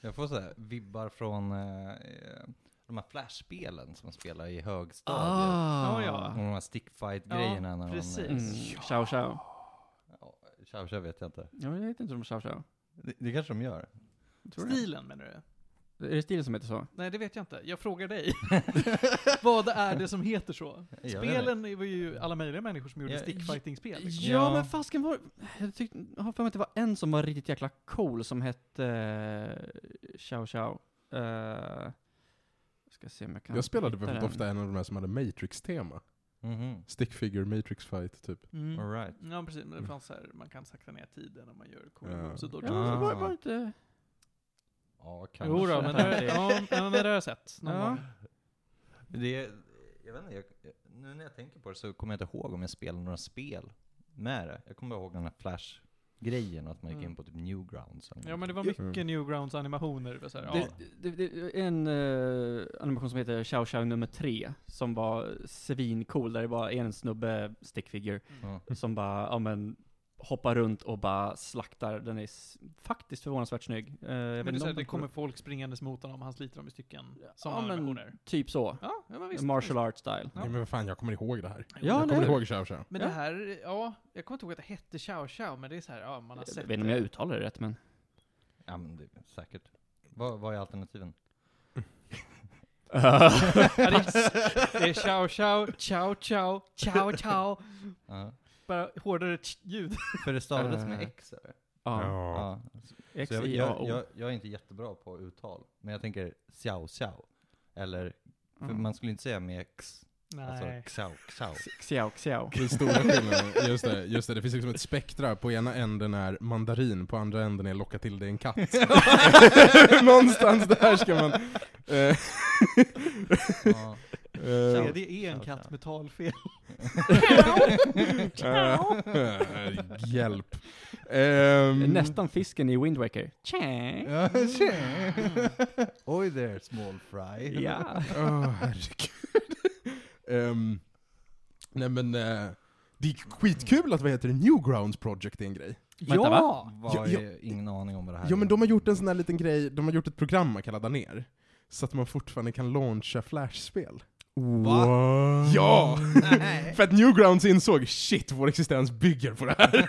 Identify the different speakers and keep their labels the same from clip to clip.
Speaker 1: Jag får så här vibbar från eh, de här flashspelen som man spelar i högstadiet.
Speaker 2: Ah.
Speaker 3: Ja,
Speaker 1: Och
Speaker 3: ja.
Speaker 1: de här stickfight-grejerna. när man, eh,
Speaker 3: precis.
Speaker 2: Mm. Ciao ciao.
Speaker 1: Ja, Tja, tja vet jag inte.
Speaker 2: Ja, men jag vet inte om ciao ciao.
Speaker 1: Det, det kanske de gör.
Speaker 2: Tror du
Speaker 3: Stilen menar du?
Speaker 2: det? Är det stilen som heter så?
Speaker 3: Nej, det vet jag inte. Jag frågar dig. Vad är det som heter så?
Speaker 1: Jag vet
Speaker 3: Spelen var ju alla möjliga människor som gjorde
Speaker 1: Ja,
Speaker 3: stickfighting-spel. Liksom.
Speaker 2: Ja,
Speaker 1: Ja.
Speaker 2: men fasken var... Jag tyckte, jag har för mig att det var en som var riktigt jäkla cool som hette... eh, Ciao Ciao. Eh, jag ska se om jag kan
Speaker 4: Jag spelade
Speaker 2: hitta
Speaker 4: väldigt
Speaker 2: den.
Speaker 4: ofta en av de här som hade Matrix-tema.
Speaker 1: Mhm.
Speaker 4: Stickfigure, Matrix-fight, typ.
Speaker 3: Mm.
Speaker 1: All right.
Speaker 3: Ja, precis. Men det fanns så här, man kan sakta ner tiden när man gör coola
Speaker 4: Ja.
Speaker 3: moves och dodge
Speaker 2: Ja, men var,
Speaker 1: Ah.
Speaker 2: var det inte...
Speaker 1: Ja, kanske.
Speaker 3: Jo då, men det, har- ja, men det har jag sett någon
Speaker 2: Ja.
Speaker 3: gång.
Speaker 1: Det, jag vet inte, jag, nu när jag tänker på det så kommer jag inte ihåg om jag spelade några spel med det. Jag kommer ihåg den här Flash-grejen, att man gick
Speaker 3: Mm.
Speaker 1: in på typ Newgrounds. eller
Speaker 3: Ja, men det
Speaker 1: någonting.
Speaker 3: var
Speaker 4: Mm.
Speaker 3: mycket Newgrounds-animationer. Det var så här, ja.
Speaker 2: Det, det, det är en eh, animation som heter Ciao Ciao nummer tre, som var svincool, där det bara är en snubbe, stickfigure,
Speaker 1: Ja.
Speaker 3: Mm.
Speaker 2: som bara, ja men, hoppar runt och bara slaktar. Den är s- faktiskt förvånansvärt snygg. Eh, jag vet
Speaker 3: Men det, är
Speaker 2: inte
Speaker 3: så här,
Speaker 2: om de
Speaker 3: det kommer
Speaker 2: får-
Speaker 3: folk springandes mot honom, han sliter dem i stycken.
Speaker 2: Ja,
Speaker 3: Sådana
Speaker 2: men-
Speaker 3: animationer.
Speaker 2: Typ så.
Speaker 3: Ja, ja men visst.
Speaker 2: Martial art
Speaker 3: visst.
Speaker 2: style.
Speaker 3: Ja.
Speaker 4: Nej men vad fan, jag kommer ihåg det här.
Speaker 2: Ja,
Speaker 4: jag
Speaker 2: eller
Speaker 4: kommer
Speaker 2: hur?
Speaker 4: ihåg Ciao Ciao.
Speaker 3: Men
Speaker 2: Ja.
Speaker 3: det här, ja, jag kommer inte ihåg att det hette Chow Chow, men det är så här, ja, man har
Speaker 2: Jag
Speaker 3: sett
Speaker 2: vet inte om
Speaker 3: det.
Speaker 2: jag uttalar det rätt, men...
Speaker 1: ja, men det, säkert. Vad, vad är alternativen?
Speaker 3: Ja, det, är, det är Chow Chow, Chow Chow, Chow Chow.
Speaker 1: Ja.
Speaker 3: Bara hårdare tsch- ljud.
Speaker 1: För det stavades med
Speaker 2: Eh,
Speaker 1: X, eller?
Speaker 2: Ja.
Speaker 1: Ja.
Speaker 2: X,
Speaker 1: Så jag,
Speaker 2: I, A, O.
Speaker 1: jag, jag, jag är inte jättebra på uttal, men jag tänker xiao xiao. Eller, för
Speaker 2: Mm.
Speaker 1: man skulle inte säga med X,
Speaker 3: Nej.
Speaker 1: alltså xiao xiao.
Speaker 2: X- Xiao, xiao.
Speaker 4: Den stora skillnaden, just det, just det, det finns liksom ett spektra. På ena änden är mandarin, på andra änden är locka till dig en katt. Någonstans där ska man... eh,
Speaker 1: Ja.
Speaker 4: eh,
Speaker 3: det är en
Speaker 1: Chow
Speaker 3: katt
Speaker 1: Chow.
Speaker 3: med talfel.
Speaker 4: eh, hjälp. Ehm,
Speaker 2: Mm. Nästan fisken i Wind Waker. Tjä.
Speaker 1: Ja, tjena. Oj där, small fry.
Speaker 2: Ja.
Speaker 4: Åh, herregud. Ehm, nej men, eh, det är skitkul att vad heter det, Newgrounds Project är en grej.
Speaker 2: Vänta, va?
Speaker 1: Vad
Speaker 4: Ja,
Speaker 1: är
Speaker 4: ja.
Speaker 1: ingen aning om vad det här
Speaker 4: Ja men
Speaker 1: är.
Speaker 4: de har gjort en sån här liten grej, de har gjort ett program man kan ladda ner. Så att man fortfarande kan launcha flashspel.
Speaker 1: Va?
Speaker 4: Ja! För att Newgrounds insåg, shit vår existens bygger på det här.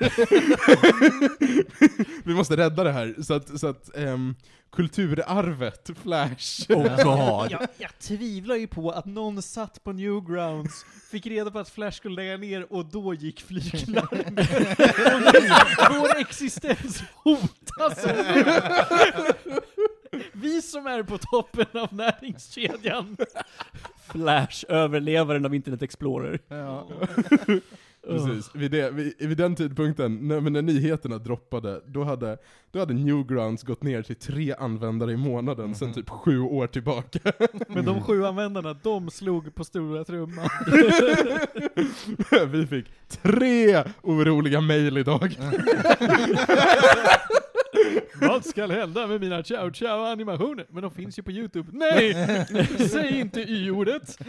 Speaker 4: Vi måste rädda det här. Så att, så att ehm, kulturarvet Flash.
Speaker 2: Oh god.
Speaker 3: Jag, jag tvivlar ju på att någon satt på Newgrounds, fick reda på att Flash skulle lägga ner och då gick flyglarm. Vår- Vår existens hotas Vi som är på toppen av näringskedjan.
Speaker 2: Flash, överlevaren av Internet Explorer.
Speaker 1: Ja.
Speaker 4: Precis. Vid, det, vid, vid den tidpunkten, när, men när nyheterna droppade, då hade, då hade Newgrounds gått ner till tre användare i månaden sedan
Speaker 3: Mhm.
Speaker 4: typ sju år tillbaka.
Speaker 3: Men de sju användarna, de slog på stora trumman.
Speaker 4: Vi fick tre oroliga mejl idag.
Speaker 3: Vad ska hända med mina ciao ciao animationer? Men de finns ju på youtube. Nej! Säg inte y-ordet!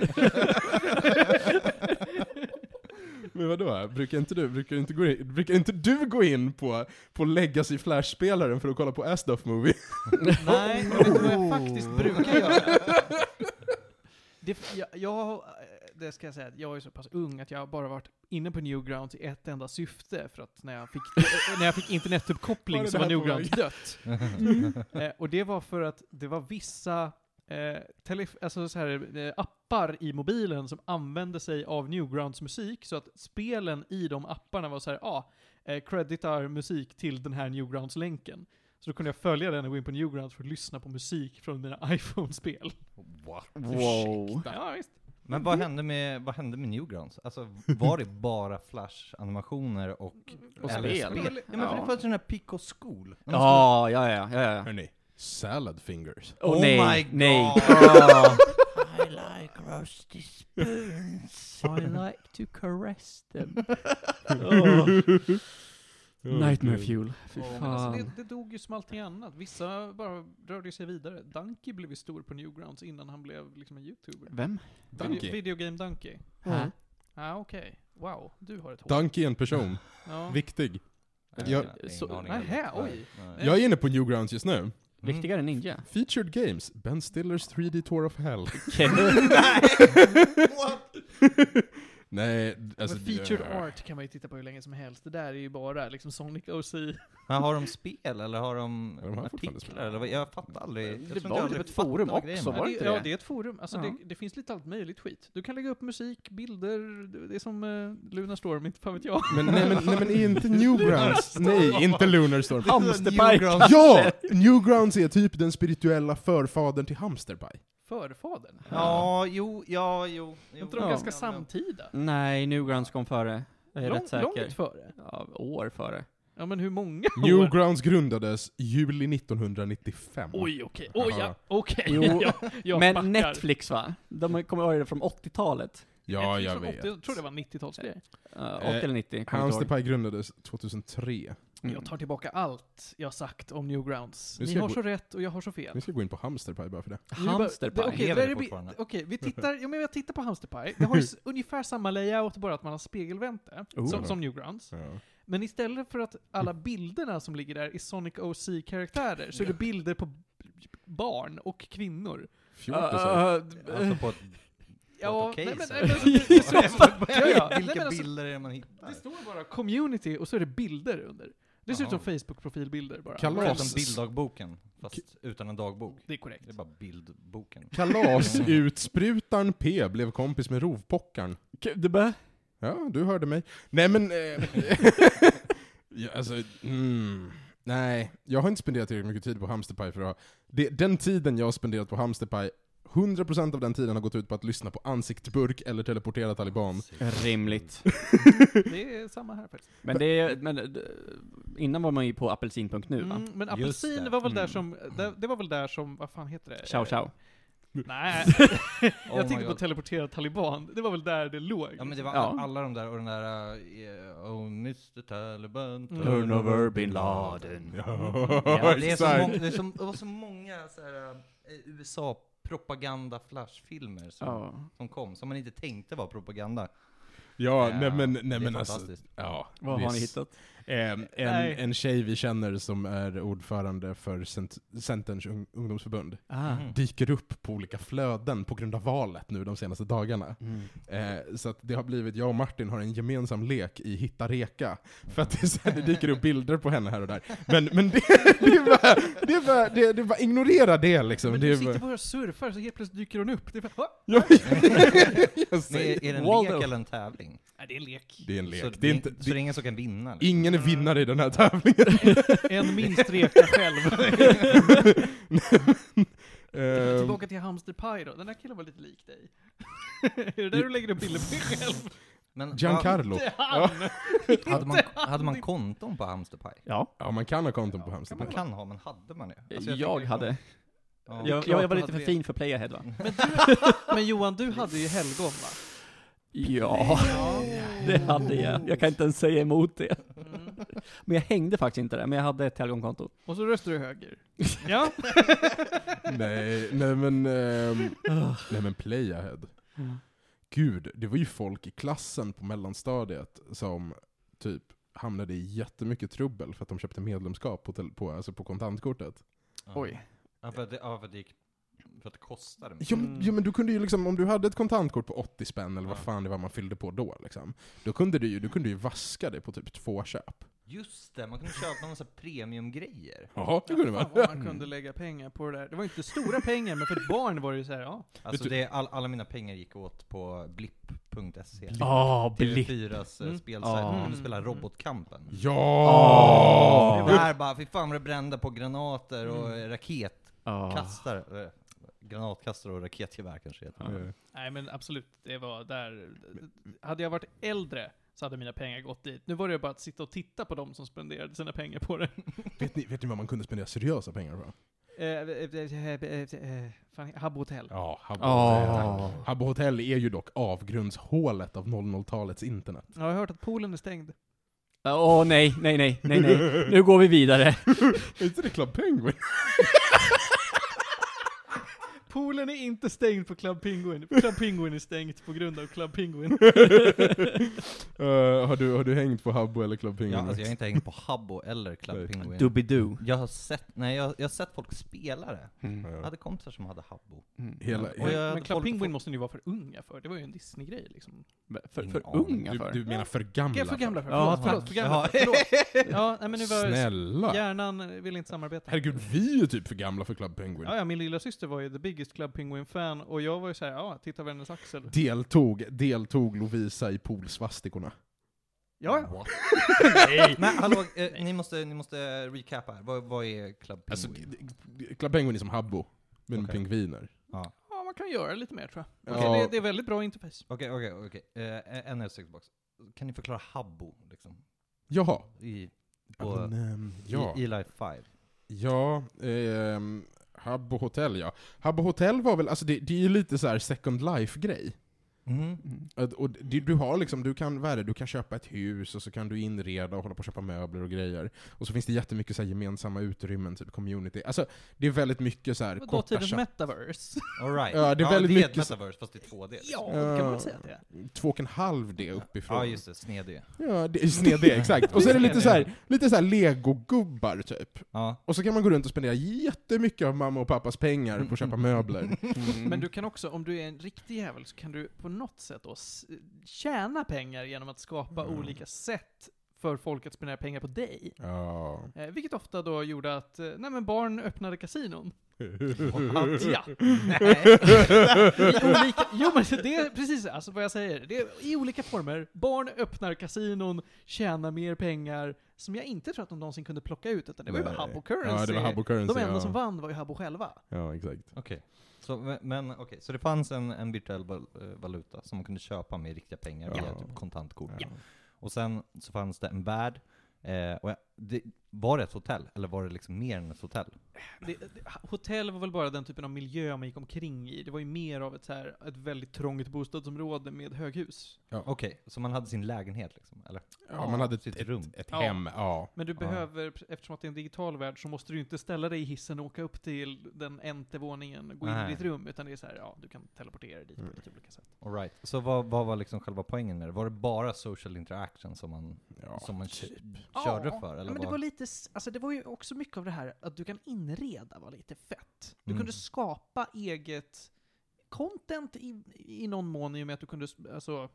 Speaker 4: Men vadå? Brukar inte du, brukar inte gå in, brukar inte du gå in på, på Legacy Flash-spelaren för att kolla på Asdoff Movie?
Speaker 3: Nej, men vet du vad jag faktiskt brukar göra? Det, jag, jag, det ska jag säga, att jag är så pass ung att jag bara varit inne på Newgrounds i ett enda syfte, för att när jag fick, eh, när jag fick
Speaker 4: Var
Speaker 3: internetuppkoppling
Speaker 4: det
Speaker 3: så var
Speaker 4: där på
Speaker 3: Newgrounds dött. Eh, och det var för att det var vissa eh, telef- alltså så här, eh, appar i mobilen som använde sig av Newgrounds musik, så att spelen i de apparna var så här, ja, ah, eh, creditar musik till den här Newgrounds-länken. Så då kunde jag följa den och gå in på Newgrounds för att lyssna på musik från mina iPhone-spel.
Speaker 1: What?
Speaker 2: Wow.
Speaker 3: Ja, visst.
Speaker 1: Men vad hände, med, vad hände med Newgrounds? Alltså var det bara flash-animationer och,
Speaker 2: Och
Speaker 1: eller
Speaker 2: spel.
Speaker 1: Ja, men för
Speaker 2: Ja.
Speaker 1: det fanns ju den här Pico School. När man
Speaker 2: Ja, ja, ja, ja, ja.
Speaker 4: Hörni, Salad Fingers.
Speaker 1: skulle-
Speaker 2: Åh, nej,
Speaker 1: Oh my
Speaker 2: nej.
Speaker 1: God.
Speaker 2: Ah.
Speaker 1: I like roasty spoons.
Speaker 2: I like to caress them. Åh. Nightmare fuel. Fy
Speaker 1: Åh, men
Speaker 3: Alltså, det,
Speaker 2: fan.
Speaker 3: det dog ju som allting annat. Vissa bara rörde sig vidare. Dunky blev ju stor på Newgrounds innan han blev liksom en YouTuber.
Speaker 2: Vem?
Speaker 3: Video,
Speaker 4: Donkey.
Speaker 3: videogame Dunky.
Speaker 2: Hä?
Speaker 3: Ja, ah, okej. Wow, du har ett hår.
Speaker 4: Donkey är en person.
Speaker 3: ja.
Speaker 4: Viktig.
Speaker 1: Jag
Speaker 4: Jag-
Speaker 1: har ingen
Speaker 2: så-
Speaker 1: aning
Speaker 3: nähä,
Speaker 1: heller.
Speaker 3: oj.
Speaker 1: Nej.
Speaker 4: Jag är inne på Newgrounds just nu.
Speaker 2: Viktigare än ninja.
Speaker 4: Featured Games, Ben Stillers 3D Tour of Hell. Nej, alltså...
Speaker 3: men featured
Speaker 4: det-
Speaker 3: art kan man ju titta på hur länge som helst. Det där är ju bara liksom Sonic OC.
Speaker 1: Mm. Men har de spel eller har de,
Speaker 4: Ja, de har fortfarande spel.
Speaker 1: artiklar? Eller vad? jag fattar aldrig. Jag
Speaker 2: Det
Speaker 1: tror inte
Speaker 2: var
Speaker 1: jag
Speaker 2: ju
Speaker 1: aldrig
Speaker 2: ett forum
Speaker 1: fattat grejen
Speaker 2: också,
Speaker 1: med
Speaker 2: var
Speaker 3: ja,
Speaker 2: det
Speaker 1: det.
Speaker 2: inte
Speaker 3: ja,
Speaker 2: det?
Speaker 3: det är ett forum. Alltså,
Speaker 2: Ja.
Speaker 3: det, det finns lite allt möjligt skit. Du kan lägga upp musik, bilder, det är som eh, Lunar Storm, inte fan vet jag.
Speaker 4: Men nej men, nej, men är inte Newgrounds... nej, inte Lunar Storm.
Speaker 1: Det är
Speaker 2: Hamsterpaj.
Speaker 1: Newgrounds-
Speaker 4: ja! Newgrounds är typ den spirituella förfadern till Hamsterby.
Speaker 3: Förfadern.
Speaker 1: Ja, jo, ja, jo.
Speaker 3: Är
Speaker 1: jo.
Speaker 3: inte de
Speaker 2: Ja.
Speaker 3: ganska
Speaker 1: Ja, men-
Speaker 3: samtida?
Speaker 2: Nej, Newgrounds kom före. Jag är rätt
Speaker 3: Långt,
Speaker 2: säker.
Speaker 3: långt före?
Speaker 2: Ja, år före.
Speaker 3: Ja men hur många
Speaker 4: Oh.
Speaker 3: år?
Speaker 4: Newgrounds grundades juli 1995.
Speaker 3: Oj okej, oj ja,
Speaker 4: Ja.
Speaker 3: okej.
Speaker 2: Jo,
Speaker 3: jag, jag
Speaker 2: Men
Speaker 3: backar.
Speaker 2: Netflix va? De kommer ihåg det från 80-talet.
Speaker 4: Ja,
Speaker 3: Netflix
Speaker 4: jag
Speaker 3: från 80,
Speaker 4: vet.
Speaker 3: Jag tror det var 90-talsgrej.
Speaker 2: Uh, 80
Speaker 4: Eh,
Speaker 2: eller 90, kommer inte ihåg.
Speaker 4: Hamsterby grundades 2003.
Speaker 2: Mm.
Speaker 3: Jag tar tillbaka allt jag sagt om Newgrounds.
Speaker 4: Nu
Speaker 3: Ni
Speaker 4: ska
Speaker 3: har
Speaker 4: jag
Speaker 3: så rätt och jag har så fel.
Speaker 4: Vi ska gå in på Hamsterby bara för det.
Speaker 3: Nu bara-
Speaker 2: Hamsterpaj.
Speaker 3: det- Okej,
Speaker 1: Lever
Speaker 3: det där
Speaker 1: det
Speaker 3: är bi-
Speaker 1: fortfarande?
Speaker 3: okej, vi tittar, ja, men jag tittar på Hamsterpaj. Det har ju s- ungefär samma layout, bara att man har spegelvänt det.
Speaker 4: Oh.
Speaker 3: Som, som Newgrounds.
Speaker 4: Ja.
Speaker 3: Men istället för att alla bilderna som ligger där är Sonic OC-karaktärer, så är det bilder på b- barn och kvinnor.
Speaker 4: Fjortisar.
Speaker 3: eh,
Speaker 1: Alltså på ett...
Speaker 3: Ja,
Speaker 1: okej,
Speaker 3: nej, men,
Speaker 1: så
Speaker 3: nej,
Speaker 1: är
Speaker 3: men,
Speaker 1: det.
Speaker 3: alltså, det- det står- ja, ja. Nej, men
Speaker 1: Vilka
Speaker 3: alltså-
Speaker 1: bilder är det man hittar?
Speaker 3: det står bara community och så är det bilder under. Det ser ut som
Speaker 1: Jaha.
Speaker 3: Facebook-profilbilder bara.
Speaker 4: Kallar
Speaker 1: Det är
Speaker 4: Kalas.
Speaker 1: som bilddagboken, fast utan en dagbok.
Speaker 3: Det är korrekt.
Speaker 1: Det är bara bildboken.
Speaker 4: Kalasutsprutan P blev kompis med rovpockaren.
Speaker 2: Det bör...
Speaker 4: Ja, du hörde mig. Nej men... Eh, ja, alltså, mm, nej. Jag har inte spenderat tillräckligt mycket tid på Hamsterpaj för att ha... Det, den tiden jag har spenderat på Hamsterpaj, 100% av den tiden har gått ut på att lyssna på ansiktsburk eller teleportera taliban.
Speaker 2: Alltså, Rimligt.
Speaker 3: Det är samma här faktiskt.
Speaker 2: Men det är, men eh, innan var man ju på apelsin.nu va?
Speaker 3: Mm, men
Speaker 1: Just
Speaker 3: apelsin
Speaker 1: det.
Speaker 3: var väl där
Speaker 2: Mm.
Speaker 3: som, det, det var väl där som, vad fan heter det?
Speaker 2: Ciao ciao.
Speaker 3: Nej,
Speaker 1: Oh
Speaker 3: jag
Speaker 1: my
Speaker 3: tänkte på
Speaker 1: God.
Speaker 3: teleportera taliban. Det var väl där det låg.
Speaker 1: Ja men det var
Speaker 2: Ja.
Speaker 1: alla de där och den där... eh, oh Mr Taliban,
Speaker 3: Mm.
Speaker 1: Taliban.
Speaker 2: over bin Laden.
Speaker 1: Ja, det, är så
Speaker 4: exakt.
Speaker 1: mång- det, är så, det var så många så här, eh, USA-propaganda-flashfilmer som,
Speaker 2: Ja.
Speaker 1: som kom, som man inte tänkte var propaganda.
Speaker 4: Ja,
Speaker 1: Eh,
Speaker 4: nej men,
Speaker 1: det
Speaker 4: nej
Speaker 1: är
Speaker 4: men alltså...
Speaker 1: fantastiskt.
Speaker 4: Ja,
Speaker 2: Vad
Speaker 4: det är
Speaker 2: har ni
Speaker 4: s-
Speaker 2: hittat?
Speaker 4: Eh, en,
Speaker 3: Nej.
Speaker 4: en tjej vi känner som är ordförande för Cent- Centerns ung- ungdomsförbund
Speaker 2: Ah.
Speaker 1: Mhm.
Speaker 4: dyker upp på olika flöden på grund av valet nu de senaste dagarna.
Speaker 2: Mm.
Speaker 4: Eh, så att det har blivit, jag och Martin har en gemensam lek i Hitta Reka. För att det, är så här, det dyker upp bilder på henne här och där. Men, men det, det, är bara, det, är bara, det, det är bara, ignorera det liksom.
Speaker 3: men
Speaker 4: det
Speaker 3: du
Speaker 4: är
Speaker 3: sitter
Speaker 4: bara,
Speaker 3: bara och surfar så helt plötsligt dyker hon upp. Det är, bara, "Va?"
Speaker 4: ja, jag, jag
Speaker 1: Men
Speaker 4: säger,
Speaker 1: är, är det en
Speaker 2: Waldo.
Speaker 1: lek eller en tävling?
Speaker 3: Nej, det är en lek.
Speaker 4: det är en lek.
Speaker 1: Så
Speaker 4: det är inte,
Speaker 1: så
Speaker 4: det,
Speaker 1: det är ingen som kan vinna? liksom.
Speaker 4: ingen är vinnare i den här tävlingen.
Speaker 3: En minst reka själv.
Speaker 4: Eh,
Speaker 3: Tillbaka till Hamsterpaj då. Den där killen var lite lik dig. är det där du lägger upp bilder på dig själv?
Speaker 1: Men,
Speaker 4: Giancarlo.
Speaker 3: Det är han!
Speaker 1: ja, hade, man, hade man konton på Hamsterpaj?
Speaker 2: Ja,
Speaker 4: Ja, man kan ha konton på Hamster.
Speaker 1: Man kan ha, men hade man det? Alltså,
Speaker 2: jag,
Speaker 1: tycker-
Speaker 2: hade.
Speaker 1: Ja.
Speaker 2: Jag, jag, var lite för fin för Playahead va?
Speaker 3: Men Johan, du hade ju helgon va?
Speaker 2: Ja, det hade jag. Jag kan inte ens säga emot det.
Speaker 3: Mm.
Speaker 2: Men jag hängde faktiskt inte där, men jag hade ett helgonkonto.
Speaker 3: Och så röstar du höger. Ja.
Speaker 4: Nej, nej men... ehm, nej men Playahead. Gud, det var ju folk i klassen på mellanstadiet som typ hamnade i jättemycket trubbel för att de köpte medlemskap på, tel- på, alltså på kontantkortet.
Speaker 1: Ja.
Speaker 2: Oj.
Speaker 1: Ja, för att det, ja, för att det gick... För att det kostade mycket.
Speaker 4: Ja, men, ja, men du kunde ju liksom, om du hade ett kontantkort på 80 spänn eller vad
Speaker 1: Ja.
Speaker 4: fan det var man fyllde på då liksom. Då kunde du ju, du kunde ju vaska det på typ två köp.
Speaker 1: Just det, man kunde köpa en massa premiumgrejer.
Speaker 4: Ja, det kunde man.
Speaker 3: Fan vad man kunde lägga pengar på det där. Det var inte stora pengar, men för ett barn var det ju såhär, ja.
Speaker 1: Alltså
Speaker 4: Vet du-
Speaker 1: det, är all, alla mina pengar gick åt på blipp.se.
Speaker 2: Ah, blick.
Speaker 1: TV4s
Speaker 3: Mm.
Speaker 1: mm. spelsajt, man
Speaker 2: Ah.
Speaker 1: kunde
Speaker 3: Mm.
Speaker 1: spela Robotkampen.
Speaker 4: Ja!
Speaker 1: Det Där bara, fy fan vad det brände på granater och raketkastare.
Speaker 2: Ah.
Speaker 1: eh, Granatkastare och raketgevär kanske heter.
Speaker 2: Ja.
Speaker 3: Nej men absolut, det var där. Hade jag varit äldre så hade mina pengar gått dit. Nu var det bara att sitta och titta på de som spenderade sina pengar på det.
Speaker 4: Vet ni, vet ni vad man kunde spendera seriösa pengar på?
Speaker 3: Eh, Fan, Habbo Hotel.
Speaker 4: Ja, Habbo
Speaker 2: Ah.
Speaker 4: Hotel. Habbo Hotel är ju dock avgrundshålet av 00-talets internet.
Speaker 3: Jag har hört att poolen är stängd.
Speaker 2: Åh nej, nej, nej, nej, nej. Nu går vi vidare.
Speaker 4: Är inte det Club Penguin?
Speaker 3: Poolen är inte stängd på Club Penguin. Club Penguin är stängt på grund av Club Penguin.
Speaker 4: Eh, har, du, har du hängt på Habbo eller Club Penguin?
Speaker 1: Ja, alltså jag har inte hängt på Habbo eller
Speaker 4: Nej.
Speaker 1: Club Penguin.
Speaker 2: Doobidoo.
Speaker 1: Jag har sett, nej jag, jag har sett folk spela det. Jag
Speaker 4: Ja.
Speaker 1: hade kompisar som hade Habbo.
Speaker 2: Mm.
Speaker 4: Hela,
Speaker 1: Och jag-
Speaker 3: Men Club
Speaker 1: folk-
Speaker 3: Penguin
Speaker 1: folk-
Speaker 3: måste ni vara för unga för. Det var ju en Disney-grej liksom.
Speaker 2: Mm. För,
Speaker 1: Ingen
Speaker 2: för
Speaker 1: aning.
Speaker 2: unga för?
Speaker 4: du, du menar för gamla?
Speaker 3: Gamla för gamla för.
Speaker 2: Ja,
Speaker 3: Förlåt, förlåt,
Speaker 2: tack.
Speaker 3: för gamla
Speaker 1: Ja.
Speaker 3: för. Förlåt. Ja, nej men nu var
Speaker 4: Snälla!
Speaker 3: hjärnan vill inte samarbeta.
Speaker 4: Herregud, vi är ju typ för gamla för Club Penguin.
Speaker 3: Ja, ja, min lilla syster var ju the biggest Club Penguin-fan och jag var ju såhär, ja, titta över hennes axel.
Speaker 4: Deltog, deltog Lovisa i poolsvastikorna?
Speaker 3: Ja, ja.
Speaker 4: What?
Speaker 1: Men hallå, eh, ni, måste, ni måste recapa här. Vad, vad är Club Penguin?
Speaker 4: Alltså, g- g- Club Penguin är som Habbo, men
Speaker 1: Okej.
Speaker 4: pingviner.
Speaker 1: ja.
Speaker 3: ja, man kan göra lite mer tror jag.
Speaker 4: Ja.
Speaker 3: Okej, Det, det är väldigt bra interface.
Speaker 1: Okej, okej, okej. Eh, En L6 box. Kan ni förklara Habbo, liksom?
Speaker 4: Jaha.
Speaker 1: I,
Speaker 4: Ja,
Speaker 1: på,
Speaker 4: men, ehm, ja.
Speaker 1: i, i Life 5?
Speaker 4: Ja, ehm, Habbo Hotel ja. Habbo Hotel var väl, alltså det, det är ju lite så här second life-grej.
Speaker 1: Mhm.
Speaker 2: Mm.
Speaker 4: Att- Och det, du har liksom, du kan, vad är det, du kan köpa ett hus och så kan du inreda och hålla på och köpa möbler och grejer. Och så finns det jättemycket så här gemensamma utrymmen, typ community. Alltså, det är väldigt mycket så här
Speaker 3: Och
Speaker 1: typ
Speaker 4: korta
Speaker 3: Dåtidens
Speaker 4: chat-
Speaker 3: metaverse.
Speaker 1: All right.
Speaker 4: Ja, det är väldigt
Speaker 1: det är ett
Speaker 4: mycket så-
Speaker 1: metaverse, fast i 2D. liksom.
Speaker 3: ja, det kan man väl säga att det är.
Speaker 4: Två och en halv D uppifrån.
Speaker 1: Ja, just det. Sned E.
Speaker 4: Ja, det är sned det, exakt. Och så är det lite så här, lite så här legogubbar typ.
Speaker 1: Ja.
Speaker 4: Och så kan man gå runt och spendera jättemycket av mamma och pappas pengar på att köpa möbler.
Speaker 2: Mm.
Speaker 3: Men du kan också, om du är en riktig jävel, så kan du på något sätt då s- tjäna pengar genom att skapa
Speaker 4: Mm.
Speaker 3: olika sätt för folk att spendera pengar på dig.
Speaker 4: Ja.
Speaker 3: Eh, vilket ofta då gjorde att, eh, nej men barn öppnade kasinon.
Speaker 1: Ja.
Speaker 4: Mm.
Speaker 3: Ja. I olika, jo men det är precis alltså vad jag säger. Det är, I olika former. Barn öppnar kasinon, tjänar mer pengar, som jag inte tror att de någonsin kunde plocka ut, utan det var ju bara
Speaker 4: Nej.
Speaker 3: Habbo Currency.
Speaker 4: Ja, det var Habbo Currency.
Speaker 3: de enda
Speaker 4: ja.
Speaker 3: som vann var ju Habbo själva.
Speaker 4: Ja, exakt.
Speaker 1: Okej. Så, men- Men okej, så det fanns en, en virtuell val- eh, valuta som man kunde köpa med riktiga pengar
Speaker 4: Ja.
Speaker 1: via typ kontantkort.
Speaker 4: Ja.
Speaker 1: Och sen så fanns det en värld. Eh, och jag, det, var det ett hotell? Eller var det liksom mer än ett hotell?
Speaker 3: Det, det, hotell var väl bara den typen av miljö man gick omkring i. Det var ju mer av ett, så här, ett väldigt trångt bostadsområde med höghus.
Speaker 1: Okej, så man hade sin lägenhet liksom? Eller?
Speaker 4: Ja, typ. man hade ett,
Speaker 1: Sitt
Speaker 4: ett,
Speaker 1: rum.
Speaker 4: ett
Speaker 3: Ja.
Speaker 4: hem, ja.
Speaker 3: Men du
Speaker 1: Ja.
Speaker 3: behöver, eftersom att det är en digital värld, så måste du ju inte ställa dig i hissen och åka upp till den ente våningen och gå in
Speaker 1: Nej.
Speaker 3: i ditt rum, utan det är så här, ja, du kan teleportera dig dit
Speaker 4: Mm.
Speaker 3: på lite olika sätt.
Speaker 1: All right. Så vad, vad var liksom själva poängen med det? Var det bara social interaction som man,
Speaker 4: ja. typ.
Speaker 1: som man k-
Speaker 3: Ja,
Speaker 1: körde för? Eller
Speaker 3: men det
Speaker 1: vad?
Speaker 3: var lite, s- alltså det var ju också mycket av det här att du kan inreda var lite fett. Du
Speaker 1: Mm.
Speaker 3: kunde skapa eget content i, i någon mån i och med att du kunde s- alltså,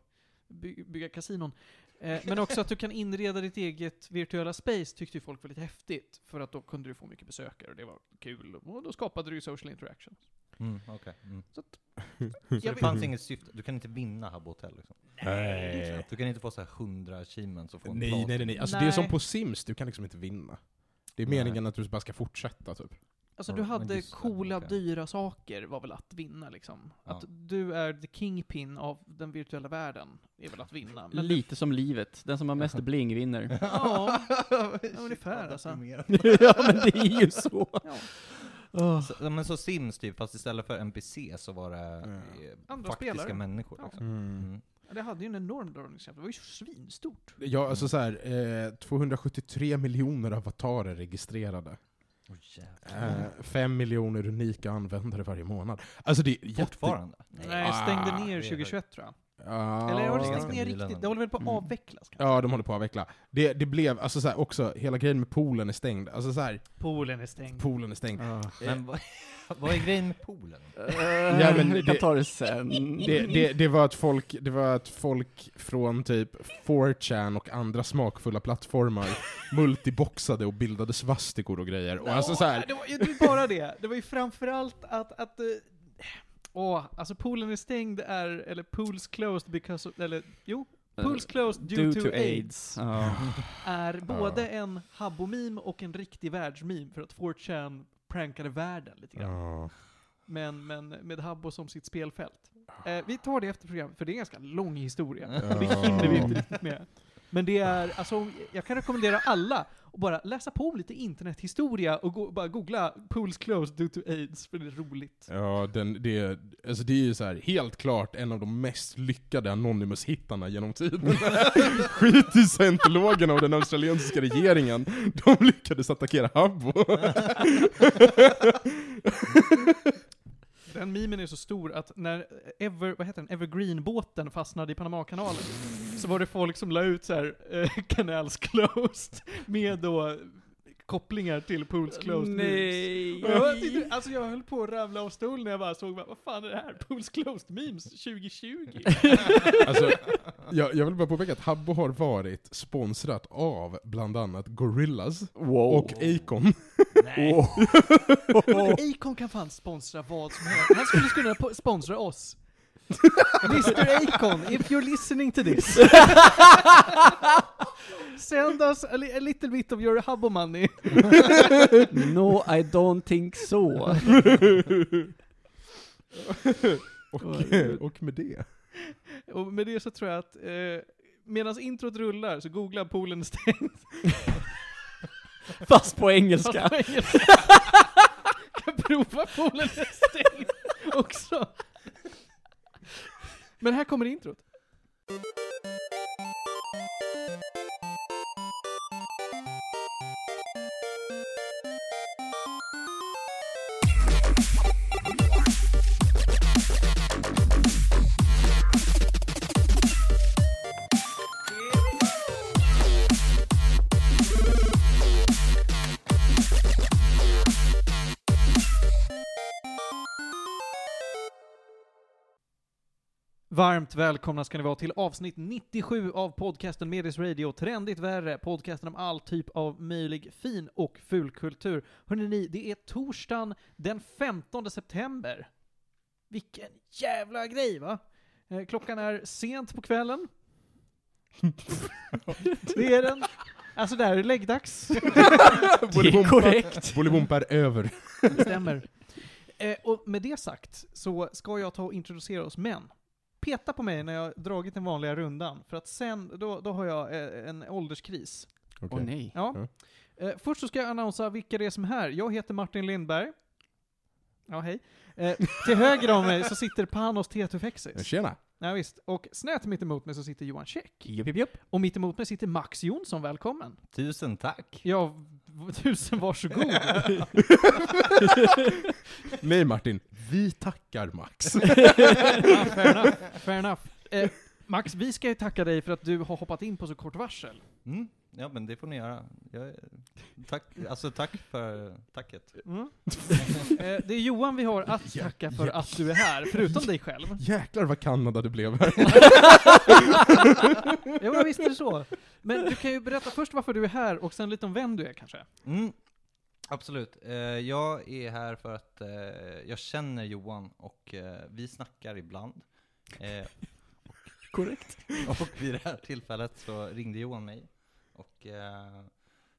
Speaker 3: by, bygga kasinon. Eh, men också att du kan inreda ditt eget virtuella space tyckte ju folk var lite häftigt. För att då kunde du få mycket besökare och det var kul. Och då skapade du ju social interaction.
Speaker 1: Mm, okej. mm.
Speaker 3: Så att,
Speaker 1: Så
Speaker 3: jag
Speaker 1: det
Speaker 3: vet-
Speaker 1: fanns inget syfte? Du kan inte vinna Habbo Hotel liksom?
Speaker 4: Nej.
Speaker 1: Du kan inte få så här 100 achievements och få en
Speaker 4: Eh. Nej,
Speaker 1: plas.
Speaker 4: nej, nej, nej. Alltså det är
Speaker 3: Nej.
Speaker 4: som på Sims, du kan liksom inte vinna. Det är
Speaker 1: Nej.
Speaker 4: meningen att du bara ska fortsätta typ.
Speaker 3: Alltså du
Speaker 1: Ja, men
Speaker 3: hade
Speaker 1: just det,
Speaker 3: coola,
Speaker 1: okej.
Speaker 3: dyra saker var väl att vinna liksom.
Speaker 1: Ja.
Speaker 3: Att du är the kingpin av den virtuella världen är väl att vinna. Men du
Speaker 2: Lite som livet, den som har mest bling vinner.
Speaker 3: Ja, ungefär alltså.
Speaker 2: ja men det är ju så.
Speaker 3: Ja.
Speaker 1: Så, ja, men så Sims typ, fast istället för NPC så var det
Speaker 4: Ja.
Speaker 1: eh,
Speaker 3: Andra
Speaker 1: faktiska
Speaker 3: spelare.
Speaker 1: människor.
Speaker 3: Ja.
Speaker 1: Liksom.
Speaker 4: Mm.
Speaker 1: Mm.
Speaker 3: Ja, Det hade ju en enorm dragningskraft, det var ju svinstort.
Speaker 4: Ja, alltså så här, eh, 273 miljoner avatarer registrerade.
Speaker 1: Åh, jävlar.
Speaker 4: Eh, 5 miljoner unika användare varje månad. Alltså det är jätte...
Speaker 1: Fortfarande?
Speaker 3: Nej, jag stängde
Speaker 4: Ah,
Speaker 1: det är
Speaker 3: ner
Speaker 1: högt.
Speaker 3: 2021 tror jag.
Speaker 4: Ja.
Speaker 3: Eller har det
Speaker 1: ganska
Speaker 3: stängt ner
Speaker 1: nyligen.
Speaker 3: riktigt? Det håller väl på att
Speaker 2: Mm.
Speaker 3: avvecklas kanske?
Speaker 4: Ja, de håller på att avveckla. Det, det blev, alltså så här, också, hela grejen med poolen är stängd. Alltså så här,
Speaker 3: Poolen är stängd.
Speaker 4: poolen är stängd.
Speaker 2: Eh,
Speaker 1: Men vad, vad är grejen med poolen?
Speaker 4: Ja,
Speaker 2: ja,
Speaker 4: men
Speaker 2: men vi kan
Speaker 4: det-
Speaker 2: ta det sen.
Speaker 4: Det, det, det, var att folk, det var att folk från typ 4chan och andra smakfulla plattformar multiboxade och bildade svastikor och grejer. Och alltså så
Speaker 3: Ja,
Speaker 4: här,
Speaker 3: Det var ju det var ju bara det. Det var ju framförallt att... att eh, Åh, alltså poolen är stängd är, eller pools closed because of, eller jo, pools closed due, to, aids.
Speaker 2: Ja.
Speaker 3: är både en habbo-meme och en riktig världsmeme för att 4chan prankade världen lite grann.
Speaker 4: Ja.
Speaker 3: Men, men med Habbo som sitt spelfält. Eh, vi tar det efter programmet, för det är en ganska lång historia. Det hinner vi inte riktigt med. Men det är, alltså, om- jag kan rekommendera alla att bara läsa på om lite internethistoria och gå, bara googla “Pools closed due to aids” för det är roligt.
Speaker 4: Ja, den, det, är- alltså det är ju så här, helt klart en av de mest lyckade Anonymous-hittarna genom tiden. Skit i scientologerna och den australiensiska regeringen. De lyckades attackera Habbo.
Speaker 3: Den den memen är så stor att när Ever, vad heter den? Evergreen-båten fastnade i Panamakanalen så var det folk som la ut så här eh, “Canals closed” med då kopplingar till Pools closed memes. Och Jag, tyckte- alltså jag höll på att ramla av stolen när jag bara såg, bara, vad fan är det här? Pools closed memes 2020?
Speaker 4: Alltså, jag, jag vill bara påpeka att Habbo har varit sponsrat av bland annat Gorillas
Speaker 2: Wow.
Speaker 4: och Acon.
Speaker 1: Nej.
Speaker 3: Acon kan fan sponsra vad som helst. Han skulle kunna po- sponsra oss. Mr Acon, if you're listening to this. Send us a, li- a little bit of your hubbo money.
Speaker 2: No, I don't think so.
Speaker 4: och, och med det.
Speaker 3: Och med det så tror jag att eh, medan introt rullar så googla poolen stängd.
Speaker 2: Fast på engelska.
Speaker 3: På engelska. kan prova poolen är stängd också. Men här kommer introt. Varmt välkomna ska ni vara till avsnitt 97 av podcasten Medis Radio, trendigt värre, podcasten om all typ av möjlig fin och ful kultur. Hörrni, ni, det är torsdagen den 15 september. Vilken jävla grej va? Eh, Klockan är sent på kvällen. det är den. Alltså det här är läggdags.
Speaker 2: Det är korrekt.
Speaker 4: Bolibompa är över.
Speaker 3: Stämmer. Eh, och med det sagt så ska jag ta och introducera oss män. Peta på mig när jag dragit den vanliga rundan, för att sen, då, då har jag eh, en ålderskris.
Speaker 2: Åh
Speaker 4: Okej.
Speaker 2: nej.
Speaker 3: Ja. Eh, först så ska jag annonsera vilka det är som är här. Jag heter Martin Lindberg. Ja, hej. Eh, till höger om mig så sitter Panos Tetufexis.
Speaker 4: Tjena.
Speaker 3: Ja, visst. Och snett mitt emot mig så sitter Johan Käck.
Speaker 2: Jupp, jupp, jupp.
Speaker 3: Och mitt emot mig sitter Max Jonsson, välkommen.
Speaker 1: Tusen tack.
Speaker 3: Ja, v- tusen varsågod.
Speaker 4: Nej Martin, vi tackar Max.
Speaker 3: Ja, fair enough. Fair enough. Eh, Max, vi ska ju tacka dig för att du har hoppat in på så kort varsel.
Speaker 1: Mm. Ja men det får ni göra. Jag, är- tack, alltså tack för tacket.
Speaker 3: Mm. Eh, det är Johan vi har att tacka för att du är här, förutom dig själv.
Speaker 4: Jäklar vad Kanada det blev här.
Speaker 3: Jo, jag visste det så. Men du kan ju berätta först varför du är här och sen lite om vem du är kanske.
Speaker 1: Mm. Absolut. Eh, jag är här för att eh, jag känner Johan och eh, vi snackar ibland. Eh,
Speaker 2: Korrekt.
Speaker 1: Och vid det här tillfället så ringde Johan mig och eh,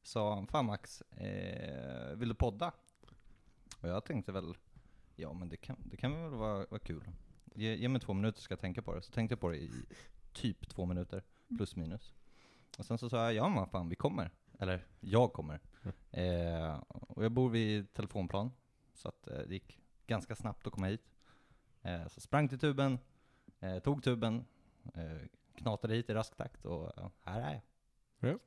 Speaker 1: sa Fan Max, eh, vill du podda? Och jag tänkte väl, ja men det kan, det kan väl vara, vara kul. Ge, ge mig två minuter ska jag tänka på det. Så tänkte jag på det i typ två minuter, plus minus. Och sen så sa jag, ja men fan vi kommer. Eller, jag kommer. Eh, och jag bor vid telefonplan, så att eh, det gick ganska snabbt att komma hit. Eh, så sprang till tuben, eh, tog tuben, eh, knatade hit i rask takt och ja, här är jag.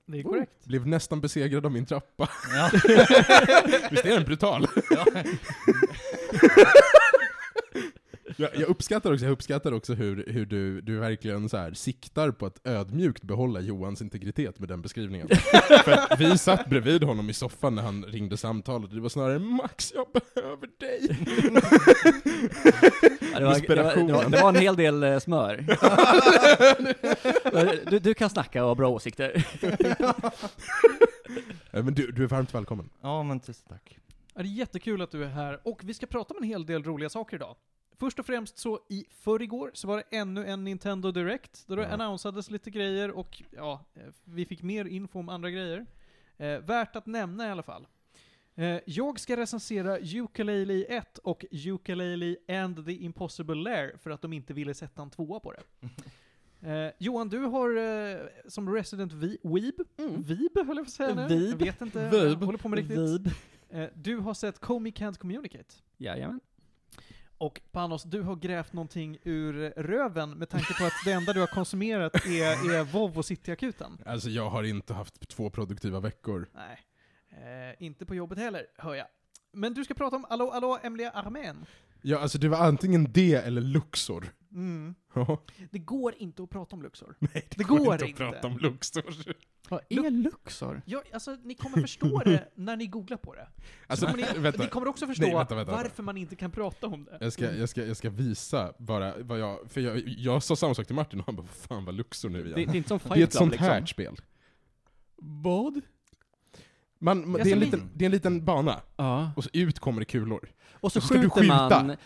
Speaker 3: Det är
Speaker 4: korrekt. Blev nästan besegrad av min trappa.
Speaker 1: Ja.
Speaker 4: Visst är den brutal?
Speaker 1: Ja.
Speaker 4: Jag, jag uppskattar också, jag uppskattar också hur, hur du, du verkligen så här, siktar på att ödmjukt behålla Johans integritet med den beskrivningen. För att vi satt bredvid honom i soffan när han ringde samtalet, och det var snarare 'Max, jag behöver dig'
Speaker 2: Ja, det, var, det, var, det, var,
Speaker 4: Desperationen.
Speaker 2: det var en hel del eh, smör. Du, du kan snacka och ha bra åsikter.
Speaker 4: Eh, Men du, du är varmt välkommen.
Speaker 1: ja men tusen tack.
Speaker 3: Ja, det är jättekul att du är här och vi ska prata om en hel del roliga saker idag. Först och främst så i förrgår så var det ännu en Nintendo Direct där det
Speaker 4: Ja.
Speaker 3: annonsades lite grejer och ja, eh, vi fick mer info om andra grejer. Eh, värt att nämna i alla fall. Eh, jag ska recensera Ukulele 1 och Ukulele and the Impossible Lair för att de inte ville sätta en tvåa på det. Eh, Johan, du har eh, som resident vi- weeb, Vib höll jag på att säga nu.
Speaker 2: Vib.
Speaker 3: Jag vet inte,
Speaker 2: Vib.
Speaker 3: håller på med riktigt.
Speaker 2: Vib.
Speaker 3: Eh, Du har sett Comey Can't Communicate.
Speaker 2: Jajamän.
Speaker 3: Och Panos, du har grävt någonting ur röven med tanke på att det enda du har konsumerat är, är Vov och Cityakuten.
Speaker 4: Alltså jag har inte haft två produktiva veckor.
Speaker 3: Nej, eh, inte på jobbet heller, hör jag. Men du ska prata om Allo Allo Emlia Armen.
Speaker 4: Ja, alltså det var antingen det eller Luxor.
Speaker 3: Mm.
Speaker 4: Ja,
Speaker 3: Det går inte att prata om Luxor.
Speaker 4: Nej,
Speaker 3: Det går
Speaker 4: att
Speaker 3: inte.
Speaker 4: prata om Luxor.
Speaker 2: Vad är Luxor?
Speaker 3: Ja, alltså, ni kommer förstå det när ni googlar på det.
Speaker 4: Alltså,
Speaker 3: kommer ni,
Speaker 4: vänta.
Speaker 3: ni kommer också förstå
Speaker 4: Nej, vänta, vänta,
Speaker 3: varför
Speaker 4: vänta.
Speaker 3: man inte kan prata om det.
Speaker 4: Jag ska, jag, ska, jag ska visa bara vad jag... För jag, jag sa samma sak till Martin och han bara 'Fan vad Luxor nu
Speaker 2: Det,
Speaker 4: igen'
Speaker 2: det är inte som Fight
Speaker 4: Det är ett
Speaker 2: Club,
Speaker 4: sånt
Speaker 2: liksom.
Speaker 4: här spel.
Speaker 2: Vad?
Speaker 4: Man,
Speaker 3: Jag
Speaker 4: det, är en
Speaker 3: ser
Speaker 4: liten,
Speaker 1: min.
Speaker 4: det är en liten bana,
Speaker 2: Ja.
Speaker 4: och så ut kommer det kulor.
Speaker 2: Och så
Speaker 4: Ska du
Speaker 2: skjuter man...
Speaker 4: skjuta?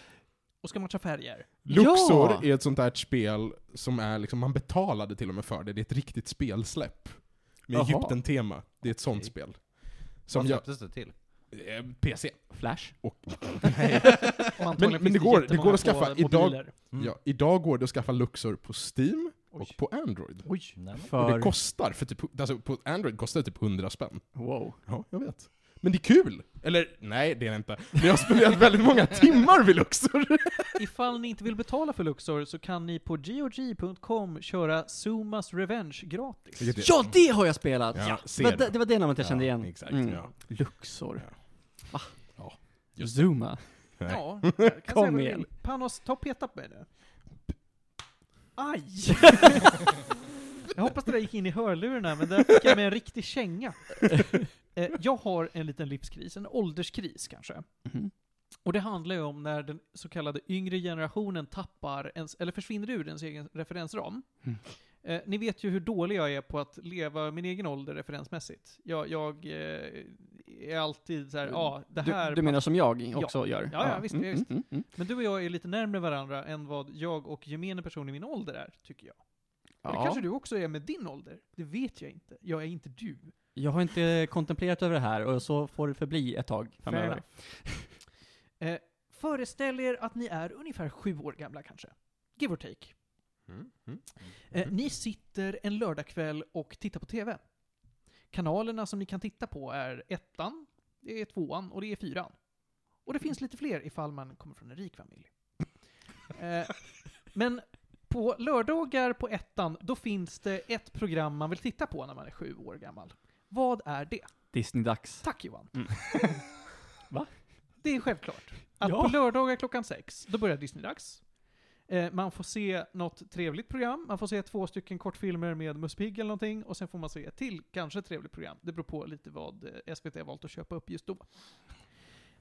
Speaker 3: Och ska matcha färger.
Speaker 4: Luxor
Speaker 2: Ja!
Speaker 4: är ett sånt där spel som är liksom, man betalade till och med för det, det är ett riktigt spelsläpp. Med
Speaker 2: Jaha.
Speaker 4: Egypten-tema, det är ett sånt
Speaker 1: Okej.
Speaker 4: spel.
Speaker 1: Som
Speaker 4: Som
Speaker 1: Vad
Speaker 4: jag...
Speaker 1: släpptes det till?
Speaker 4: eh, PC.
Speaker 2: Flash.
Speaker 4: Och,
Speaker 3: Och antagligen
Speaker 4: men det
Speaker 3: finns
Speaker 4: går- det
Speaker 3: jättemånga
Speaker 4: går att
Speaker 3: på
Speaker 4: skaffa.
Speaker 3: mobiler.
Speaker 1: Mm.
Speaker 4: ja, idag går det att skaffa Luxor på Steam
Speaker 3: Oj.
Speaker 4: och på Android.
Speaker 3: Oj.
Speaker 1: Nej, men-
Speaker 4: Och det
Speaker 2: För...
Speaker 4: kostar, för typ, alltså på Android kostar det typ 100 spänn.
Speaker 2: Wow.
Speaker 4: Ja, jag vet. Men det är kul! Eller, nej det är det inte. Men jag har spenderat väldigt många timmar vid Luxor.
Speaker 3: Ifall ni inte vill betala för Luxor så kan ni på GOG.com köra Sumas Revenge gratis.
Speaker 4: Vilket är-
Speaker 2: Ja, det har jag spelat!
Speaker 4: Ja, ser
Speaker 2: det, var, det-
Speaker 4: du.
Speaker 2: det var det namnet jag kände igen.
Speaker 4: Exakt,
Speaker 2: Mm.
Speaker 4: ja.
Speaker 2: Luxor. Va?
Speaker 4: Ja, just
Speaker 2: Zuma.
Speaker 3: Ja, jag kan säga
Speaker 2: Kom
Speaker 3: vad du
Speaker 2: igen.
Speaker 3: vill. Panos, ta och peta på mig nu. Aj! jag hoppas det där gick in i hörlurarna, men där fick jag med en riktig känga. Eh, Jag har en liten livskris, en ålderskris kanske.
Speaker 2: Mhm.
Speaker 3: Och det handlar ju om när den så kallade yngre generationen tappar, ens, eller försvinner ur ens egen referensram.
Speaker 2: Mm.
Speaker 3: Eh, ni vet ju hur dålig jag är på att leva min egen ålder referensmässigt. Jag, jag eh, är alltid så här, ja, det här...
Speaker 2: Du, du menar som jag också gör?
Speaker 3: Ja, ja, visst,
Speaker 2: Mm,
Speaker 3: visst.
Speaker 2: mm, mm.
Speaker 3: Men du och jag är lite närmare varandra än vad jag och gemene person i min ålder är, tycker jag. Och Det
Speaker 2: Ja.
Speaker 3: kanske du också är med din ålder? Det vet jag inte. Jag är inte du.
Speaker 2: Jag har inte kontemplerat över det här och så får det förbli ett tag framöver.
Speaker 3: Eh, föreställ er att ni är ungefär sju år gamla kanske. Give or take.
Speaker 4: Mm, mm.
Speaker 3: Eh, ni sitter en lördagkväll och tittar på TV. Kanalerna som ni kan titta på är ettan, det är tvåan och det är fyran. Och det finns lite fler ifall man kommer från en rik familj. Eh, men på lördagar på ettan, då finns det ett program man vill titta på när man är sju år gammal. Vad är det?
Speaker 2: Disney-dags.
Speaker 3: Tack Johan.
Speaker 2: Mm. Va?
Speaker 3: Det är självklart. Att
Speaker 2: Ja.
Speaker 3: på lördagar klockan sex, då börjar Disney-dags. Eh, man får se något trevligt program, man får se två stycken kortfilmer med Musse Pigg eller någonting, och sen får man se ett till, kanske ett trevligt program. Det beror på lite vad eh, SVT har valt att köpa upp just då.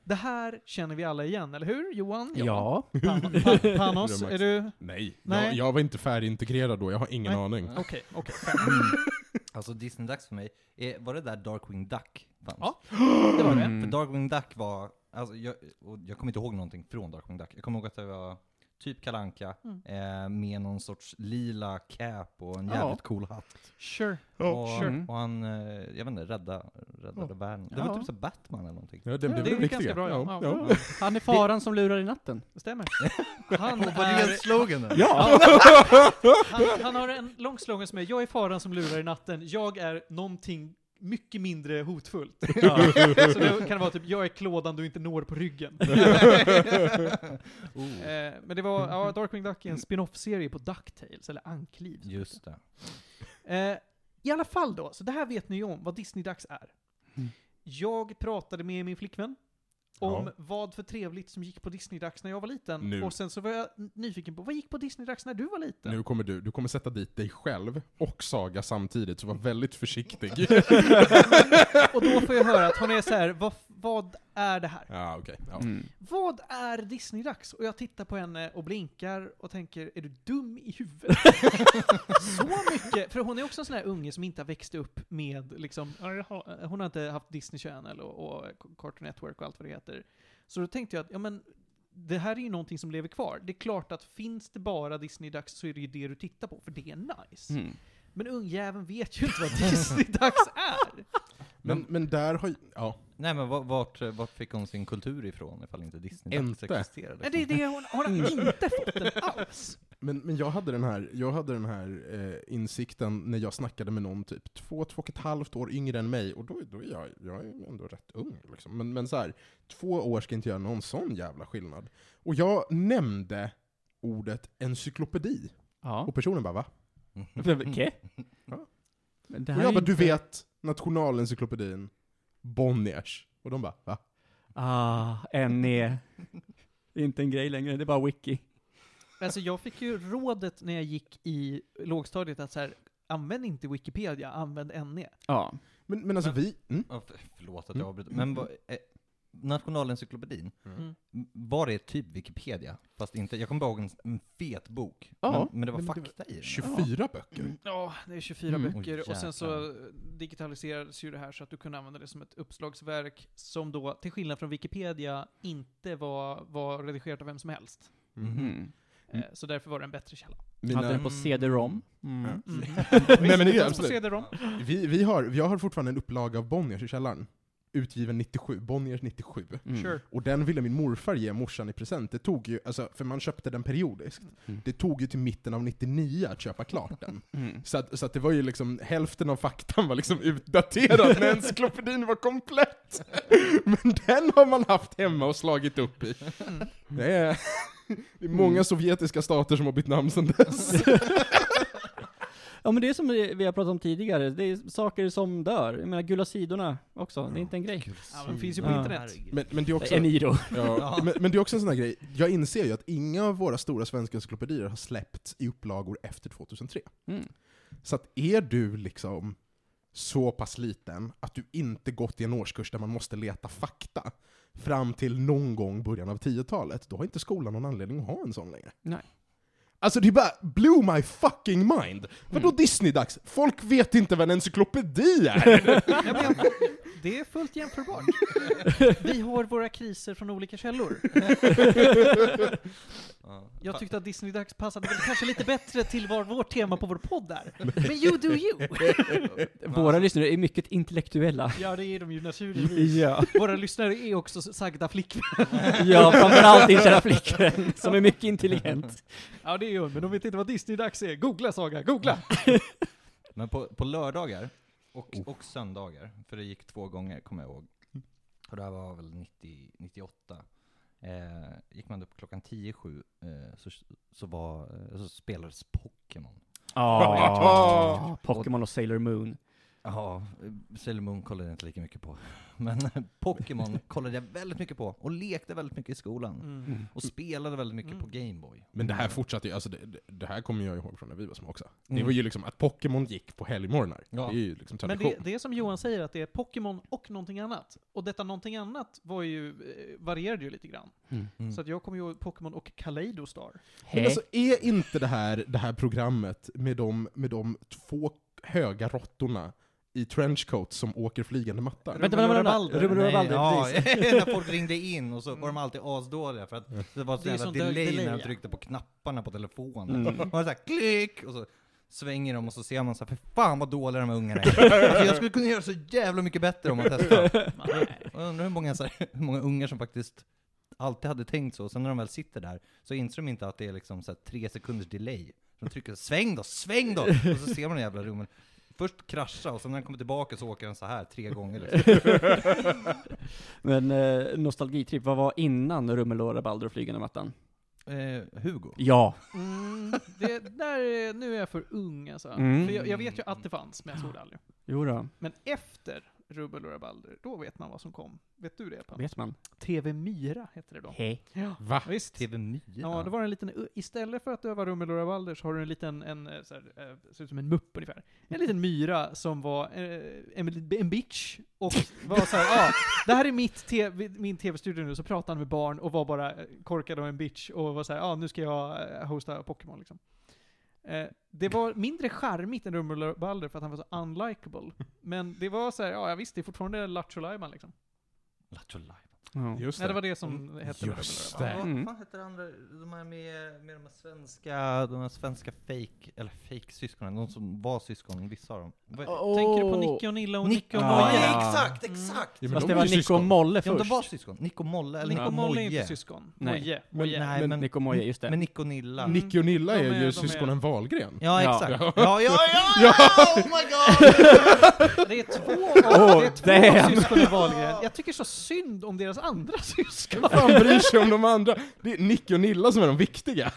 Speaker 3: Det här känner vi alla igen, eller hur? Johan?
Speaker 2: Ja.
Speaker 3: Pan- Pan- Panos, är du...
Speaker 4: Nej,
Speaker 3: Nej.
Speaker 4: Jag, jag var inte färdigintegrerad då, jag har ingen
Speaker 3: Nej.
Speaker 4: aning.
Speaker 3: Okej, okej.
Speaker 1: Alltså Disney-dags för mig, är, var det där Darkwing Duck fanns?
Speaker 3: Ja. Det var det.
Speaker 2: Mm.
Speaker 1: För Darkwing Duck var, alltså jag, och jag kommer inte ihåg någonting från Darkwing Duck. Jag kommer ihåg att det var typ Kalanka
Speaker 3: Mm.
Speaker 1: eh, med någon sorts lila cap och en
Speaker 2: Ja.
Speaker 1: jävligt cool hatt.
Speaker 3: Sure.
Speaker 1: och,
Speaker 2: sure.
Speaker 1: och han, eh, jag vet inte, rädda, räddade
Speaker 3: Ja.
Speaker 1: världen. Det
Speaker 2: Ja.
Speaker 1: var typ så Batman eller någonting.
Speaker 4: Ja, den
Speaker 3: Ja,
Speaker 4: blev
Speaker 3: det är
Speaker 4: väl
Speaker 3: ganska
Speaker 4: viktiga.
Speaker 3: bra, ja.
Speaker 4: ja.
Speaker 3: Ja,
Speaker 4: ja.
Speaker 2: Han är faran som lurar i natten.
Speaker 3: Det stämmer. Han är...
Speaker 1: slogan där?
Speaker 2: Ja!
Speaker 3: Han, han har en lång slogan som är “Jag är faran som lurar i natten, jag är någonting mycket mindre hotfullt”. Så det kan vara typ “Jag är klådan du inte når på ryggen”.
Speaker 1: Oh.
Speaker 3: Eh, Men det var, ja, Darkwing Duck är en spin-off-serie på DuckTales, eller Ankliv. som det
Speaker 1: Just det.
Speaker 3: Eh, I alla fall då, så det här vet ni ju om, vad Disney-dags är.
Speaker 2: Mm.
Speaker 3: Jag pratade med min flickvän om
Speaker 4: Ja.
Speaker 3: vad för trevligt som gick på Disney-dags när jag var liten.
Speaker 4: Nu.
Speaker 3: Och sen så var jag n- nyfiken på, vad gick på Disney-dags när du var liten?
Speaker 4: Nu kommer du, du kommer sätta dit dig själv och Saga samtidigt, så var väldigt försiktig.
Speaker 3: Och då får jag höra att hon är så här, vad, vad är det här?
Speaker 4: ja, okej. Ja.
Speaker 2: Mm.
Speaker 3: Vad är Disney-dags? Och jag tittar på henne och blinkar och tänker, är du dum i huvudet? så mycket! För hon är också en sån här unge som inte har växt upp med, liksom, hon har inte haft Disney Channel och, och Cartoon Network och allt vad det heter. Så då tänkte jag att, ja men, det här är ju någonting som lever kvar. Det är klart att finns det bara Disney-dags så är det ju det du tittar på, för det är nice.
Speaker 2: Mm.
Speaker 3: Men ungjäveln vet ju inte vad Disney-dags är!
Speaker 4: Men, men där har ju- ja.
Speaker 1: Nej men va- vart, vart fick hon sin kultur ifrån ifall inte Disney-dags
Speaker 4: Inte.
Speaker 1: existerade?
Speaker 3: Men det är det hon, hon
Speaker 4: Mm.
Speaker 3: har inte fått den alls.
Speaker 4: Men, men jag hade den här, jag hade den här eh, insikten när jag snackade med någon typ två, två och ett halvt år yngre än mig, och då, då är jag, jag är ändå rätt ung. Liksom. Men, men så här, två år ska inte göra någon sån jävla skillnad. Och jag nämnde ordet encyklopedi,
Speaker 2: Ja.
Speaker 4: och personen bara va?
Speaker 1: Mm.
Speaker 2: Okej.
Speaker 4: Ja.
Speaker 2: Men det
Speaker 4: Och
Speaker 2: här
Speaker 4: jag
Speaker 2: är
Speaker 4: bara, du
Speaker 2: inte-
Speaker 4: vet nationalencyklopedin, Bonniers. Och de bara va?
Speaker 2: Ah, NE. Inte en grej längre, det är bara wiki.
Speaker 3: Alltså jag fick ju rådet när jag gick i lågstadiet att så här, använd inte Wikipedia, använd E. NE.
Speaker 2: Ja.
Speaker 4: Men, men alltså vi... Mm.
Speaker 1: Ja, för- Förlåt att
Speaker 2: Mm.
Speaker 1: jag avbryter. Men vad, eh, Nationalencyklopedin,
Speaker 3: Mm.
Speaker 1: var det typ Wikipedia? Fast inte, jag kommer bara ihåg en, en fet bok.
Speaker 2: Ja,
Speaker 1: men, men det var
Speaker 4: men det var-
Speaker 1: fakta i den.
Speaker 4: 24 böcker?
Speaker 3: Ja, det är 24
Speaker 2: Mm.
Speaker 3: böcker
Speaker 1: Oj,
Speaker 3: och sen så
Speaker 1: jäklar.
Speaker 3: digitaliserades ju det här så att du kunde använda det som ett uppslagsverk som då, till skillnad från Wikipedia, inte var, var redigerat av vem som helst.
Speaker 4: Mhm.
Speaker 2: Mm.
Speaker 4: Mm.
Speaker 3: Eh, Så därför var det en bättre källa.
Speaker 2: Hade den
Speaker 4: Mina,
Speaker 2: på CD-ROM. Mm.
Speaker 3: Mm.
Speaker 4: Nej, men det är
Speaker 3: Och
Speaker 4: absolut.
Speaker 3: CD-ROM.
Speaker 4: vi, vi har, jag har fortfarande en upplaga av Bonniers i källaren. Utgiven 97, Bonniers 97.
Speaker 2: Mm.
Speaker 3: Sure.
Speaker 4: Och den ville min morfar ge morsan i present. Det tog ju, alltså, för man köpte den periodiskt.
Speaker 2: Mm.
Speaker 4: Det tog ju till mitten av 99 att köpa klart den.
Speaker 2: Mm.
Speaker 4: Så att, så att det var ju liksom, hälften av faktan var liksom utdaterad när encyklopedin var komplett. Men den har man haft hemma och slagit upp i.
Speaker 3: Mm.
Speaker 4: Det är, det är många
Speaker 2: Mm.
Speaker 4: sovjetiska stater som har bytt namn sedan dess.
Speaker 2: Ja men det är som vi vi har pratat om tidigare, det är saker som dör. Jag menar gula sidorna också, det är inte en grej.
Speaker 3: Ja, men finns ju på
Speaker 2: Ja.
Speaker 3: internet.
Speaker 4: Men, men, det är också,
Speaker 2: Eniro.
Speaker 4: ja, men, men det är också en sån här grej, jag inser ju att inga av våra stora svenska encyklopedier har släppts i upplagor efter 2003.
Speaker 2: Mm.
Speaker 4: Så att är du liksom så pass liten att du inte gått i en årskurs där man måste leta fakta fram till någon gång början av 10-talet, då har inte skolan någon anledning att ha en sån längre.
Speaker 2: Nej.
Speaker 4: Alltså det bara blew my fucking mind! Vadå Disney-dags? Folk vet inte vad en encyklopedi är!
Speaker 3: Ja, men, det är fullt jämförbart. Vi har våra kriser från olika källor.
Speaker 1: Ja.
Speaker 3: Jag tyckte att Disney-dags passade väl kanske lite bättre till var vårt tema på vår podd är. Men you do you!
Speaker 2: Våra lyssnare är mycket intellektuella.
Speaker 3: Ja, det är de ju naturligtvis.
Speaker 2: Ja,
Speaker 3: Våra lyssnare är också sagda flickvänner.
Speaker 2: ja framförallt din kära flickvän som är mycket intelligent.
Speaker 3: Ja, det är ju hon, men de vet inte vad Disney-dags är. Googla Saga, googla!
Speaker 1: Men på, på lördagar och, och söndagar, för det gick två gånger kommer jag ihåg. Och det här var väl 90, 98. Eh, gick man upp klockan 10 sju, eh, så, så, var, eh, så spelades Pokémon.
Speaker 2: Ah, Pokémon och Sailor Moon.
Speaker 1: Ja, eh, Sailor Moon kollade jag inte lika mycket på. Men Pokémon kollade jag väldigt mycket på, och lekte väldigt mycket i
Speaker 3: Mm.
Speaker 1: skolan.
Speaker 2: Mm.
Speaker 1: Och spelade väldigt mycket på Gameboy.
Speaker 4: Mm. Men det här fortsatte ju, alltså det, det- det här kommer jag ihåg från när vi var små också. Det
Speaker 1: Mm.
Speaker 4: var ju liksom att Pokémon gick på helgmorgnar.
Speaker 1: Ja.
Speaker 4: Det är ju liksom
Speaker 3: Men
Speaker 4: tradition.
Speaker 3: det, det är som Johan säger, att det är Pokémon och någonting annat. Och detta någonting annat var ju, eh, varierade ju lite grann.
Speaker 1: Mm.
Speaker 3: Så att jag kommer ju ihåg Pokémon och Kaleido Star.
Speaker 4: Men alltså, är inte det här, det här programmet med de, med de två höga råttorna i trenchcoats som åker flygande mattar?
Speaker 2: Vänta, vänta, vänta.
Speaker 3: Rabalder.
Speaker 2: Ruben och
Speaker 1: Nej,
Speaker 2: Rabalder,
Speaker 1: ja,
Speaker 2: precis.
Speaker 1: när folk ringde in och så var de alltid asdåliga för att det var
Speaker 3: Det
Speaker 1: så
Speaker 3: är
Speaker 1: jävla
Speaker 3: som dög-
Speaker 1: delay när
Speaker 3: delay,
Speaker 1: de
Speaker 3: ja.
Speaker 1: tryckte på knapparna på telefonen. Mm. Och så här, klick! Och så svänger de och så ser man så här, för fan vad dåliga de här ungarna är. alltså, jag skulle kunna göra så jävla mycket bättre om man testar.
Speaker 3: Nej.
Speaker 1: Och jag undrar hur många, så här, hur många ungar som faktiskt alltid hade tänkt så, sen när de väl sitter där så inser de inte att det är liksom så här, tre sekunders delay. Så De trycker sväng då, sväng då! Och så ser man den jävla rummen. Först krascha och sen när den kommer tillbaka så åker den så här tre gånger liksom.
Speaker 2: Men eh, nostalgitripp, vad var innan Rummel och Rabalder och Flygande Mattan?
Speaker 1: Eh, Hugo.
Speaker 2: Ja.
Speaker 3: Mm, det där, är- nu är jag för ung alltså.
Speaker 2: Mm.
Speaker 3: För jag, jag vet ju att det fanns, men jag såg det aldrig.
Speaker 2: Jo då.
Speaker 3: Men efter Rubbel och Rabalder, då vet man vad som kom. Vet du det? Pam?
Speaker 2: vet man.
Speaker 3: TV Myra hette det då.
Speaker 2: Hej.
Speaker 3: Ja,
Speaker 4: Va?
Speaker 3: visst.
Speaker 1: TV Myra?
Speaker 3: Ja, det var en liten, istället för att det var Rummel och Rabalder så har du en liten, en, eh, så här, eh, ser ut som en mupp ungefär. En liten myra som var eh, en, en bitch och var så här, ja, ah, det här är mitt TV, min tv-studio nu, så pratade han med barn och var bara eh, korkad och en bitch och var så här, ja ah, nu ska jag eh, hosta Pokémon liksom. Eh, det var mindre charmigt än Rummel och Rabalder för att han var så unlikable. Men det var så här, ja visst, det är fortfarande Lattjo Lajban liksom.
Speaker 1: Lattjo Lajban.
Speaker 4: Just
Speaker 3: Nej, det var det som hette Rummel och
Speaker 4: Just
Speaker 3: Rabalder.
Speaker 4: det.
Speaker 2: Mm.
Speaker 1: Vad fan hette det andra, de här med, med de här svenska, de här svenska fake, eller fake syskonen, de som var syskon, vissa av dem. Vad-
Speaker 3: Tänker du på Nicke och Nilla och Nicke och
Speaker 2: Ja,
Speaker 1: Moje!
Speaker 3: Moje?
Speaker 2: ja.
Speaker 1: Exakt, exakt!
Speaker 4: Ja, men
Speaker 2: Fast
Speaker 4: de
Speaker 2: det
Speaker 4: är
Speaker 2: var
Speaker 4: ju
Speaker 2: Nico och
Speaker 4: syskon.
Speaker 2: Molle
Speaker 1: Ja, de
Speaker 2: först.
Speaker 1: var syskon. Nick och Molle, eller
Speaker 3: Nick och Molle är inte
Speaker 1: Moje.
Speaker 3: syskon.
Speaker 2: Nej.
Speaker 3: Moje.
Speaker 4: Men-
Speaker 3: Moje.
Speaker 1: Nej,
Speaker 4: Men-
Speaker 1: men,
Speaker 2: Nico och Moje, just det.
Speaker 1: men Nick och Nilla.
Speaker 3: Mm.
Speaker 4: Nicke och Nilla
Speaker 3: De
Speaker 4: är,
Speaker 3: är- de
Speaker 4: ju
Speaker 3: är-
Speaker 4: syskonen Wahlgren.
Speaker 1: Ja,
Speaker 2: Ja.
Speaker 1: exakt. Ja, ja, ja, ja, Oh my god!
Speaker 3: Det är två, av,
Speaker 2: Oh,
Speaker 3: det är två
Speaker 2: damn.
Speaker 3: syskon i Wahlgren. Jag tycker så synd om deras andra syskon.
Speaker 4: Vad fan bryr sig om de andra? Det är Nicke och Nilla som är de viktiga.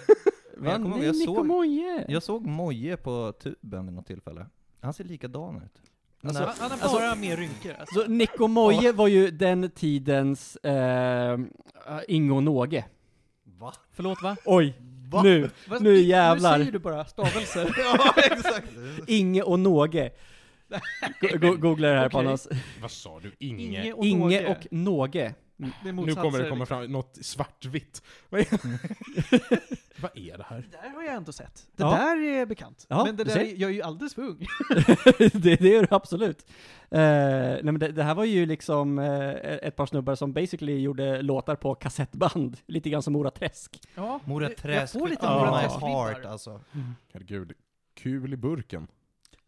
Speaker 1: Men jag kommer ihåg, jag
Speaker 2: Nico
Speaker 1: såg,
Speaker 2: Moje!
Speaker 1: jag såg Moje på tuben vid något tillfälle. Han ser likadan ut.
Speaker 2: Alltså,
Speaker 3: han har
Speaker 2: alltså-
Speaker 3: bara mer rynkor. Alltså.
Speaker 2: Så Nick och Moje var ju den tidens eh, Ingo och Någe.
Speaker 1: Va?
Speaker 3: Förlåt va?
Speaker 2: Oj,
Speaker 1: Va?
Speaker 2: nu,
Speaker 3: Vad-
Speaker 2: nu jävlar.
Speaker 3: Nu säger du bara stavelser.
Speaker 1: ja, exakt!
Speaker 2: Inge och Någe. Go- go- Googla det här
Speaker 3: Okej.
Speaker 2: Panos.
Speaker 4: Vad sa du?
Speaker 3: Inge och
Speaker 2: Inge
Speaker 3: Någe.
Speaker 2: och Någe.
Speaker 3: Det är
Speaker 4: Nu
Speaker 3: motsatser.
Speaker 4: kommer det komma fram något svartvitt. Vad är, Vad är det här?
Speaker 3: Det där har jag ändå sett. Det
Speaker 2: Ja.
Speaker 3: där är bekant.
Speaker 2: Ja,
Speaker 3: men det
Speaker 2: du
Speaker 3: där,
Speaker 2: ser.
Speaker 3: är- jag är ju alldeles för ung.
Speaker 2: det, det är det absolut. Eh, nej men det, det här var ju liksom eh, ett par snubbar som basically gjorde låtar på kassettband, lite grann som Mora Träsk.
Speaker 3: Ja,
Speaker 1: Mora
Speaker 3: jag-
Speaker 1: Träsk,
Speaker 3: Jag får lite
Speaker 2: Ja.
Speaker 3: Mora
Speaker 2: Ja.
Speaker 1: heart
Speaker 3: Träsk-vibbar.
Speaker 1: alltså.
Speaker 4: Herregud. Kul i burken.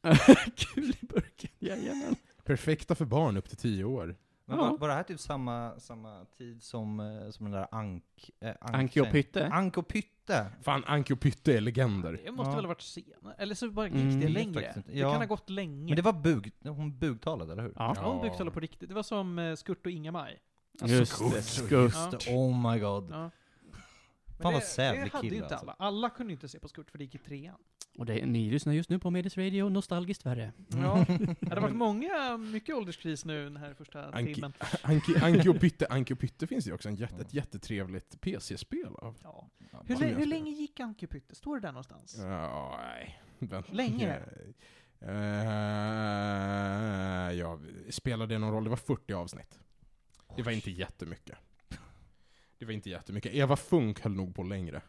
Speaker 2: Kul i burken, jajamän.
Speaker 4: Perfekta för barn upp till 10 år.
Speaker 1: Men
Speaker 2: Ja.
Speaker 1: var, var det här typ samma, samma tid som, eh, som den där Ank... Eh, Ank
Speaker 2: Anki och Pytte.
Speaker 1: Ank och Pytte!
Speaker 4: Fan, Anki och Pytte är legender.
Speaker 3: Det måste
Speaker 1: Ja.
Speaker 3: väl ha varit senare? Eller så bara gick
Speaker 2: Mm.
Speaker 3: det
Speaker 2: Jag vet
Speaker 1: faktiskt
Speaker 3: längre.
Speaker 1: inte. Ja.
Speaker 3: Det kan ha gått länge.
Speaker 1: Men det var bug, hon bugtalade, eller hur?
Speaker 2: Ja,
Speaker 3: Ja, hon buktalade på riktigt. Det var som eh, Skurt och Inga-Maj.
Speaker 2: just det. Skurt.
Speaker 3: Ja.
Speaker 1: Oh my god.
Speaker 3: Ja. Men
Speaker 1: Fan, vad
Speaker 3: det,
Speaker 1: sävlig
Speaker 3: det hade
Speaker 1: kille,
Speaker 3: ju inte
Speaker 1: alltså.
Speaker 3: alla. Alla kunde ju inte se på Skurt för det gick i trean.
Speaker 2: Och det, ni lyssnar just nu på Medis Radio, nostalgiskt värre.
Speaker 1: Mm.
Speaker 3: Ja. det har varit många, mycket ålderskris nu den här första
Speaker 4: Anki.
Speaker 3: timmen.
Speaker 4: Anki, Anki och Pytte, Anki och Pytte finns det ju också en jätte, ett jättetrevligt PC-spel av.
Speaker 3: Ja.
Speaker 1: Ja,
Speaker 3: Hur,
Speaker 1: bara-
Speaker 3: lä- hur länge gick Anki och Pytte? Står det där någonstans?
Speaker 4: Ja, nej. Vänta.
Speaker 3: Länge?
Speaker 4: Eh, ja, spelade det någon roll? Det var 40 avsnitt. Det var inte jättemycket. Det var inte jättemycket. Eva Funk höll nog på längre.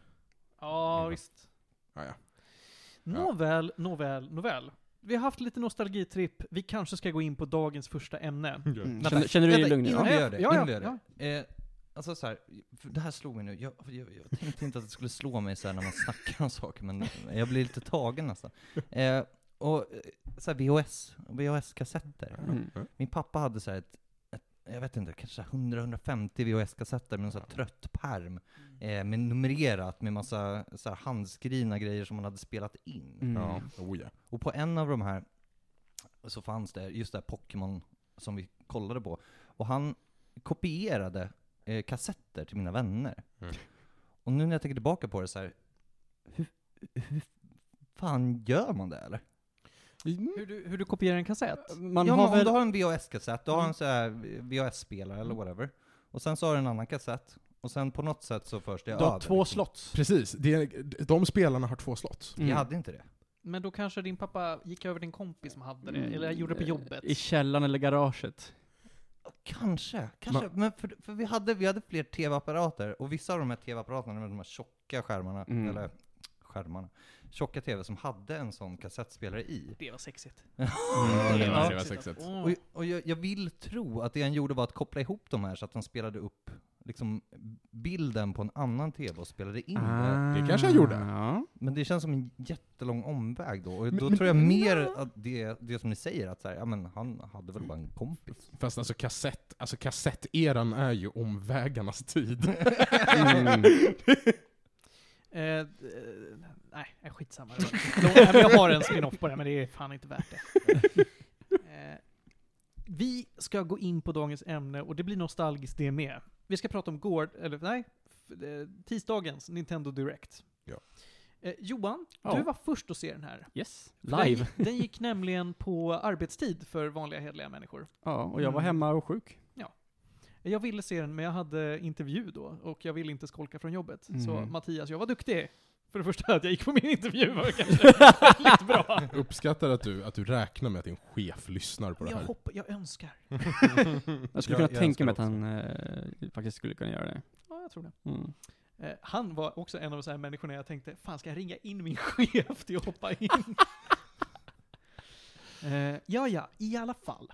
Speaker 3: Ja, visst.
Speaker 4: Ja, ja.
Speaker 3: Nåväl, nåväl, nåväl. Vi har haft lite nostalgitripp. Vi kanske ska gå in på dagens första ämne.
Speaker 2: Mm.
Speaker 1: Vänta,
Speaker 2: Känner, känner du dig
Speaker 1: vänta,
Speaker 2: lugn nu?
Speaker 1: Innan
Speaker 2: va?
Speaker 1: vi gör det,
Speaker 3: Ja, ja,
Speaker 1: innan vi gör det. Eh, alltså så här, för det här slog mig nu. Jag, jag, jag tänkte inte att det skulle slå mig så här när man snackar om saker, men jag blir lite tagen nästan. Eh, och eh, så här VHS, VHS-kassetter.
Speaker 2: Mm.
Speaker 1: Min pappa hade så här ett, ett jag vet inte, kanske 100-150 VHS-kassetter med en sån här trött pärm.
Speaker 4: Mm.
Speaker 1: Eh, med numrerat med massa så här handskrivna grejer som han hade spelat in.
Speaker 2: Mm.
Speaker 4: Ja, oh, ja.
Speaker 1: Och på en av de här så fanns det just det här Pokémon som vi kollade på. Och han kopierade eh, kassetter till mina vänner.
Speaker 4: Mm.
Speaker 1: Och nu när jag tänker tillbaka på det så här, hur, hur fan gör man det eller?
Speaker 4: Mm.
Speaker 3: Hur du, hur du kopierar en kassett?
Speaker 2: Man
Speaker 1: ja, men
Speaker 2: har
Speaker 1: om
Speaker 2: väl...
Speaker 1: du har Mm. en VHS-kassett, du har en så här VHS-spelare eller whatever. Och sen så har du en annan kassett. Och sen på något sätt så förs det
Speaker 2: Du har
Speaker 1: över. liksom.
Speaker 2: två slott.
Speaker 4: Precis. Det är, de spelarna har två slott.
Speaker 2: Mm.
Speaker 1: Jag hade inte det.
Speaker 3: Men då kanske din pappa gick över din kompis som hade det, eller gjorde det på
Speaker 2: Mm.
Speaker 3: jobbet.
Speaker 2: I källaren eller garaget.
Speaker 1: Kanske, kanske. Men för, för vi, hade, vi hade fler tv-apparater, och vissa av de här tv-apparaterna med de här tjocka skärmarna,
Speaker 2: Mm.
Speaker 1: eller skärmarna, tjocka tv som hade en sån kassettspelare i.
Speaker 3: Det var sexigt.
Speaker 4: Mm. Ja, det var,
Speaker 1: Ja.
Speaker 4: det var sexigt.
Speaker 1: Och, och jag, jag vill tro att det han gjorde var att koppla ihop de här så att han spelade upp liksom, bilden på en annan tv och spelade in Mm.
Speaker 2: Ah.
Speaker 1: det.
Speaker 4: det kanske jag gjorde.
Speaker 2: Ja.
Speaker 1: Men det känns som en jättelång omväg då, och
Speaker 4: Men-
Speaker 1: då
Speaker 4: men-
Speaker 1: tror jag mer att det, det som ni säger, att så här, ja, men han hade väl bara en kompis.
Speaker 4: Fast alltså kassett, alltså kassetteran är ju omvägarnas tid.
Speaker 2: Mm.
Speaker 3: Eh, eh, nej, eh, skitsamma. Det var- Låt- nej, men jag har en spin-off på det, men det är fan inte värt det. Eh, vi ska gå in på dagens ämne, och det blir nostalgiskt det med. Vi ska prata om gård, eller nej, f- eh, tisdagens Nintendo Direct.
Speaker 4: Ja.
Speaker 3: Eh, Johan,
Speaker 2: Ja.
Speaker 3: du var först att se den här.
Speaker 2: Yes.
Speaker 3: För den
Speaker 2: Live.
Speaker 3: gick- Den gick nämligen på arbetstid för vanliga hederliga människor.
Speaker 2: Ja, och jag var
Speaker 3: Mm.
Speaker 2: hemma och sjuk.
Speaker 3: Jag ville se den, men jag hade intervju då och jag ville inte skolka från jobbet. Så
Speaker 2: Mm.
Speaker 3: Mattias, jag var duktig. För det första att jag gick på min intervju var kanske väldigt bra.
Speaker 4: Uppskattar att du, att du räknar med att din chef lyssnar på det
Speaker 3: Jag
Speaker 4: här.
Speaker 3: hoppas, jag önskar.
Speaker 2: Jag skulle
Speaker 1: Jag-
Speaker 2: kunna
Speaker 1: jag
Speaker 2: tänka mig att
Speaker 1: önskar
Speaker 2: han eh, faktiskt skulle kunna göra det.
Speaker 3: Ja, jag tror det.
Speaker 2: Mm.
Speaker 3: Eh, han var också en av de här människorna jag tänkte, fan ska jag ringa in min chef till att hoppa in? eh, ja, ja, i alla fall.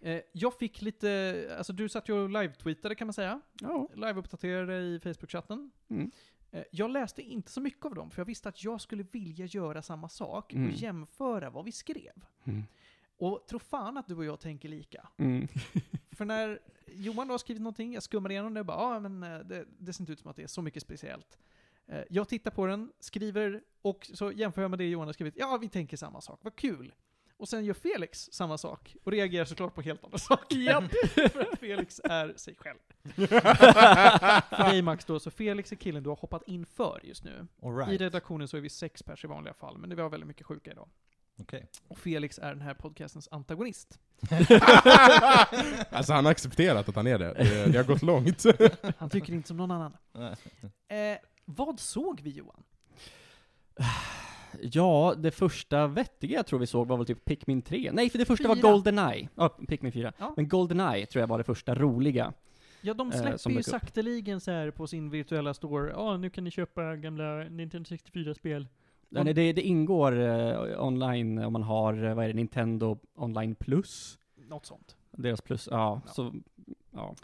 Speaker 3: Eh, jag fick lite, alltså du satt ju och live-tweetade kan man säga.
Speaker 2: Ja.
Speaker 3: live-uppdaterade i Facebook-chatten.
Speaker 2: Mm.
Speaker 3: Eh, Jag läste inte så mycket av dem, för jag visste att jag skulle vilja göra samma sak
Speaker 2: Mm.
Speaker 3: och jämföra vad vi skrev.
Speaker 2: Mm.
Speaker 3: Och tro fan att du och jag tänker lika.
Speaker 2: Mm.
Speaker 3: För när Johan då har skrivit någonting, jag skummar igenom det och bara ja, men eh, det, det ser inte ut som att det är så mycket speciellt. Eh, Jag tittar på den, skriver och så jämför jag med det Johan har skrivit. Ja, vi tänker samma sak, vad kul! Och sen gör Felix samma sak och reagerar såklart på helt andra saker. Japp! För att Felix är sig själv. För dig Max då, så Felix är killen du har hoppat in för just nu.
Speaker 1: All
Speaker 3: I
Speaker 1: right.
Speaker 3: redaktionen så är vi sex pers i vanliga fall, men vi har väldigt mycket sjuka idag.
Speaker 1: Okej.
Speaker 3: Och Felix är den här podcastens antagonist.
Speaker 4: alltså han har accepterat att han är det. Det, det har gått långt.
Speaker 3: Han tycker inte som någon annan. Eh, vad såg vi Johan?
Speaker 2: Ja, det första vettiga jag tror vi såg var väl typ Pikmin 3. Nej, för det första var
Speaker 3: Fyra.
Speaker 2: Goldeneye. Ja, Pikmin 4.
Speaker 3: Ja.
Speaker 2: Men Goldeneye tror jag var det första roliga.
Speaker 3: Ja, de
Speaker 2: eh,
Speaker 3: släpper
Speaker 2: som
Speaker 3: ju
Speaker 2: dök upp.
Speaker 3: sakteligen så här på sin virtuella store. Ja, nu kan ni köpa gamla Nintendo 64-spel.
Speaker 2: Ja, nej, Det, det ingår eh, online om man har, eh, vad är det, Nintendo online plus?
Speaker 3: Något sånt.
Speaker 2: Deras plus, ja.
Speaker 3: Ja.
Speaker 2: Så, ja.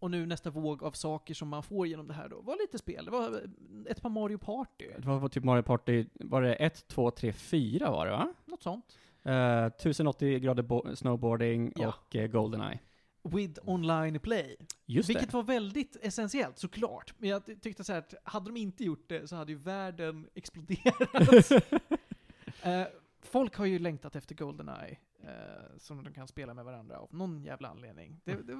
Speaker 3: Och nu nästa våg av saker som man får genom det här då. Var lite spel. Det var eh, ett par Mario Party.
Speaker 2: Det var var typ Mario Party, var det 1, 2, 3, 4 var det va?
Speaker 3: Något sånt.
Speaker 2: Eh, 1080 grader bo- snowboarding
Speaker 3: Ja.
Speaker 2: och eh, Goldeneye.
Speaker 3: With online play.
Speaker 2: Just
Speaker 3: Vilket
Speaker 2: det.
Speaker 3: var väldigt essentiellt såklart. Men jag ty- tyckte så här att hade de inte gjort det så hade ju världen exploderat. eh, folk har ju längtat efter Goldeneye. Eh, som de kan spela med varandra av någon jävla anledning. Det, det,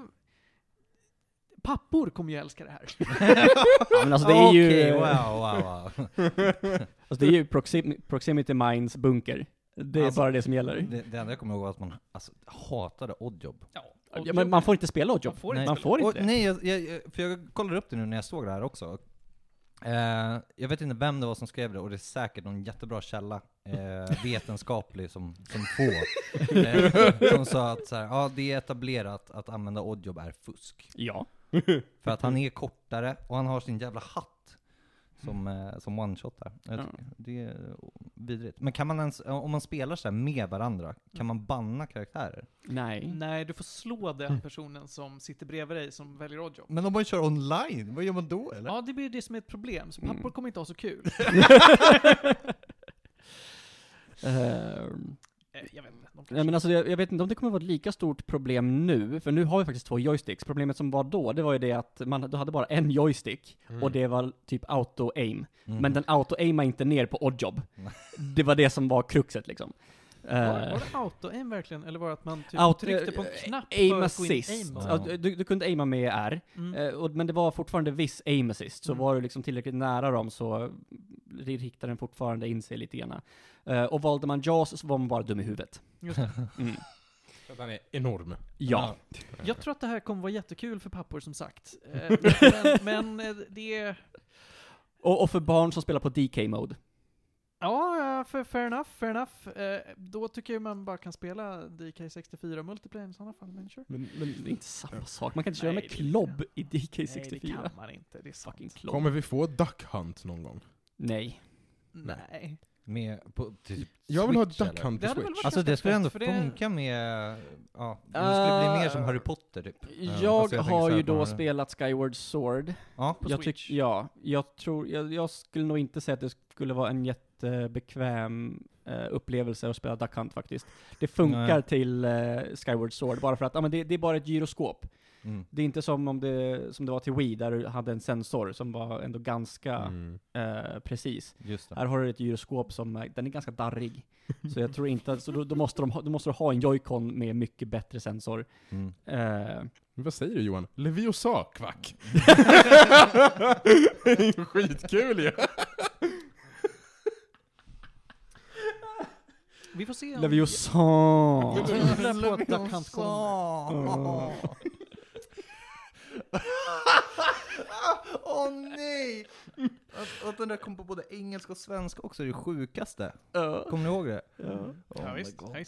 Speaker 3: pappor kommer ju älska det här.
Speaker 2: Ja, men alltså det är ju,
Speaker 1: Okej, wow, wow, wow.
Speaker 2: alltså, det är ju proxim- proximity mines bunker. Det är
Speaker 1: Alltså,
Speaker 2: bara det som gäller.
Speaker 1: Det, det enda jag kommer ihåg var att man alltså, hatade oddjob.
Speaker 3: Ja,
Speaker 2: Ja, men man får inte spela Oddjob.
Speaker 3: Man får
Speaker 1: inte
Speaker 2: man
Speaker 3: spela.
Speaker 2: får inte
Speaker 1: Och,
Speaker 2: det.
Speaker 1: nej, jag, jag, jag- för jag kollade upp det nu när jag såg det här också. Eh, jag vet inte vem det var som skrev det, och det är säkert någon jättebra källa, eh, vetenskaplig som, som få, eh, som sa att så här, ja, det är etablerat att använda oddjob är fusk.
Speaker 2: Ja.
Speaker 1: För att han är kortare, och han har sin jävla hatt som, eh, som one-shotar. Jag
Speaker 2: Ja.
Speaker 1: tycker Det är vidrigt. Men kan man ens, eh, om man spelar så här med varandra, kan man banna karaktärer?
Speaker 2: Nej.
Speaker 3: Nej, du får slå
Speaker 2: Mm.
Speaker 3: den personen som sitter bredvid dig som väljer Oddjob.
Speaker 1: Men om man kör online, vad gör man då eller?
Speaker 3: Ja, det blir det som är ett problem, så pappor
Speaker 2: Mm.
Speaker 3: kommer inte ha så kul. Eh,
Speaker 2: Ehm,
Speaker 3: Eh, jag vet inte. De kanske...
Speaker 2: nej men alltså jag, jag vet inte om det kommer vara ett lika stort problem nu, för nu har vi faktiskt två joysticks. Problemet som var då, det var ju det att man då hade bara en joystick,
Speaker 3: Mm.
Speaker 2: och det var typ auto-aim.
Speaker 1: Mm.
Speaker 2: Men den auto-aimade inte ner på oddjob.
Speaker 1: Nej.
Speaker 2: Det var det som var kruxet liksom.
Speaker 3: Var,
Speaker 2: Eh,
Speaker 3: var det auto-aim verkligen? Eller var det att man typ
Speaker 2: Auto-
Speaker 3: tryckte på en
Speaker 2: eh,
Speaker 3: knapp
Speaker 2: aim
Speaker 3: för att gå in i
Speaker 2: assist.
Speaker 3: aim
Speaker 1: mode.
Speaker 2: Ja, du, du kunde aima med R,
Speaker 3: mm.
Speaker 2: eh, och, men det var fortfarande viss aim assist. Så
Speaker 3: Mm.
Speaker 2: var du liksom tillräckligt nära dem så riktade den fortfarande in sig lite grann. Eh, och valde man JAS så var man bara dum i huvudet.
Speaker 3: Just det.
Speaker 2: Mm.
Speaker 4: han är enorm.
Speaker 2: Ja.
Speaker 3: Jag tror att det här kommer vara jättekul för pappor som sagt. Eh, Men, men eh, det är...
Speaker 2: Och, och för barn som spelar på DK-mode.
Speaker 3: Ja, ja, fa- fair enough, fair enough. Eh, Då tycker jag man bara kan spela DK64 multiplayer i sådana fall, men sure.
Speaker 2: Men, det är inte samma sak, man kan inte köra
Speaker 3: Nej,
Speaker 2: med
Speaker 3: det är inte
Speaker 2: klobb i
Speaker 3: Nej,
Speaker 2: DK64.
Speaker 3: det kan man inte. Det är sant.
Speaker 2: Fucking klobb.
Speaker 4: Kommer vi få Duck Hunt någon gång?
Speaker 2: Nej.
Speaker 3: Nej.
Speaker 1: Med, på, typ
Speaker 4: Jag vill ha
Speaker 1: Switch,
Speaker 4: Duck
Speaker 1: eller?
Speaker 4: Hunt
Speaker 3: Det
Speaker 4: på
Speaker 3: hade väl
Speaker 4: Switch.
Speaker 3: varit
Speaker 1: Alltså det
Speaker 3: ganska
Speaker 1: skulle ändå
Speaker 3: fett, för det-
Speaker 1: funka med, ja, det skulle bli mer som
Speaker 2: Eh,
Speaker 1: Harry Potter typ. Ja,
Speaker 2: Jag,
Speaker 1: alltså, tänker
Speaker 2: har
Speaker 1: så här
Speaker 2: ju då
Speaker 1: bara-
Speaker 2: spelat Skyward Sword.
Speaker 1: Ja,
Speaker 3: På
Speaker 2: jag
Speaker 3: Switch.
Speaker 2: tyck- ja, jag tror, jag, jag skulle nog inte säga att det skulle vara en jättebekväm eh, upplevelse att spela Duck Hunt faktiskt. Det funkar
Speaker 1: Nej.
Speaker 2: till eh, Skyward Sword, bara för att ah, men det, det är bara ett gyroskop.
Speaker 1: mm.
Speaker 2: Det är inte som om det, som det var till Wii, där du hade en sensor som var ändå ganska
Speaker 4: Mm.
Speaker 2: eh, precis.
Speaker 1: just det.
Speaker 2: Här har du ett gyroskop som, eh, den är ganska darrig. så jag tror inte att, så då, då, måste de ha, då måste du ha en Joy-Con med mycket bättre sensor.
Speaker 1: Mm.
Speaker 2: Eh,
Speaker 4: Men Vad säger du Johan? Leviosa, kvack! Skitkul ju!
Speaker 3: Vi får se om...
Speaker 2: Leviosan!
Speaker 3: Jag tvivlar på att Duck Hunt kommer.
Speaker 1: Åh Åh, nej! Att, att den där kom på både engelska och svenska också är det sjukaste. Kommer ni ihåg det?
Speaker 2: Ja.
Speaker 1: Oh
Speaker 3: Ja,
Speaker 1: my
Speaker 3: visst,
Speaker 1: God.
Speaker 3: ja,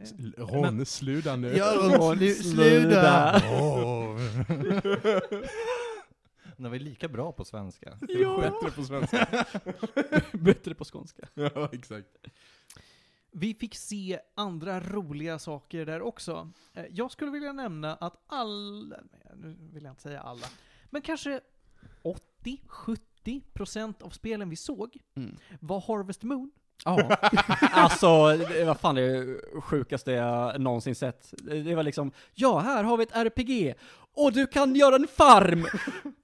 Speaker 3: visst.
Speaker 4: Ron, sluta nu!
Speaker 1: Ja, slu,
Speaker 2: sluta.
Speaker 1: sluta! Den var ju lika bra på svenska.
Speaker 4: Bättre på svenska.
Speaker 2: Bättre på skånska.
Speaker 4: ja, exakt.
Speaker 3: Vi fick se andra roliga saker där också. Eh, Jag skulle vilja nämna att alla, nej, nu vill jag inte säga alla, men kanske 80-70% av spelen vi såg
Speaker 4: Mm.
Speaker 3: var Harvest Moon.
Speaker 2: Ja. alltså, det var fan det sjukaste jag någonsin sett. Det var liksom, ja, här har vi ett RPG, och du kan göra en farm!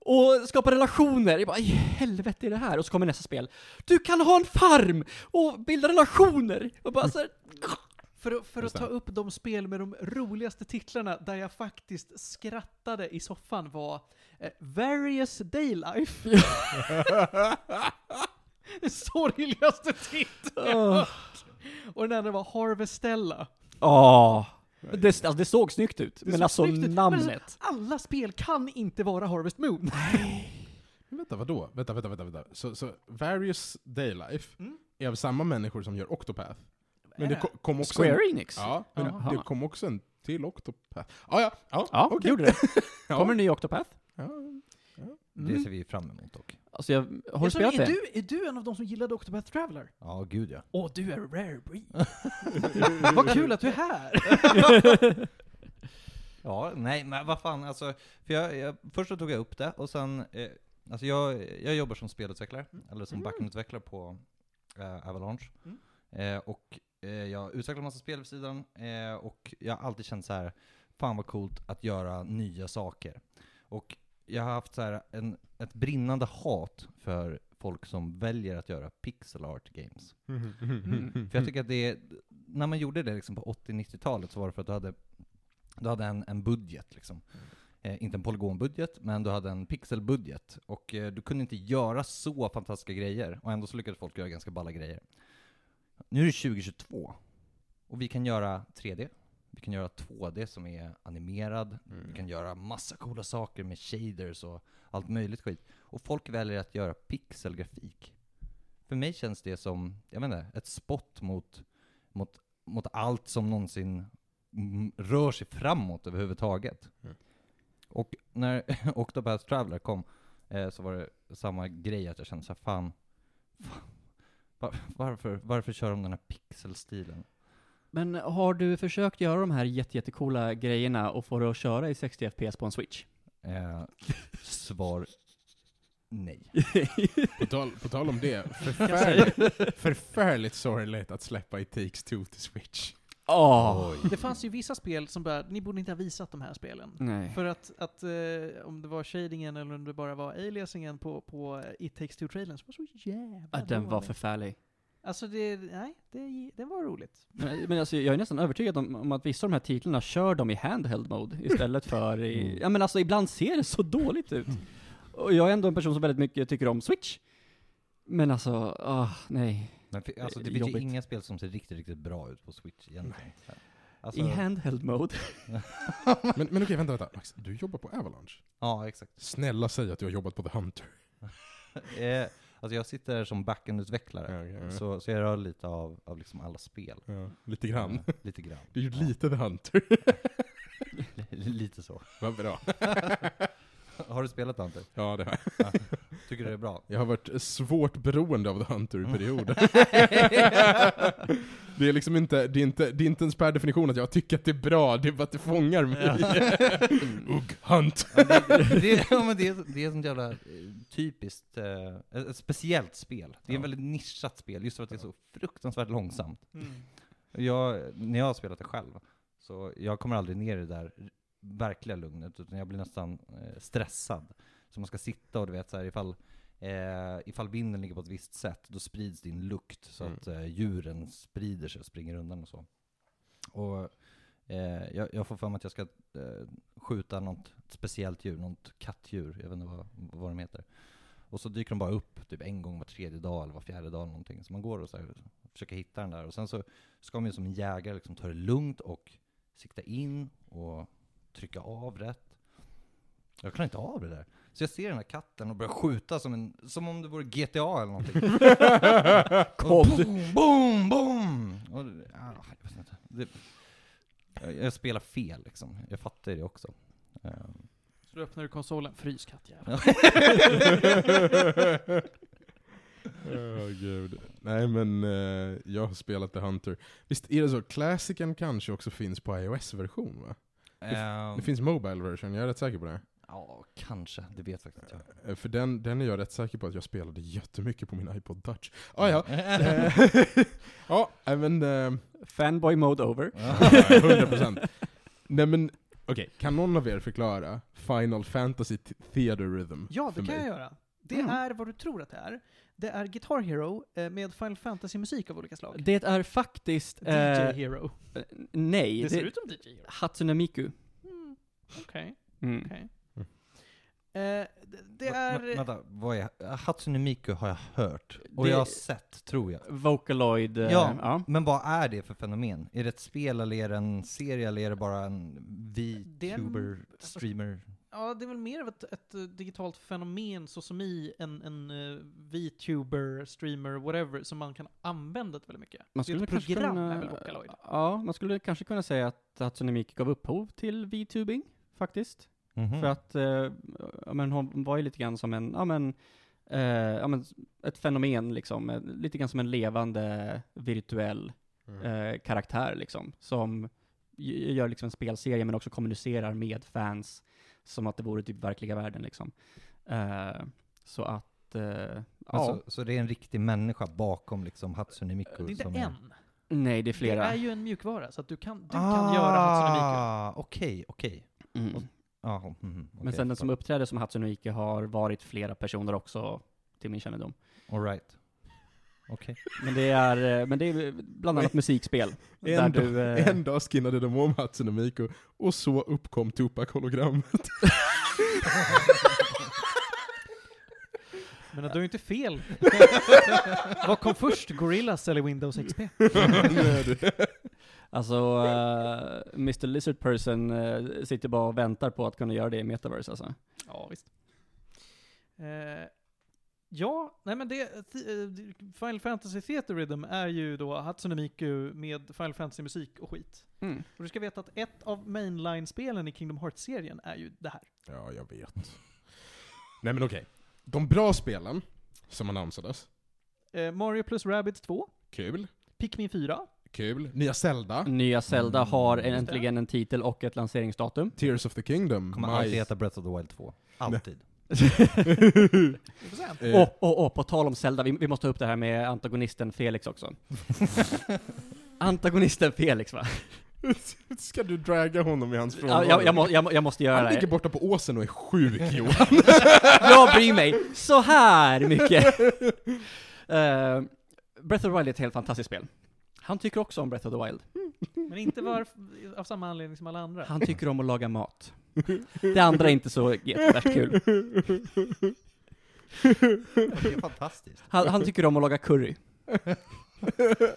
Speaker 2: Och skapa relationer. Jag bara, i helvete är det här? Och så kommer nästa spel. Du kan ha en farm! Och bilda relationer! Och bara så här,
Speaker 3: För, att- för att
Speaker 4: Just det.
Speaker 3: ta upp de spel med de roligaste titlarna där jag faktiskt skrattade i soffan var eh, Various Daylife. Den sorgligaste titeln jag
Speaker 2: Åh.
Speaker 3: hört. Och den andra var Harvestella.
Speaker 2: Ja. Men Det, alltså, det såg snyggt ut,
Speaker 3: Det
Speaker 2: men
Speaker 3: såg
Speaker 2: alltså
Speaker 3: snyggt ut, men alltså-
Speaker 2: namnet.
Speaker 3: Alla spel kan inte vara Harvest Moon.
Speaker 4: Men vänta, vadå? Vänta, vänta, vänta. vänta. Så, så Various Daylife
Speaker 3: Mm.
Speaker 4: är av samma människor som gör Octopath. Men det
Speaker 3: Äh.
Speaker 4: ko- kom också en,
Speaker 2: Square Enix? Ja,
Speaker 4: Ja, men
Speaker 2: Jaha.
Speaker 4: det kom också en till Octopath. Ah, ja, ja,
Speaker 2: det
Speaker 4: okej.
Speaker 2: gjorde det.
Speaker 4: Ja.
Speaker 2: Kommer en ny Octopath?
Speaker 4: Ja.
Speaker 1: Det ser vi fram emot dock.
Speaker 2: Alltså jag, har du
Speaker 3: Mm. Jag tror-
Speaker 2: spelat
Speaker 3: är,
Speaker 2: det?
Speaker 3: du, är du en av de som gillade Octopath Traveler?
Speaker 1: Ja, gud ja.
Speaker 3: Åh, du är rare breed. Vad kul att du är här!
Speaker 1: Ja, nej men vad fan alltså. För jag, jag, först så tog jag upp det och sen, eh, alltså jag, jag jobbar som spelutvecklare, eller som backendutvecklare på eh, Avalanche.
Speaker 3: Mm.
Speaker 1: Eh, och eh, jag utvecklar massa spel vid sidan eh, och jag har alltid känt så här, fan vad coolt att göra nya saker. Och jag har haft så här en, ett brinnande hat för folk som väljer att göra pixel art games. Mm.
Speaker 4: Mm.
Speaker 1: För jag tycker att det, när man gjorde det liksom på 80-90-talet så var det för att du hade, du hade en, en budget liksom. Eh, inte en polygonbudget, men du hade en pixelbudget. Och eh, du kunde inte göra så fantastiska grejer, och ändå så lyckades folk göra ganska balla grejer. Nu är det 2022, och vi kan göra 3D, vi kan göra 2D som är animerad,
Speaker 3: Mm.
Speaker 1: vi
Speaker 4: Mm.
Speaker 1: kan göra massa coola saker med shaders och allt möjligt skit. Och folk väljer att göra pixelgrafik. För mig känns det som, jag vet inte, ett spott mot, mot, mot allt som någonsin mm, rör sig framåt överhuvudtaget.
Speaker 4: Mm.
Speaker 1: Och när Octopath Traveler kom eh, så var det samma grej, att jag kände såhär, fan, fan var, varför, varför kör de den här pixelstilen?
Speaker 2: Men har du försökt göra de här jätte, jättecoola grejerna och få det att köra i 60 FPS på en switch?
Speaker 1: Eh, svar nej.
Speaker 4: På, tal, på tal om det, förfärligt, förfärligt sorgligt att släppa It takes two till Switch.
Speaker 2: Åh!
Speaker 3: Ah, Det fanns ju vissa spel som bara, ni borde inte ha visat de här spelen.
Speaker 2: Nej.
Speaker 3: För att, att eh, om det var shadingen eller om det bara var aliasingen på, på eh, It takes two-trailern så var det så jävla
Speaker 2: Ja, den var
Speaker 3: dålig.
Speaker 2: förfärlig.
Speaker 3: Alltså det, nej, det, det var roligt.
Speaker 2: Men, men alltså, jag är nästan övertygad om, om att vissa av de här titlarna kör dem i handheld mode istället för i...
Speaker 1: Mm.
Speaker 2: Ja men alltså ibland ser det så dåligt ut. Och jag är ändå en person som väldigt mycket tycker om Switch. Men alltså, ah, nej.
Speaker 1: Men fi- alltså, det
Speaker 2: Eh,
Speaker 1: finns ju
Speaker 2: jobbigt.
Speaker 1: inga spel som ser riktigt, riktigt bra ut på Switch egentligen. Alltså,
Speaker 2: I handheld mode.
Speaker 4: Men, men okej, vänta, vänta. Max, du jobbar på Avalanche?
Speaker 1: ja, exakt.
Speaker 4: Snälla säg att du har jobbat på The Hunter.
Speaker 1: Eh, alltså jag sitter som backendutvecklare.
Speaker 4: Så.
Speaker 1: Så, så jag rör lite av, av liksom alla spel.
Speaker 4: Ja, lite grann.
Speaker 1: Eh, Lite grann.
Speaker 4: Du är ju
Speaker 1: Ja,
Speaker 4: lite The Hunter.
Speaker 1: li- lite så.
Speaker 4: Vad bra.
Speaker 1: Har du spelat Dante?
Speaker 4: Ja, det har jag.
Speaker 1: Tycker du det är bra?
Speaker 4: Jag har varit svårt beroende av The Hunter i perioder. det är liksom inte, det är inte, det är inte ens per definition att jag tycker att det är bra, det är bara att det fångar mig. Ugg Hunt.
Speaker 1: Ja, det, det, ja, men det, är- det är ett sånt jävla eh, typiskt, eh, ett ett speciellt spel. Det är
Speaker 4: Ja.
Speaker 1: ett väldigt nischat spel, just för att det är så fruktansvärt långsamt.
Speaker 3: Mm.
Speaker 1: Jag, när jag har spelat det själv, så jag kommer aldrig ner i det där verkliga lugnet, utan jag blir nästan eh, stressad. Så man ska sitta och du vet så här, ifall, eh, ifall vinden ligger på ett visst sätt, då sprids din lukt så
Speaker 4: Mm.
Speaker 1: att eh, djuren sprider sig och springer undan och så. Och eh, jag, jag får för mig att jag ska eh, skjuta något speciellt djur, något kattdjur, jag vet inte vad, vad de heter. Och så dyker de bara upp typ en gång var tredje dag eller var fjärde dag eller någonting. Så man går och så här, försöker hitta den där. Och sen så ska man ju som en jägare liksom ta det lugnt och sikta in och trycka av rätt. Jag klarar inte av det där. Så jag ser den här katten och börjar skjuta som, en, som om det vore GTA eller någonting. och boom, boom, boom! Och, det- ah, jag vet inte. Det, jag, jag spelar fel liksom. Jag fattar det också. Ehm,
Speaker 3: Så då öppnar du konsolen, frys kattjävel.
Speaker 4: Åh, gud. Nej men, eh, jag har spelat The Hunter. Visst är det så, Classicen kanske också finns på iOS-version va?
Speaker 1: ehm,
Speaker 4: Det finns Mobile version, jag är rätt säker på det.
Speaker 1: Ja, kanske. Det vet faktiskt inte jag.
Speaker 4: Eh, För den, den är jag rätt säker på att jag spelade jättemycket på min iPod Touch. Ah, ja,
Speaker 1: Mm.
Speaker 4: Eh, ja, nej, men... eh,
Speaker 2: Fanboy mode over.
Speaker 4: ja, 100%. Nej men, okej. Kan någon av er förklara Final Fantasy Th- Theater Rhythm?
Speaker 3: Ja,
Speaker 4: för
Speaker 3: det kan
Speaker 4: mig?
Speaker 3: jag göra. Det
Speaker 2: Mm.
Speaker 3: är vad du tror att det är. Det är Guitar Hero eh, med Final Fantasy-musik av olika slag.
Speaker 2: Det är faktiskt...
Speaker 3: DJ
Speaker 2: eh,
Speaker 3: Hero.
Speaker 2: nej.
Speaker 3: Det ser
Speaker 2: det-
Speaker 3: ut som DJ Hero.
Speaker 2: Hatsune Miku.
Speaker 3: Mm. Okej,
Speaker 2: Mm.
Speaker 3: okej. Eh, det, det
Speaker 1: Va-
Speaker 3: är...
Speaker 1: vä- Vänta, vad är Hatsune Miku har jag hört, och
Speaker 2: Det-
Speaker 1: jag har sett tror jag.
Speaker 2: Vocaloid, eh,
Speaker 1: Ja.
Speaker 2: ja.
Speaker 1: Men vad är det för fenomen? Är det ett spel eller är det en serie eller är det bara en
Speaker 3: Det är en- alltså-
Speaker 1: VTuber, streamer?
Speaker 3: Ja, det är väl mer av ett, ett eh, digitalt fenomen så som i en, en eh, VTuber, streamer, whatever, som man kan använda väldigt mycket.
Speaker 2: Man
Speaker 3: Det är
Speaker 2: skulle
Speaker 3: ett
Speaker 2: kanske
Speaker 3: program
Speaker 2: kunna,
Speaker 3: är väl Vocaloid?
Speaker 2: Ja, man skulle kanske kunna säga att Hatsune Miku gav upphov till VTubing, faktiskt.
Speaker 3: Mm.
Speaker 1: Mhm.
Speaker 2: För att, eh, ja men hon var ju lite grann som en, ja men, eh, ja men ett fenomen liksom, eh, lite grann som en levande virtuell
Speaker 3: Mm.
Speaker 2: eh, karaktär liksom, som g- gör liksom en spelserie men också kommunicerar med fans som att det vore typ verkliga världen liksom. Eh, så att, eh,
Speaker 1: Men
Speaker 3: Alltså,
Speaker 2: ja.
Speaker 1: så, så det är en riktig människa bakom liksom Hatsune Miku?
Speaker 3: Det är inte
Speaker 1: som
Speaker 3: en.
Speaker 2: Nej, det är flera.
Speaker 3: Det är ju en mjukvara, så att du kan, du kan göra Hatsune Miku.
Speaker 1: Ah, Okej, okej.
Speaker 2: Mm.
Speaker 1: Ja, mm, mm,
Speaker 2: Men
Speaker 1: okej,
Speaker 2: sen den
Speaker 1: jag
Speaker 2: som uppträder som Hatsune Miku har varit flera personer också, till min kännedom.
Speaker 1: fattar. All right. Okej.
Speaker 2: Men det är, eh, men det är bland annat musikspel. där
Speaker 4: En,
Speaker 2: du,
Speaker 4: dag,
Speaker 2: eh,
Speaker 4: en dag skinnade de om Hatsune Miku, och så uppkom Tupac-hologrammet.
Speaker 3: Men att du är ju inte fel. Vad kom först, Gorillas eller Windows XP?
Speaker 2: Alltså, eh, Mr Lizard Person eh, sitter bara och väntar på att kunna göra det i metaverse alltså.
Speaker 3: Ja, visst. Eh, ja, nej men det, th- eh, Final Fantasy Theater Rhythm är ju då Hatsune Miku med Final Fantasy-musik och skit. Och du ska veta att ett av mainline-spelen i Kingdom Hearts-serien är ju det här.
Speaker 4: Ja, jag vet. Nej men okej. De bra spelen, som annonsades.
Speaker 3: Eh, Mario plus Rabbids 2,
Speaker 4: Kul.
Speaker 3: Pikmin 4,
Speaker 4: Kul. Nya Zelda.
Speaker 2: Nya Zelda
Speaker 1: Mm,
Speaker 2: har
Speaker 1: just det.
Speaker 2: äntligen en titel och ett lanseringsdatum.
Speaker 4: Tears of the Kingdom.
Speaker 1: Kommer
Speaker 4: maj.
Speaker 1: alltid heta Breath of the Wild 2. Alltid.
Speaker 3: Vi får se.
Speaker 4: Eh,
Speaker 2: Och, och, och på tal om Zelda, vi, vi måste ta upp det här med antagonisten Felix också. antagonisten Felix va?
Speaker 4: Ska du draga honom i hans frånvaro?
Speaker 2: Ja, jag, jag, må, jag, må- jag måste göra
Speaker 4: Han ligger
Speaker 2: det.
Speaker 4: borta på åsen och är sjuk Johan.
Speaker 2: Jag bryr mig så här mycket. Eh, Breath of the Wild är ett helt fantastiskt spel. Han tycker också om Breath of the Wild.
Speaker 3: Men inte var, av samma anledning som alla andra.
Speaker 2: Han tycker om att laga mat. Det andra är inte så jättevärst kul.
Speaker 1: Det är fantastiskt.
Speaker 2: Han, han tycker om att laga curry.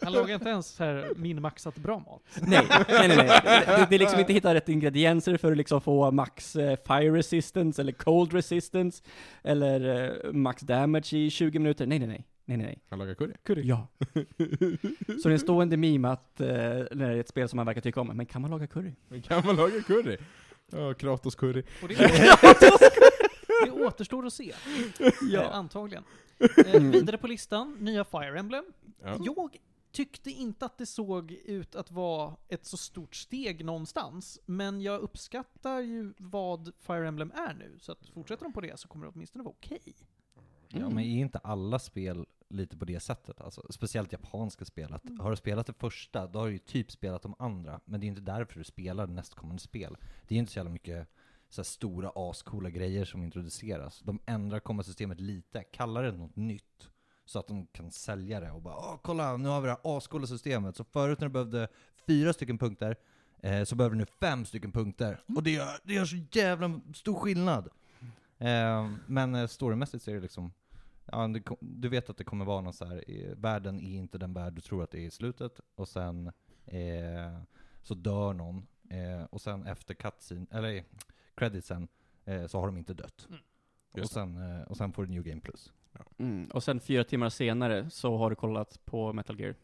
Speaker 3: Han lagar inte ens så här minmaxat bra mat.
Speaker 2: Nej, nej, nej. nej. Det, det är liksom inte hitta rätt ingredienser för att liksom få max eh, fire resistance eller cold resistance eller eh, max damage i 20 minuter. Nej, nej, nej. Nej, nej, nej.
Speaker 4: Han lagar curry.
Speaker 2: Ja. Så det är en stående meme att eh, när det är ett spel som man verkar tycka om, men kan man laga curry?
Speaker 4: Men kan man laga curry? Ja, Kratos curry.
Speaker 3: Och det, återstår, det återstår att se. Eh, Antagligen. Eh,
Speaker 2: Mm.
Speaker 3: vidare på listan, nya Fire Emblem.
Speaker 4: Ja.
Speaker 3: Jag tyckte inte att det såg ut att vara ett så stort steg någonstans, men jag uppskattar ju vad Fire Emblem är nu, så att fortsätter de på det så kommer det åtminstone vara okej.
Speaker 1: Ja, men är inte alla spel lite på det sättet? Alltså, speciellt japanska spel. Att Har du spelat det första, då har du ju typ spelat de andra. Men det är ju inte därför du spelar nästkommande spel. Det är ju inte så jävla mycket så här stora ascoola grejer som introduceras. De ändrar kommasystemet lite, kallar det något nytt. Så att de kan sälja det och bara Åh, kolla, nu har vi det här ascoola systemet. Så förut när du behövde fyra stycken punkter, eh, så behöver du nu fem stycken punkter. Och det gör, det gör så jävla stor skillnad. Eh, men eh, storymässigt så är det liksom Ja, du, kom- du vet att det kommer vara någon så här, eh, världen är inte den värld du tror att det är i slutet, och sen eh, så dör någon, eh, och sen efter cutscene, eller eh, creditsen, eh, så har de inte dött.
Speaker 3: Mm.
Speaker 1: Och,
Speaker 4: Just
Speaker 1: sen, eh, och sen får du New Game Plus.
Speaker 2: Mm. Och sen fyra timmar senare så har du kollat på Metal Gear.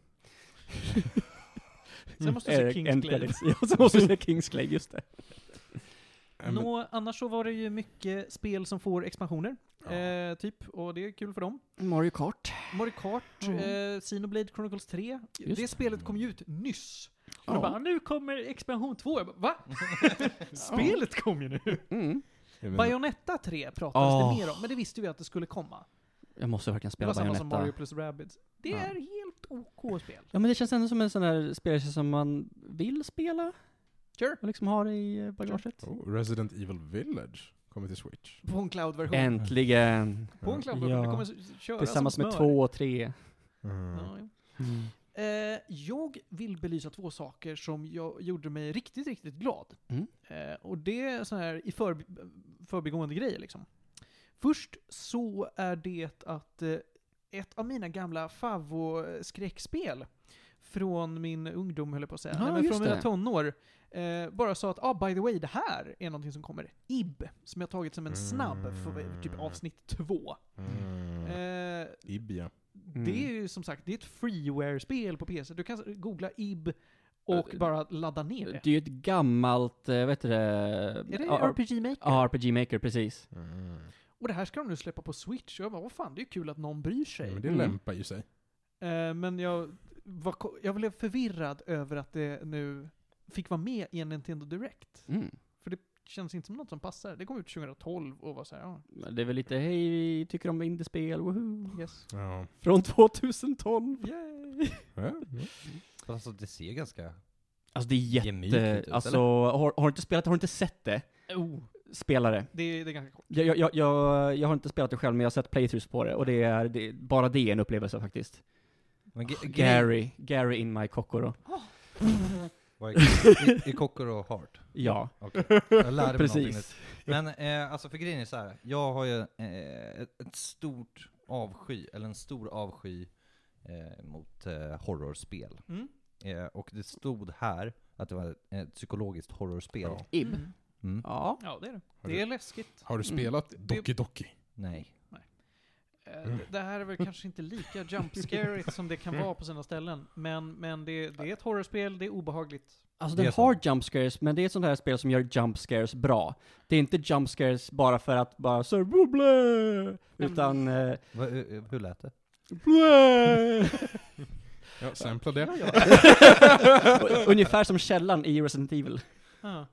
Speaker 3: Sen måste du se
Speaker 2: Eh,
Speaker 3: Kings
Speaker 2: end
Speaker 3: Glaive.
Speaker 2: credits. Ja, sen måste du se Kings Clay, just det.
Speaker 4: liksom?
Speaker 3: Nå, annars så var det ju mycket spel som får expansioner,
Speaker 4: Ja.
Speaker 3: eh, typ, och det är kul för dem.
Speaker 2: Mario Kart.
Speaker 3: Mario Kart,
Speaker 2: Ja.
Speaker 3: eh, Xenoblade Chronicles 3,
Speaker 2: Just
Speaker 3: det
Speaker 2: det.
Speaker 3: spelet kom ju ut nyss. Och
Speaker 2: Ja.
Speaker 3: de bara, nu kommer expansion 2. Jag bara, va? Spelet kom ju nu.
Speaker 2: Mm.
Speaker 3: Bayonetta 3 pratades
Speaker 2: Åh.
Speaker 3: det mer om, men det visste vi att det skulle komma.
Speaker 2: Jag måste verkligen
Speaker 3: Det
Speaker 2: spela
Speaker 3: var samma
Speaker 2: Bayonetta.
Speaker 3: som Mario plus Rabbids. Det
Speaker 2: Ja.
Speaker 3: är helt OK spel.
Speaker 2: Ja men det känns ändå som en sån där spelare som man vill spela.
Speaker 3: Sure.
Speaker 2: Och liksom ha det i eh, bagaget.
Speaker 4: Oh, Resident Evil Village kommer till Switch.
Speaker 3: På en cloud-version.
Speaker 2: Äntligen!
Speaker 3: På en cloud-version.
Speaker 2: Eh, Ja.
Speaker 3: Det kommer s- köra
Speaker 2: Tillsammans
Speaker 3: som
Speaker 2: med
Speaker 3: smör.
Speaker 2: två och tre.
Speaker 4: Mm.
Speaker 3: Ja, ja.
Speaker 2: Mm.
Speaker 3: Eh, jag vill belysa två saker som jag gjorde mig riktigt, riktigt glad.
Speaker 2: Mm.
Speaker 3: Eh, och det är så här i förb förbigående grejer liksom. Först så är det att eh, ett av mina gamla favvo-skräckspel från min ungdom, höll jag på att säga,
Speaker 2: Ja,
Speaker 3: Nej, men
Speaker 2: just
Speaker 3: från mina
Speaker 2: det.
Speaker 3: tonår, eh, bara sa att ah, by the way, det här är någonting som kommer. IB, som jag tagit som en snabb för typ avsnitt två. Eh,
Speaker 4: Mm. Ibia.
Speaker 3: det är ju som sagt, det är ett freeware-spel på PC. Du kan googla IB och
Speaker 2: Eh,
Speaker 3: bara ladda ner det.
Speaker 2: Det är ju ett gammalt, eh, vad heter det?
Speaker 3: Är det
Speaker 2: R-
Speaker 3: RPG Maker?
Speaker 2: Ja, RPG Maker, precis.
Speaker 4: Mm.
Speaker 3: Och det här ska de nu släppa på Switch. Och jag bara, vad fan, det är ju kul att någon bryr sig.
Speaker 4: Men det
Speaker 2: Mm.
Speaker 4: lämpar ju sig.
Speaker 3: Eh, men jag, var, ko- jag blev förvirrad över att det nu fick vara med i en Nintendo Direct.
Speaker 2: Mm.
Speaker 3: För det känns inte som något som passar. Det kom ut 2012 och var så här, ja,
Speaker 2: Det är väl lite, hej, vi tycker om indiespel, woho.
Speaker 3: yes.
Speaker 4: Ja.
Speaker 2: Från 2012.
Speaker 3: Yay! Mm.
Speaker 1: Alltså det ser ganska...
Speaker 2: Alltså det är
Speaker 1: Gemytligt
Speaker 2: jätte,
Speaker 1: ut,
Speaker 2: alltså,
Speaker 1: typ, eller?
Speaker 2: har, har du inte spelat, har du inte sett det?
Speaker 3: Oh,
Speaker 2: Spela det.
Speaker 3: det, det är ganska kort.
Speaker 2: Jag, jag, jag, jag, jag har inte spelat det själv, men jag har sett playthroughs på det, och det är, det, bara det är en upplevelse faktiskt.
Speaker 1: Men ge- grej-
Speaker 2: Gary, Gary in my Kokoro.
Speaker 1: Vad är- I, i kockor och heart.
Speaker 2: Ja,
Speaker 1: Okej. Jag lärde mig någonting
Speaker 2: precis.
Speaker 1: nytt. Men eh, alltså för grejen är så här. jag har ju eh, ett, ett stort avsky, eller en stor avsky eh, mot eh, horrorspel.
Speaker 3: Mm.
Speaker 1: Eh, och det stod här att det var ett psykologiskt horrorspel.
Speaker 4: Ja.
Speaker 2: Ib.
Speaker 1: Mm.
Speaker 2: Ja.
Speaker 3: Ja, det är det.
Speaker 4: Har du-
Speaker 3: Det är läskigt.
Speaker 4: Har du spelat Doki Doki?
Speaker 1: Nej.
Speaker 3: Eh, det- Det här är väl kanske inte lika jump scary som det kan vara på sina ställen. Men, men det, det är ett horrorspel, det är obehagligt.
Speaker 2: Alltså
Speaker 1: Det
Speaker 2: den
Speaker 1: är så.
Speaker 2: har jump scares, men det är ett sånt här spel som gör jump scares bra. Det är inte jump scares bara för att bara så här, "Blah, blah", utan... eh,
Speaker 1: Va, eh, eh, hur lät det?
Speaker 2: blah.
Speaker 4: Ja, sampla det.
Speaker 2: Ungefär som källan i Resident Evil.
Speaker 3: Ja.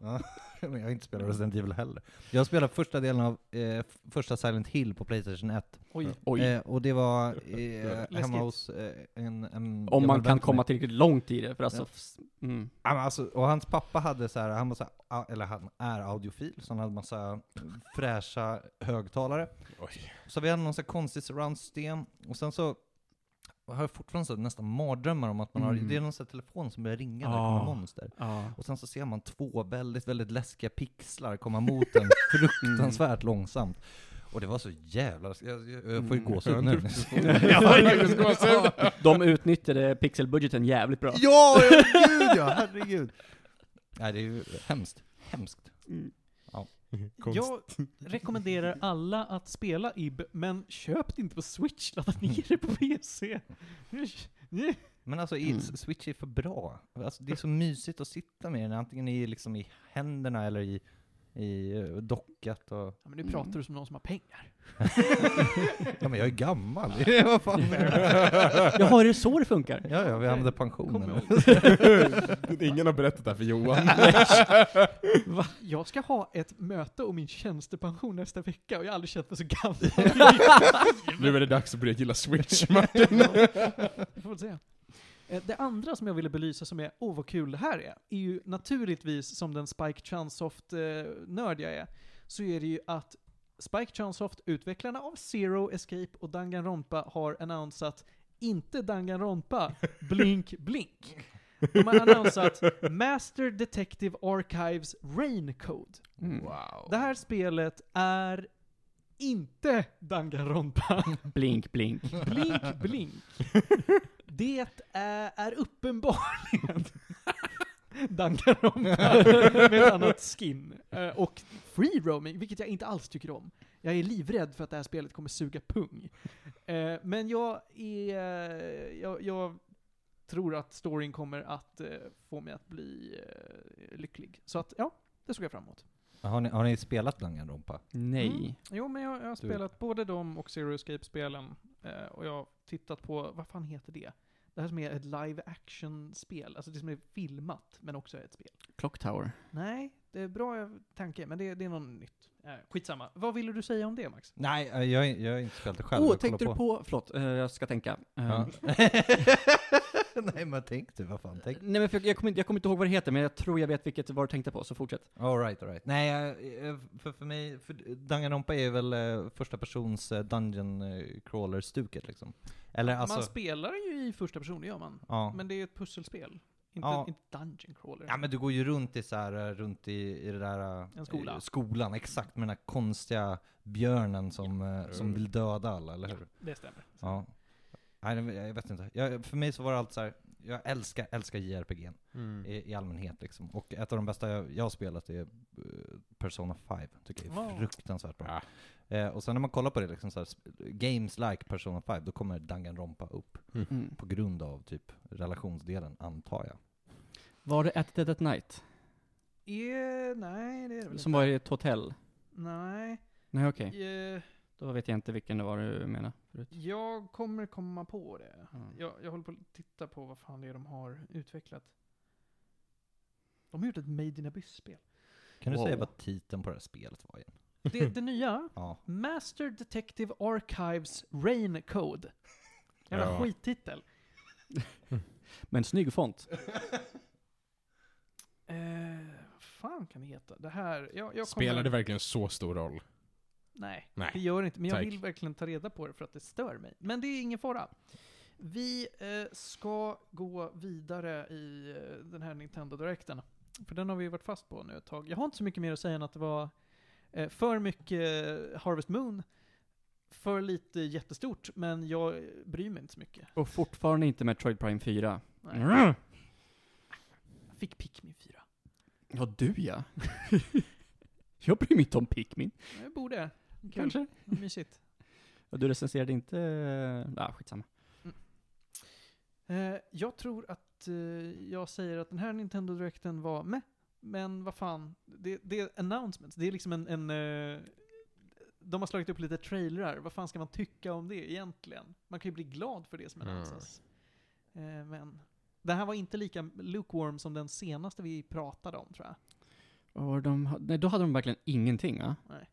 Speaker 1: Men jag har inte
Speaker 2: Mm.
Speaker 1: spelat Resident Evil heller. Jag spelade första delen av eh, f- första Silent Hill på Playstation 1.
Speaker 3: Oj.
Speaker 2: Oj.
Speaker 1: Eh, och det var eh,
Speaker 3: Läskigt.
Speaker 1: hemma hos eh, en, en
Speaker 2: Om man
Speaker 1: gammal vän
Speaker 2: kan
Speaker 1: till
Speaker 2: komma
Speaker 1: mig.
Speaker 2: tillräckligt långt i det, för alltså...
Speaker 1: Ja.
Speaker 2: f- Mm.
Speaker 1: Ja, men alltså, och hans pappa hade så här, han var så här, ah, eller han är audiofil, så han hade massa fräscha högtalare.
Speaker 4: Oj.
Speaker 1: Så vi hade någon så här konstig surround-system, och sen så har jag fortfarande så här, nästan mardrömmar om att man har,
Speaker 2: Mm.
Speaker 1: det är någon så här telefon som börjar ringa när det kommer
Speaker 2: Ah.
Speaker 1: monster.
Speaker 2: Ja.
Speaker 1: Och sen så ser man två väldigt, väldigt läskiga pixlar komma mot en fruktansvärt långsamt. Och det var så jävla läskigt. jag, jag, jag får ju
Speaker 2: Mm.
Speaker 1: gåshud nu.
Speaker 2: De utnyttjade pixelbudgeten jävligt bra.
Speaker 1: Ja, ja, gud ja, herregud. Nej, det är ju hemskt. Hemskt.
Speaker 3: Jag rekommenderar alla att spela IB, men köp det inte på Switch, ladda ner det på PC.
Speaker 1: Men alltså,
Speaker 2: Mm.
Speaker 1: mm. Switch är för bra. Alltså, det är så mysigt att sitta med den, antingen i, liksom, i händerna eller i, i eh, dockat och...
Speaker 3: Ja, men nu pratar du som någon som har pengar.
Speaker 1: Ja men jag är gammal, vad fan
Speaker 2: Jaha, är det så det funkar?
Speaker 1: Ja, ja, vi använder pensionen.
Speaker 4: Ingen har berättat det här för Johan.
Speaker 3: Jag ska ha ett möte om min tjänstepension nästa vecka och jag har aldrig känt mig så gammal.
Speaker 4: Nu är det dags att börja gilla Switch, Martin.
Speaker 3: Vi får väl se. Eh, Det andra som jag ville belysa som är, åh vad kul det här är, är ju naturligtvis som den Spike Chunsoft-nörd jag är, så är det ju att Spike Chunsoft, utvecklarna av Zero Escape och Danganronpa har annonsat, inte Danganronpa, blink blink. De har annonsat Master Detective Archives Rain Code.
Speaker 2: Mm.
Speaker 4: Wow.
Speaker 3: Det här spelet är inte Danganronpa.
Speaker 2: Blink, blink.
Speaker 3: Blink, blink. Det är, är uppenbarligen Danganronpa med ett annat skin. Eh, Och free roaming, vilket jag inte alls tycker om. Jag är livrädd för att det här spelet kommer suga pung. Eh, Men jag är... eh, Jag, jag tror att storyn kommer att eh, få mig att bli eh, lycklig. Så att, ja, det såg jag fram emot.
Speaker 1: Har ni, har ni spelat Danganronpa?
Speaker 2: Nej.
Speaker 3: Mm. Jo, men jag, jag har spelat både dem och Zero Escape-spelen. Eh, och jag har tittat på, vad fan heter det? Det här som är ett live action-spel. Alltså det som är filmat, men också är ett spel.
Speaker 2: Clock Tower.
Speaker 3: Nej, det är bra tanke, men det, det är något nytt. Eh, skitsamma. Vad ville du säga om det, Max?
Speaker 1: Nej, eh, jag, jag har inte spelat det själv.
Speaker 2: Åh,
Speaker 1: jag kollar
Speaker 2: tänkte du på, förlåt, eh, jag ska tänka. Eh,
Speaker 1: Ja. Nej men tänk du, vad fan, tänk.
Speaker 2: Nej men för jag, jag, kommer inte, jag kommer inte ihåg vad det heter, men jag tror jag vet vilket vad du tänkte på, så fortsätt.
Speaker 1: All right, all right. Nej, eh, eh, för, för mig, för Danganronpa är väl eh, första persons eh, dungeon eh, crawler-stuket liksom. Eller alltså,
Speaker 3: Man spelar ju i första person, det gör man.
Speaker 1: ja.
Speaker 3: Men det är ett pusselspel. Inte,
Speaker 1: Ja.
Speaker 3: inte Dungeon Crawler.
Speaker 1: Ja men du går ju runt i så här, eh, runt i, i det där... eh,
Speaker 3: En skola.
Speaker 1: eh, Skolan, exakt. Med den här konstiga björnen som, eh, som
Speaker 4: Mm.
Speaker 1: vill döda alla, eller hur?
Speaker 3: Det stämmer.
Speaker 1: Ja. Nej, det- jag vet inte. Jag, för mig så var det allt så här. jag älskar, älskar JRPG
Speaker 4: Mm.
Speaker 1: i, i allmänhet liksom. Och ett av de bästa jag, jag har spelat är eh, Persona 5. Tycker jag är
Speaker 3: Wow.
Speaker 1: fruktansvärt bra.
Speaker 4: Ah.
Speaker 1: Eh, och sen när man kollar på det liksom så här, sp- games like Persona 5, då kommer Danganronpa upp.
Speaker 2: Mm.
Speaker 1: På grund av typ relationsdelen, antar jag.
Speaker 2: Var det At Dead At Night?
Speaker 3: Eh, nej, det är det väl
Speaker 2: Som
Speaker 3: inte.
Speaker 2: var i ett hotell?
Speaker 3: Nej.
Speaker 2: Nej okej,
Speaker 3: Eh,
Speaker 2: då vet jag inte vilken det var du menade förut.
Speaker 3: jag kommer komma på det.
Speaker 2: Mm.
Speaker 3: Jag, jag håller på att titta på vad fan det är de har utvecklat. De har gjort ett Made in Abyss-spel.
Speaker 1: Kan du
Speaker 2: Wow.
Speaker 1: säga vad titeln på det här spelet var igen?
Speaker 3: Det, det nya,
Speaker 1: Ja.
Speaker 3: Master Detective Archives Rain Code. Jävla
Speaker 4: Ja.
Speaker 3: skittitel.
Speaker 2: Men snygg font.
Speaker 3: Eh, vad fan kan det heta? Det här... Jag, jag
Speaker 4: Spelar
Speaker 3: kommer,
Speaker 4: det verkligen så stor roll?
Speaker 3: Nej,
Speaker 4: Nej.
Speaker 3: det gör det inte. Men jag
Speaker 4: Tack.
Speaker 3: vill verkligen ta reda på det för att det stör mig. Men det är ingen fara. Vi eh, ska gå vidare i eh, den här Nintendo Directen. För den har vi varit fast på nu ett tag. Jag har inte så mycket mer att säga än att det var eh, för mycket eh, Harvest Moon. För lite jättestort, men jag eh, bryr mig inte så mycket.
Speaker 2: Och fortfarande inte Metroid Prime 4.
Speaker 3: Nej.
Speaker 2: Mm.
Speaker 3: Jag Fick Pikmin 4.
Speaker 2: Ja, du ja. jag bryr mig inte om Pikmin.
Speaker 3: Ja, Jag borde. Kul.
Speaker 2: Kanske.
Speaker 3: Vad Mysigt.
Speaker 2: Ja, Du recenserade inte... Ah, skitsamma.
Speaker 3: Eh, jag tror att eh, jag säger att den här Nintendo Directen var med. Men vad fan, det, det är announcements. Det är liksom en... en eh, de har slagit upp lite trailrar. Vad fan ska man tycka om det egentligen? Man kan ju bli glad för det som
Speaker 4: Mm.
Speaker 3: annonseras. Eh, men det här var inte lika lukewarm som den senaste vi pratade om tror jag.
Speaker 2: Och de, ha- nej, då hade de verkligen ingenting, va?
Speaker 3: Nej.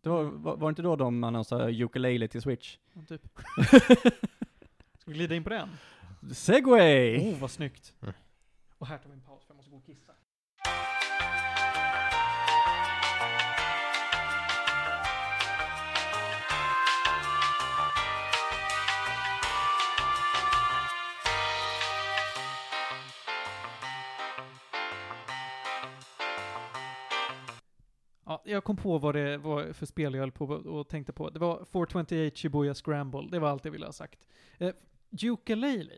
Speaker 2: Det var, var, var det inte då de annonserade ukulele till Switch?
Speaker 3: Men Typ. ska vi glida in på den?
Speaker 2: Segway!
Speaker 3: Åh, oh, vad snyggt.
Speaker 4: Mm.
Speaker 3: Och här tar vi en paus för jag måste gå och kissa. Ja, jag kom på vad det var för spel jag höll på och tänkte på. Det var 428 Shibuya Scramble. Det var allt jag ville ha sagt. Eh, Ukulele.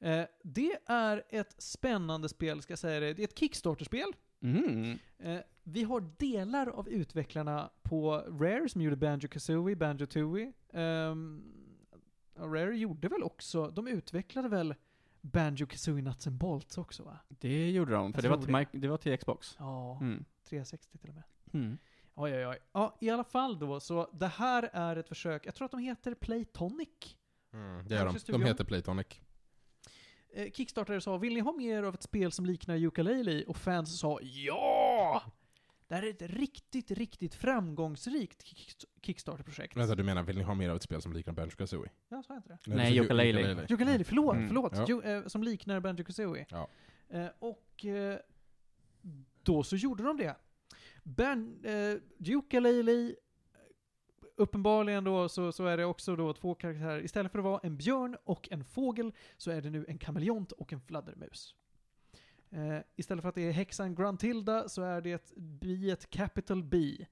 Speaker 3: Eh, det är ett spännande spel, ska jag säga det. Det är ett Kickstarter-spel.
Speaker 2: Mm.
Speaker 3: Eh, vi har delar av utvecklarna på Rare som gjorde Banjo-Kazooie, Banjo-Tooie. Ehm, ja, Rare gjorde väl också, de utvecklade väl Banjo-Kazooie Nuts and Bolts också va?
Speaker 2: Det gjorde de, för
Speaker 3: Jag
Speaker 2: det var,
Speaker 3: tror
Speaker 2: till
Speaker 3: det.
Speaker 2: Mic- det var till Xbox.
Speaker 3: Ja,
Speaker 2: Mm.
Speaker 3: 360 till och med.
Speaker 2: Mm.
Speaker 3: Oj, oj, oj. Ja, i alla fall då, så det här är ett försök. Jag tror att de heter Playtonic.
Speaker 4: det gör de.
Speaker 3: Kanske
Speaker 4: De
Speaker 3: studion.
Speaker 4: heter Playtonic.
Speaker 3: Eh, Kickstarter sa “Vill ni ha mer av ett spel som liknar Ukulele?” och fans sa “Ja!” Det här är ett riktigt, riktigt framgångsrikt kick- Kickstarter-projekt.
Speaker 4: Vänta, du menar, vill ni ha mer av ett spel som liknar Banjo Kazooie?
Speaker 3: Ja, sa jag inte det?
Speaker 2: Nej, Yooka-Laylee.
Speaker 3: Ukulele, förlåt,
Speaker 2: Mm,
Speaker 3: förlåt!
Speaker 4: ja.
Speaker 3: Jo, eh, som liknar Banjo-Kazooie.
Speaker 4: Ja.
Speaker 3: Eh, och eh, då så gjorde de det. Ben, eh, Ukulele, uppenbarligen då så, så är det också då två karaktärer. Istället för att vara en björn och en fågel så är det nu en kameleont och en fladdermus. Eh, istället för att det är häxan Gruntilda så är det biet Capital B.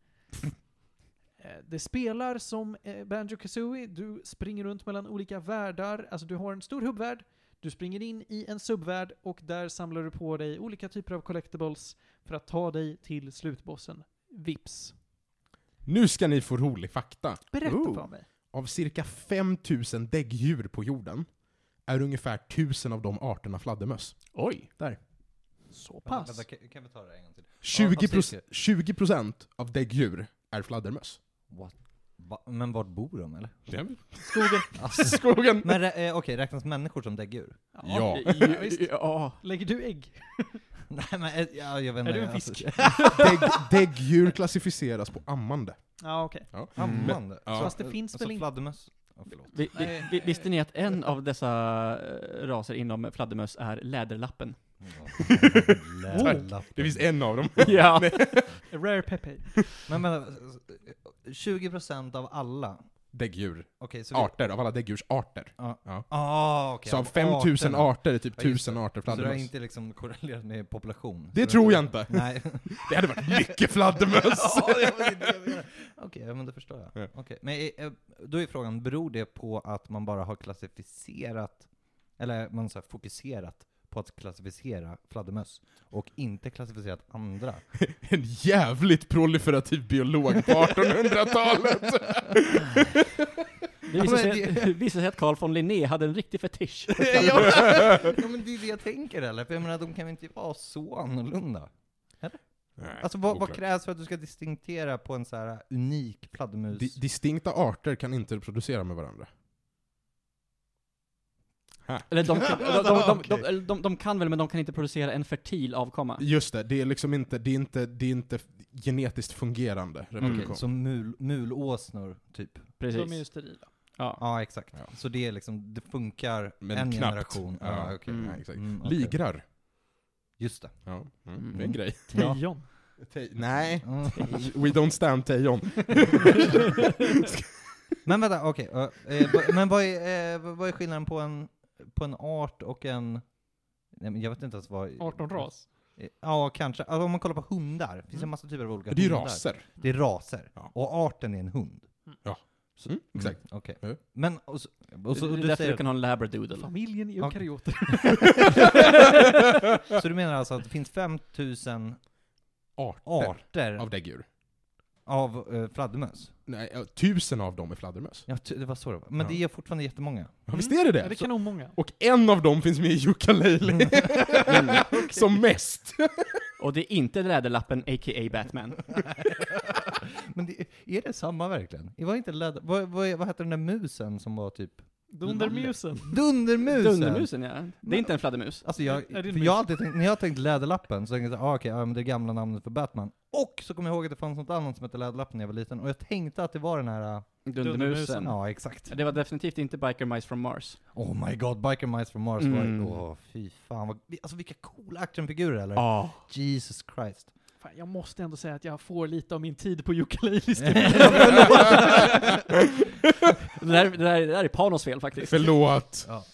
Speaker 3: Eh, Det spelar som eh, Banjo-Kazooie, du springer runt mellan olika världar, alltså du har en stor hubbvärld, du springer in i en subvärld och där samlar du på dig olika typer av collectibles för att ta dig till slutbossen, Vips.
Speaker 4: Nu ska ni få rolig fakta.
Speaker 3: Berätta
Speaker 2: Ooh.
Speaker 3: för mig.
Speaker 4: Av cirka 5000 däggdjur på jorden är ungefär 1000 av de arterna fladdermöss.
Speaker 2: Oj!
Speaker 3: Så
Speaker 1: Vänta,
Speaker 3: pass.
Speaker 1: vänta, kan- kan vi ta det en gång till?
Speaker 4: 20%,
Speaker 1: av cirka.
Speaker 4: 20 av däggdjur är fladdermöss.
Speaker 1: What? Va? Men vart bor de eller?
Speaker 3: Skogen.
Speaker 1: Alltså,
Speaker 4: Skogen!
Speaker 1: men rä- eh, okej, räknas människor som däggdjur?
Speaker 3: ja,
Speaker 4: Ja.
Speaker 3: visst.
Speaker 2: ja.
Speaker 3: Lägger du ägg?
Speaker 1: Nej men eh, ja, jag vet inte.
Speaker 3: Är du en
Speaker 1: alltså,
Speaker 3: fisk?
Speaker 4: Dägg, däggdjur klassificeras på ammande.
Speaker 3: Ja, okej.
Speaker 1: Ammande?
Speaker 4: Ja.
Speaker 3: Fast det finns
Speaker 1: alltså,
Speaker 3: väl inte-
Speaker 1: fladdermöss? Ja, förlåt.
Speaker 2: Vi, vi, vi, visste ni att en av dessa eh, raser inom fladdermöss är läderlappen?
Speaker 1: Mm. Läderlappen.
Speaker 4: Det finns en av dem.
Speaker 2: ja!
Speaker 3: Rare Pepe.
Speaker 1: eh, Men vänta, 20% eh, av alla
Speaker 4: däggdjur.
Speaker 1: Okej, så vi...
Speaker 4: Arter, av alla däggdjursarter.
Speaker 1: Ah, okej.
Speaker 4: så av
Speaker 1: av
Speaker 4: 5000
Speaker 1: arterna.
Speaker 4: arter är typ
Speaker 1: Ja, just
Speaker 4: 1000 arter
Speaker 1: Så det har
Speaker 4: fladdermöss.
Speaker 1: inte liksom korrelerat med population?
Speaker 4: Det
Speaker 1: Så
Speaker 4: tror jag inte.
Speaker 1: Nej.
Speaker 4: Det hade varit mycket fladdermöss!
Speaker 1: Ja, det var det jag menade. Okej, ja, men det förstår jag.
Speaker 4: Ja.
Speaker 1: Okej, Men eh, eh, då är frågan, beror det på att man bara har klassificerat, eller man så här fokuserat på att klassificera fladdermöss och inte klassificerat andra?
Speaker 4: En jävligt proliferativ biolog på 1800-talet!
Speaker 2: Det visar
Speaker 1: Ja, men
Speaker 2: sig, det visar sig att Carl von Linné hade en riktig fetisch.
Speaker 1: ja, ja, men det är det jag tänker eller? För jag menar, de kan väl inte vara så annorlunda? Alltså vad, vad
Speaker 4: Oklart.
Speaker 1: krävs för att du ska distinktera på en så här unik fladdermus?
Speaker 4: Di- distinkta arter kan inte reproducera med varandra.
Speaker 2: Eller de kan, de, de, de, de, de, de kan väl, men de kan inte producera en fertil avkomma.
Speaker 4: Just det, det är liksom inte, det är inte, det är inte genetiskt fungerande reproduktion.
Speaker 1: Okej, Som mul, mulåsnor, typ?
Speaker 3: De är ju
Speaker 2: Precis.
Speaker 3: sterila.
Speaker 2: Ja.
Speaker 1: Ja, exakt.
Speaker 4: Ja.
Speaker 1: Så det är liksom, det funkar
Speaker 4: Men
Speaker 1: en
Speaker 4: knappt.
Speaker 1: generation?
Speaker 4: Ja.
Speaker 1: Ja, okej.
Speaker 2: Mm.
Speaker 4: Ja, exakt.
Speaker 1: Mm, okej.
Speaker 4: Ligrar.
Speaker 1: Just det.
Speaker 4: Ja, mm,
Speaker 2: Mm.
Speaker 4: det är en grej.
Speaker 3: Tejon.
Speaker 4: Nej.
Speaker 1: Mm.
Speaker 4: We don't stand Tejon.
Speaker 1: Men vänta, okej. ö, eh, va- men vad är, eh, vad är skillnaden på en, på en art och en... Nej, men jag vet inte ens vad...
Speaker 3: 18 ras.
Speaker 1: Eh, Ja, kanske. Alltså, om man kollar på hundar, finns det
Speaker 3: Mm.
Speaker 1: en massa typer av olika
Speaker 4: Det är ju
Speaker 1: hundar.
Speaker 4: raser.
Speaker 1: Det är raser.
Speaker 4: Ja.
Speaker 1: Och arten är en hund.
Speaker 4: Ja.
Speaker 1: Så-
Speaker 4: Mm, exakt.
Speaker 1: Mm, okej.
Speaker 4: Ja.
Speaker 1: Men, och så, och så,
Speaker 2: det
Speaker 1: och
Speaker 2: är
Speaker 1: du
Speaker 2: därför
Speaker 1: säger,
Speaker 2: du kan ha en labradoodle.
Speaker 3: Familjen
Speaker 1: Ja.
Speaker 3: eukaryoter.
Speaker 1: så du menar alltså att det finns 5000
Speaker 4: Arter
Speaker 1: arter
Speaker 4: av
Speaker 1: av,
Speaker 4: däggdjur.
Speaker 1: eh, fladdermöss?
Speaker 4: Nej, ja, tusen av dem är fladdermöss.
Speaker 1: Ja, ty- det var så det var. Men
Speaker 4: Ja.
Speaker 1: det är fortfarande jättemånga.
Speaker 4: Ja, visst är det det?
Speaker 3: Mm. Ja, det kan nog många.
Speaker 4: Och en av dem finns med i Ukulele. Mm. Som mest.
Speaker 2: Och det är inte läderlappen, a.k.a. Batman.
Speaker 1: Men det, är det samma verkligen? Det var inte läder, vad, vad, vad hette den där musen som var typ...
Speaker 3: Dundermusen.
Speaker 1: Dundermusen!
Speaker 2: Dundermusen, ja. Det är inte en fladdermus.
Speaker 1: Alltså jag,
Speaker 3: Är det en
Speaker 1: för
Speaker 3: mus?
Speaker 1: jag har alltid tänkt, när jag har tänkt Läderlappen så tänkte jag ah, okej, ja, men det är gamla namnet för Batman. Och så kom jag ihåg att det fanns något annat som hette Läderlappen när jag var liten, och jag tänkte att det var den här, äh,
Speaker 2: Dundermusen.
Speaker 1: ja exakt.
Speaker 2: Det var definitivt inte Biker Mice from Mars.
Speaker 1: Oh my god, Biker Mice from Mars
Speaker 2: Mm.
Speaker 1: var åh fy fan. Vad, alltså vilka coola actionfigurer eller?
Speaker 2: Ja.
Speaker 1: Jesus Christ.
Speaker 3: Fan, jag måste ändå säga att jag får lite av min tid på typ. ukuleliska.
Speaker 2: Det, där, det, där, det där är Panos fel faktiskt.
Speaker 4: Förlåt.
Speaker 1: Ja.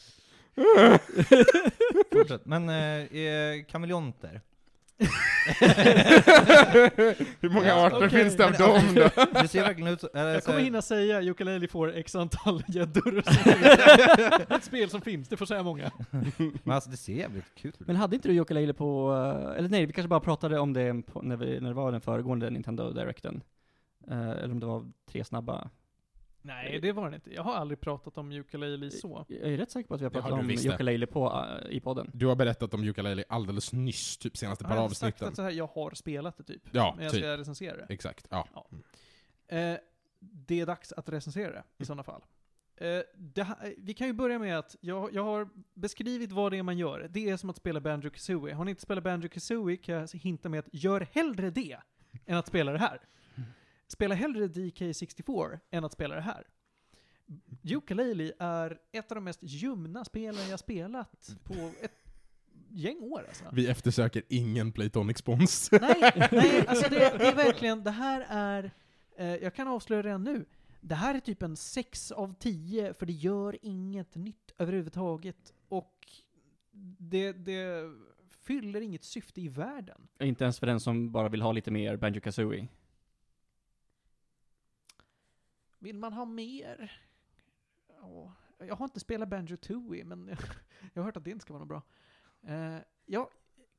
Speaker 1: Fortsätt. Men eh, eh, kameleonter.
Speaker 4: Hur många
Speaker 1: Ja,
Speaker 4: arter
Speaker 3: okej.
Speaker 4: finns det av
Speaker 1: Men,
Speaker 4: dem då?
Speaker 1: Det ser verkligen ut så, eller,
Speaker 3: Jag
Speaker 1: så här-
Speaker 3: kommer hinna säga ukulele får x antal gäddor. och så vidare. Ett spel som finns, det får säga många.
Speaker 1: Men alltså det ser jävligt kul ut.
Speaker 2: Men hade inte du ukulele på, eh, eller nej, vi kanske bara pratade om det på, när, vi, när det var den föregående Nintendo Directen. Eh, eller om det var tre snabba.
Speaker 3: Nej, det var det inte. Jag har aldrig pratat om ukulele så.
Speaker 2: Jag är rätt säker på att vi har
Speaker 4: Det har
Speaker 2: pratat
Speaker 4: du
Speaker 2: om
Speaker 4: visst det.
Speaker 2: ukulele på eh, i podden.
Speaker 4: Du har berättat om Ukulele alldeles nyss, typ senaste
Speaker 3: Jag
Speaker 4: par
Speaker 3: har inte sagt
Speaker 4: avsnitten.
Speaker 3: att så här, jag har spelat det typ.
Speaker 4: Ja,
Speaker 3: men jag
Speaker 4: typ.
Speaker 3: ska recensera det.
Speaker 4: Exakt, ja.
Speaker 3: Eh, det är dags att recensera det i sådana fall. Eh, det, ha- vi kan ju börja med att jag, jag har beskrivit vad det är man gör. Det är som att spela Banjo Kazooie. Har ni inte spelat Banjo Kazooie kan jag hinta med att gör hellre det än att spela det här. Spela hellre DK64 än att spela det här. Ukulele är ett av de mest ljumna spelen jag spelat på ett gäng år alltså.
Speaker 4: Vi eftersöker ingen Playtonic-spons.
Speaker 3: Nej, nej alltså det, det är verkligen, det här är, eh, jag kan avslöja redan nu, det här är typ en 6 av 10 för det gör inget nytt överhuvudtaget och det, det fyller inget syfte i världen.
Speaker 2: Inte ens för den som bara vill ha lite mer Banjo Kazooie.
Speaker 3: Vill man ha mer? Ja, jag har inte spelat Banjo Tooie men jag, jag har hört att det inte ska vara något bra. Eh, ja,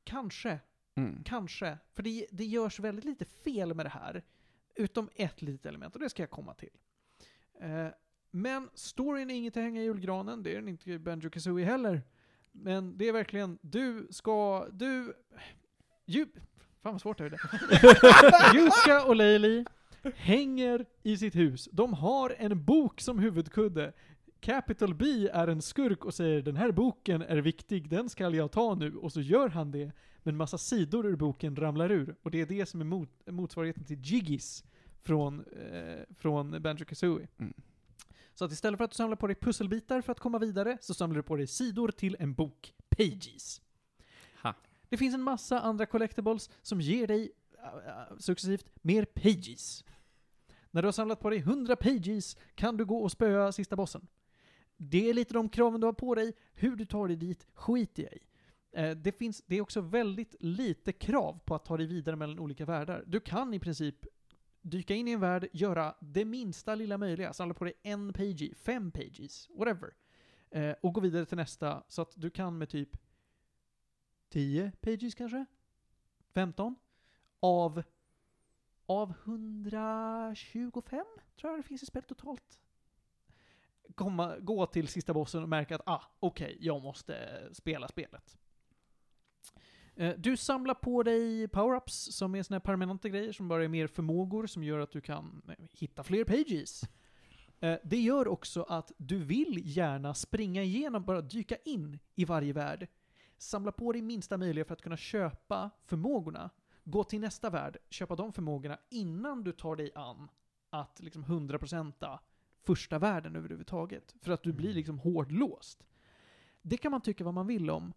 Speaker 3: kanske.
Speaker 2: Mm.
Speaker 3: Kanske. För det, det görs väldigt lite fel med det här. Utom ett litet element, och det ska jag komma till. Eh, men storyn är inget att hänga i julgranen, det är den inte i Banjo Kazooie heller. Men det är verkligen, du ska, du... Ju, fan vad svårt det är det. Yuska och Leili hänger i sitt hus. De har en bok som huvudkudde. Capital B är en skurk och säger den här boken är viktig, den ska jag ta nu. Och så gör han det. Men massa sidor ur boken ramlar ur. Och det är det som är mot, motsvarigheten till Jiggies från, eh, från Banjo Kazooie.
Speaker 2: Mm.
Speaker 3: Så att istället för att du samlar på dig pusselbitar för att komma vidare, så samlar du på dig sidor till en bok. Pages.
Speaker 2: Ha.
Speaker 3: Det finns en massa andra collectibles som ger dig äh, äh, successivt mer pages. När du har samlat på dig 100 pages kan du gå och spöa sista bossen. Det är lite de kraven du har på dig. Hur du tar dig dit skiter jag i. Eh, Det, finns, det är också väldigt lite krav på att ta dig vidare mellan olika världar. Du kan i princip dyka in i en värld, göra det minsta lilla möjliga, samla på dig en page, fem pages, whatever. Eh, och gå vidare till nästa, så att du kan med typ 10 pages kanske? 15? Av, av 125, tror jag det finns i spelet totalt. Komma, gå till sista bossen och märka att ah, okej, jag måste eh, spela spelet. Eh, Du samlar på dig power-ups som är såna här permanenta grejer som bara är mer förmågor som gör att du kan eh, hitta fler pages. Eh, Det gör också att du vill gärna springa igenom, bara dyka in i varje värld. Samla på dig minsta möjliga för att kunna köpa förmågorna. Gå till nästa värld, köpa de förmågorna innan du tar dig an att liksom 100% första världen överhuvudtaget. För att du blir liksom hårdlåst. Det kan man tycka vad man vill om.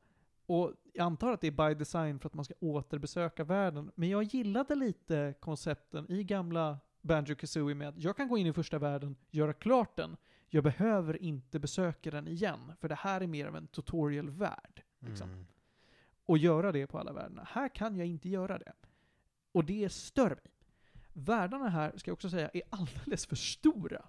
Speaker 3: Och jag antar att det är by design för att man ska återbesöka världen. Men jag gillade lite koncepten i gamla Banjo Kazooie med att jag kan gå in i första världen, göra klart den. Jag behöver inte besöka den igen, för det här är mer av en tutorial-värld. Liksom.
Speaker 4: Mm.
Speaker 3: Och göra det på alla världarna. Här kan jag inte göra det. Och det stör mig. Världarna här, ska jag också säga, är alldeles för stora.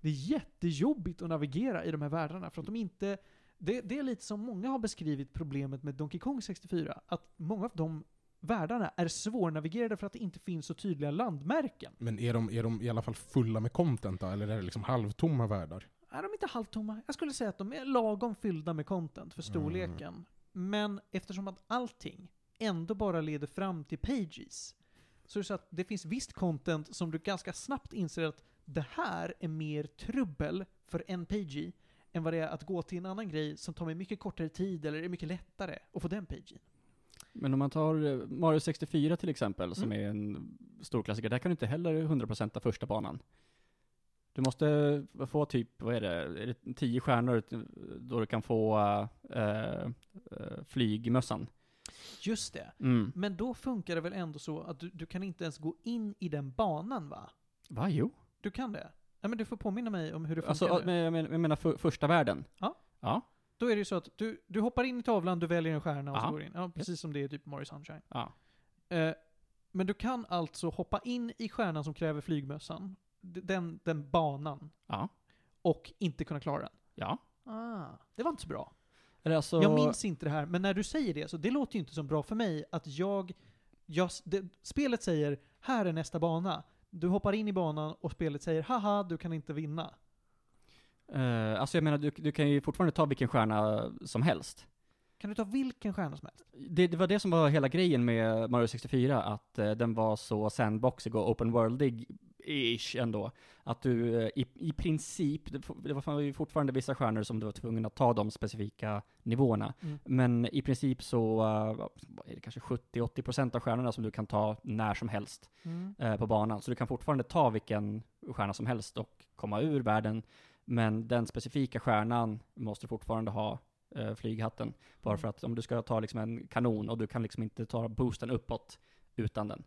Speaker 3: Det är jättejobbigt att navigera i de här världarna för att de inte... Det, det är lite som många har beskrivit problemet med Donkey Kong 64. Att många av de världarna är svårnavigerade för att det inte finns så tydliga landmärken.
Speaker 4: Men är de, är de i alla fall fulla med content då? Eller är det liksom halvtomma världar?
Speaker 3: Är de inte halvtomma? Jag skulle säga att de är lagom fyllda med content för storleken. Men eftersom att allting ändå bara leder fram till pages, så är det så att det finns visst content som du ganska snabbt inser att det här är mer trubbel för en page än vad det är att gå till en annan grej som tar mig mycket kortare tid eller är mycket lättare att få den pagen.
Speaker 2: Men om man tar eh, Mario 64 till exempel, som är en stor klassiker, där kan du inte heller 100% första banan. Du måste få typ, vad är det, är det 10 stjärnor eh, då du kan få eh, eh, flygmössan.
Speaker 3: Just det.
Speaker 2: Mm.
Speaker 3: Men då funkar det väl ändå så att du, du kan inte ens gå in i den banan va?
Speaker 2: Va, jo?
Speaker 3: Du kan det? Nej men du får påminna mig om hur det funkar.
Speaker 2: Alltså,
Speaker 3: nu.
Speaker 2: men, jag men- jag menar för, första världen.
Speaker 3: Ja.
Speaker 2: Ja.
Speaker 3: Då är det ju så att du, du hoppar in i tavlan, du väljer en stjärna och så
Speaker 2: Aha.
Speaker 3: går du in. Ja, precis som det är i typ Mario Sunshine.
Speaker 2: Ja.
Speaker 3: Eh, men du kan alltså hoppa in i stjärnan som kräver flygmössan, d- den, den banan,
Speaker 2: Ja.
Speaker 3: och inte kunna klara den.
Speaker 2: Ja.
Speaker 3: Ah, det var inte så bra.
Speaker 2: Eller alltså,
Speaker 3: Jag minns inte det här, men när du säger det så det låter ju inte som bra för mig att jag... jag det, spelet säger “Här är nästa bana”. Du hoppar in i banan och spelet säger “Haha, du kan inte vinna”.
Speaker 2: eh, alltså jag menar, du, du kan ju fortfarande ta vilken stjärna som helst.
Speaker 3: Kan du ta vilken stjärna som helst?
Speaker 2: Det, det var det som var hela grejen med Mario 64, att eh, den var så sandboxig och open worldig-ish ändå. Att du eh, i, i princip, det, f- det var ju fortfarande vissa stjärnor som du var tvungen att ta de specifika nivåerna.
Speaker 3: Mm.
Speaker 2: Men i princip så eh, vad är det kanske 70-80% av stjärnorna som du kan ta när som helst eh, på banan. Så du kan fortfarande ta vilken stjärna som helst och komma ur världen. Men den specifika stjärnan måste fortfarande ha eh, flyghatten.
Speaker 3: Mm.
Speaker 2: Bara för att om du ska ta liksom en kanon och du kan liksom inte ta boosten uppåt utan den.